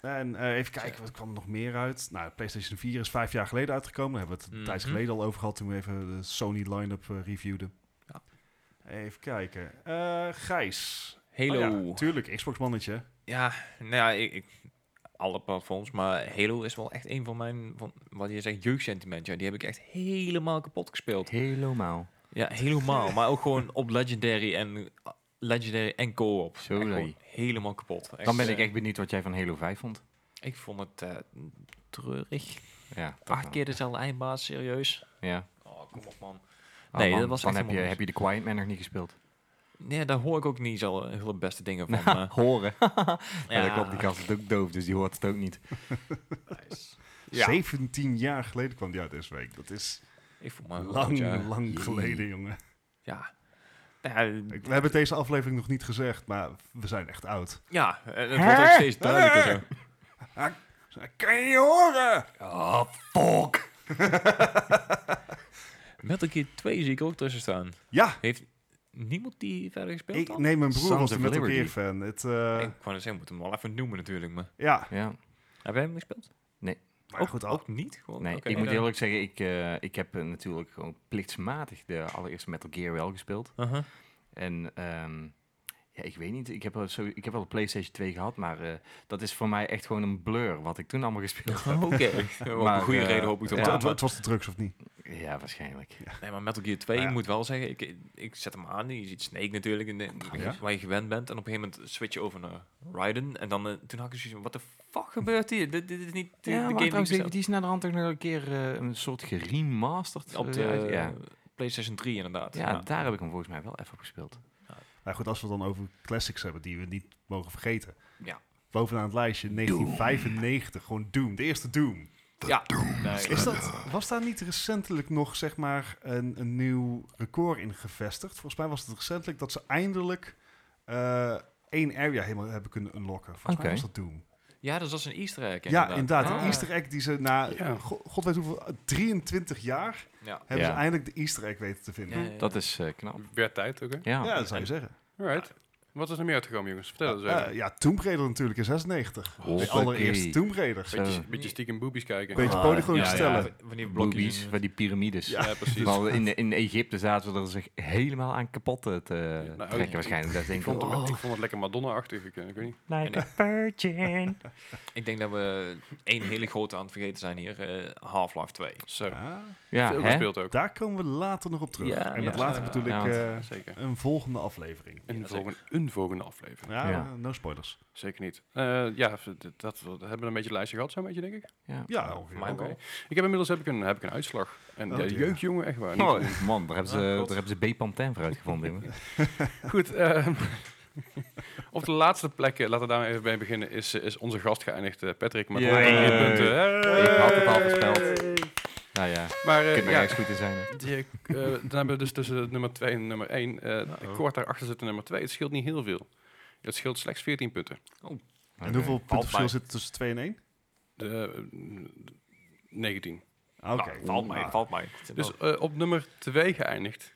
En eh, even kijken, wat kwam er nog meer uit? Nou, PlayStation 4 is vijf jaar geleden uitgekomen. Daar hebben we het een tijd
Mhm.
geleden al over gehad toen we even de Sony line-up eh, reviewden.
Ja.
Even kijken. Eh, Gijs.
Halo.
Oh ja, tuurlijk, Xbox-mannetje.
Ja, nou ja, ik, ik- alle platforms, maar Halo is wel echt een van mijn, van, wat je zegt, jeugdsentiment. Ja, die heb ik echt helemaal kapot gespeeld.
Helemaal.
Ja, helemaal. maar ook gewoon op Legendary en Legendary en Co-op.
Zo,
Echt gewoon
nee.
Helemaal kapot.
Dan ben
eh,
ik echt benieuwd wat jij van Halo 5 vond.
Ik vond het eh, treurig.
Ja, dat
Acht
wel.
keer dezelfde eindbaas, serieus.
Ja.
Oh, kom op man.
Oh,
Nee,
man,
dat was
dan
echt
heb je,
helemaal
heb je de Quiet Man nog niet gespeeld.
Nee, daar hoor ik ook niet zo hele beste dingen van. eh,
Nou,
maar-
horen. ja, dat
Ja.
klopt. Die gast is ook doof, dus die hoort het ook niet.
Ja.
17 jaar geleden kwam die uit deze week. Dat is
ik voel me heel oud,
lang,
ja.
lang
Jee.
geleden, jongen.
Ja. Nou
Ik-
Ja,
we hebben deze aflevering nog niet gezegd, maar we zijn echt oud.
ja, eh, het wordt ook steeds duidelijker zo.
Kan je horen? Ah,
Oh, fuck.
Metal Gear 2 zie ik ook tussen staan.
Ja,
Heeft niemand die verder gespeeld
ik,
dan?
nee, mijn broer
Sons
was
of
een Metal
Liberty.
Gear fan. Het, eh,
Ik wou net zeggen, moet hem wel even noemen natuurlijk. Maar.
ja,
Ja,
Heb jij hem gespeeld?
maar
ook,
goed, al-
ook niet? Gewoon,
nee.
oké,
ik moet
dan-
eerlijk zeggen, ik, eh, ik heb eh, natuurlijk gewoon plichtsmatig de allereerste Metal Gear wel gespeeld.
Aha.
En ehm, ja, ik weet niet. Ik heb, wel zo, ik heb wel een PlayStation 2 gehad, maar eh, dat is voor mij echt gewoon een blur wat ik toen allemaal gespeeld heb.
Oké. Wel
Maar,
een goede
eh,
reden hoop
het,
ik toch.
wa-
wel,
het, wa-
maar-
het was de drugs of niet?
Ja, waarschijnlijk.
Nee, maar Metal Gear 2,
Ja.
ik moet wel zeggen, ik, ik zet hem aan. Je ziet Snake natuurlijk, in de,
Ja.
waar je gewend bent. En op een gegeven moment switch je over naar Raiden. En dan, eh, toen had ik zoiets van, wat de fuck gebeurt hier? Dit, dit is niet de,
ja,
de
maar
game
trouwens,
die
die,
ik
die is naar de hand ook nog een keer eh, een soort geremasterd.
bestel- Op de
eh, uit- ja.
eh, PlayStation 3 inderdaad.
Ja, daar heb ik hem volgens mij wel even op gespeeld.
Maar goed, als we het dan over classics hebben die we niet mogen vergeten.
Ja.
Bovenaan het lijstje 1995, gewoon Doom. De eerste Doom.
Ja. Nee,
Is dat, was daar niet recentelijk nog zeg maar een, een nieuw record in gevestigd? Volgens mij was het recentelijk dat ze eindelijk eh, één area helemaal hebben kunnen unlocken. Volgens
Oké.
mij was dat Doom.
ja, dat was een easter egg
Ja, inderdaad. Een
Ah.
easter egg die ze na,
Ja.
go- god weet hoeveel, 23 jaar,
Ja.
hebben
Ja.
ze eindelijk de easter egg weten te vinden.
Ja,
Ja,
ja, ja.
Dat is eh, knap.
Weer tijd ook, hè?
Ja.
dat zou je zeggen.
Alright. Wat is er meer uitgekomen, jongens? Vertel eens
Eh,
even.
ja, Tomb Raider natuurlijk in 96. De
Hoppakee.
allereerste Tomb Raider.
zo.
beetje, beetje stiekem boobies kijken.
Beetje
Ah,
polygoon
ja, ja.
stellen.
van- van die blokjes.
Boobies van die piramides.
Ja, precies.
Want in, in Egypte zaten we er zich helemaal aan kapot te eh, trekken
nou, ik-
waarschijnlijk. Dat denk
Ik
ik
vond,
wel.
het, ik vond het lekker Madonna-achtig. Ik, eh, ik weet niet.
Like
a virgin.
Ik denk dat we één hele grote aan het vergeten zijn hier. eh, Half-Life 2.
Zo.
Ah,
Ja,
Veel
hè?
gespeeld ook.
daar komen we later nog op terug.
Ja,
en met
ja.
later bedoel ik
Ja, want-
eh,
Zeker.
een volgende aflevering.
Een,
Ja,
volgende, een volgende aflevering.
Ja,
Ja.
no spoilers.
Zeker niet. Eh, ja, v- dat, dat, we hebben we een beetje een lijstje gehad, zo'n beetje, denk ik.
Ja.
Ja, ongeveer.
Mijn
Oké.
wel.
Ik heb inmiddels heb ik een, heb ik een uitslag. En
Oh,
ja,
dear.
jeuk, jongen, echt waar. Niet te
Oh, man, daar hebben ze,
Ah,
daar
God.
hebben ze B-Pantene voor uitgevonden. jongen.
doen. Goed. ehm, op de laatste plek, eh, laten we daar maar even bij beginnen, is, eh, is onze gast geëindigd, eh, Patrick. Met
Yay.
100 punten. Hey.
Ik had het al voorspeld. Nou ja,
Maar eh,
kunnen er
ja,
ergens goed in zijn. hè?
die, eh, k- eh, dan hebben we dus tussen nummer 2 en nummer 1. kort daarachter zit de nummer 2. Het scheelt niet heel veel. Het scheelt slechts 14 punten.
En hoeveel
Oké.
punten verschil
mij.
zit er tussen 2 en 1?
De, eh, 19.
Oké.
Nou, valt mij,
Ah.
valt mij. Dus
Dus eh, op nummer 2 geëindigd.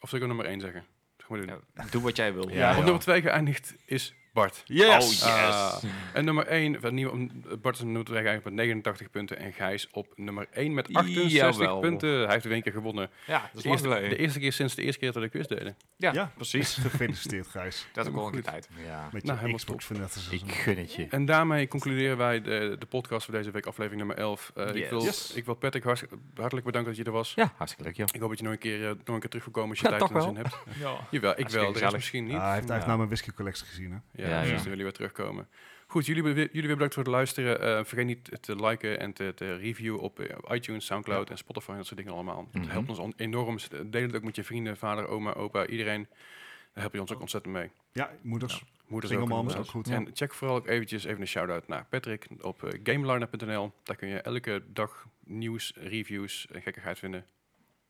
Of zou ik op nummer 1 zeggen? Dat gaan we doen.
Nou, doe wat jij wil.
Ja,
op nummer 2 geëindigd is Bart.
Yes!
Oh,
Ah. en nummer 1, van nieuw, Bart is op nummer 2 geëindigd met 89 punten. En Gijs op nummer 1 met 68
Jawel.
punten. Hij heeft weer een keer gewonnen.
Ja, dat is
de,
lang
eerste,
geleden.
de eerste keer sinds de eerste keer dat ik quiz deden.
Ja,
Ja.
precies.
Gefeliciteerd, Gijs.
Dat is ook wel een keer tijd.
Ja,
Met
Nou,
je
helemaal
Xbox fanaticism.
ik gun het je.
En daarmee concluderen wij de, de podcast voor deze week, aflevering nummer 11. Eh, ik,
Yes.
wil,
Yes.
ik wil Patrick hartst- hartelijk bedanken dat je er was.
Ja, hartstikke leuk, joh.
Ik hoop dat je nog een keer, eh, nog een keer teruggekomen als je
Ja,
tijd
toch
en
wel.
zin hebt.
Ja.
Jawel, ik
Hartstikke
wel. De rest
gezellig.
misschien niet.
Ah, hij heeft
maar-
eigenlijk naar mijn whisky collectie gezien, hè?
Ja, dus
Ja,
precies,
ja.
dan willen we terugkomen. Goed, jullie, be- jullie weer bedankt voor het luisteren. Eh, vergeet niet te liken en te, te reviewen op eh, iTunes, Soundcloud en Spotify en dat soort dingen allemaal. Dat
Mhm.
helpt ons on- enorm. S- Deel het ook met je vrienden, vader, oma, opa, iedereen. Daar help je ons ook ontzettend mee.
Ja, moeders.
Moeders
Single
ook,
moms,
inderdaad.
ook goed.
En check vooral ook eventjes even een shout-out naar Patrick op eh, gameliner.nl. Daar kun je elke dag nieuws, reviews en gekkigheid vinden.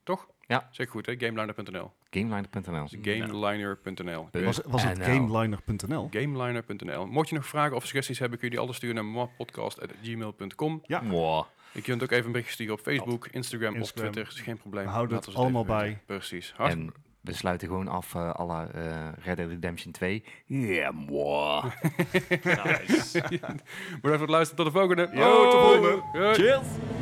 Toch?
Ja.
Zeg goed, hè? Gameliner.nl.
Gameliner.nl.
Dus Gameliner.nl.
Was, was het
NL.
eh,
gameliner.nl?
Gameliner.nl. Mocht je nog vragen of suggesties hebben, kun je die altijd sturen naar moapodcast.gmail.com.
Ja.
Wow.
Je kunt ook even een berichtje sturen op Facebook, Instagram, of
Instagram.
Twitter. Is geen probleem.
We houden
Laat
het
ons even
allemaal
weten. Precies. Hart-
En we sluiten gewoon af eh à la eh, Red Dead Redemption 2. Ja, moi.
Bedankt voor het luisteren. Tot de volgende.
Yo, tot de volgende.
Hoi.
Cheers!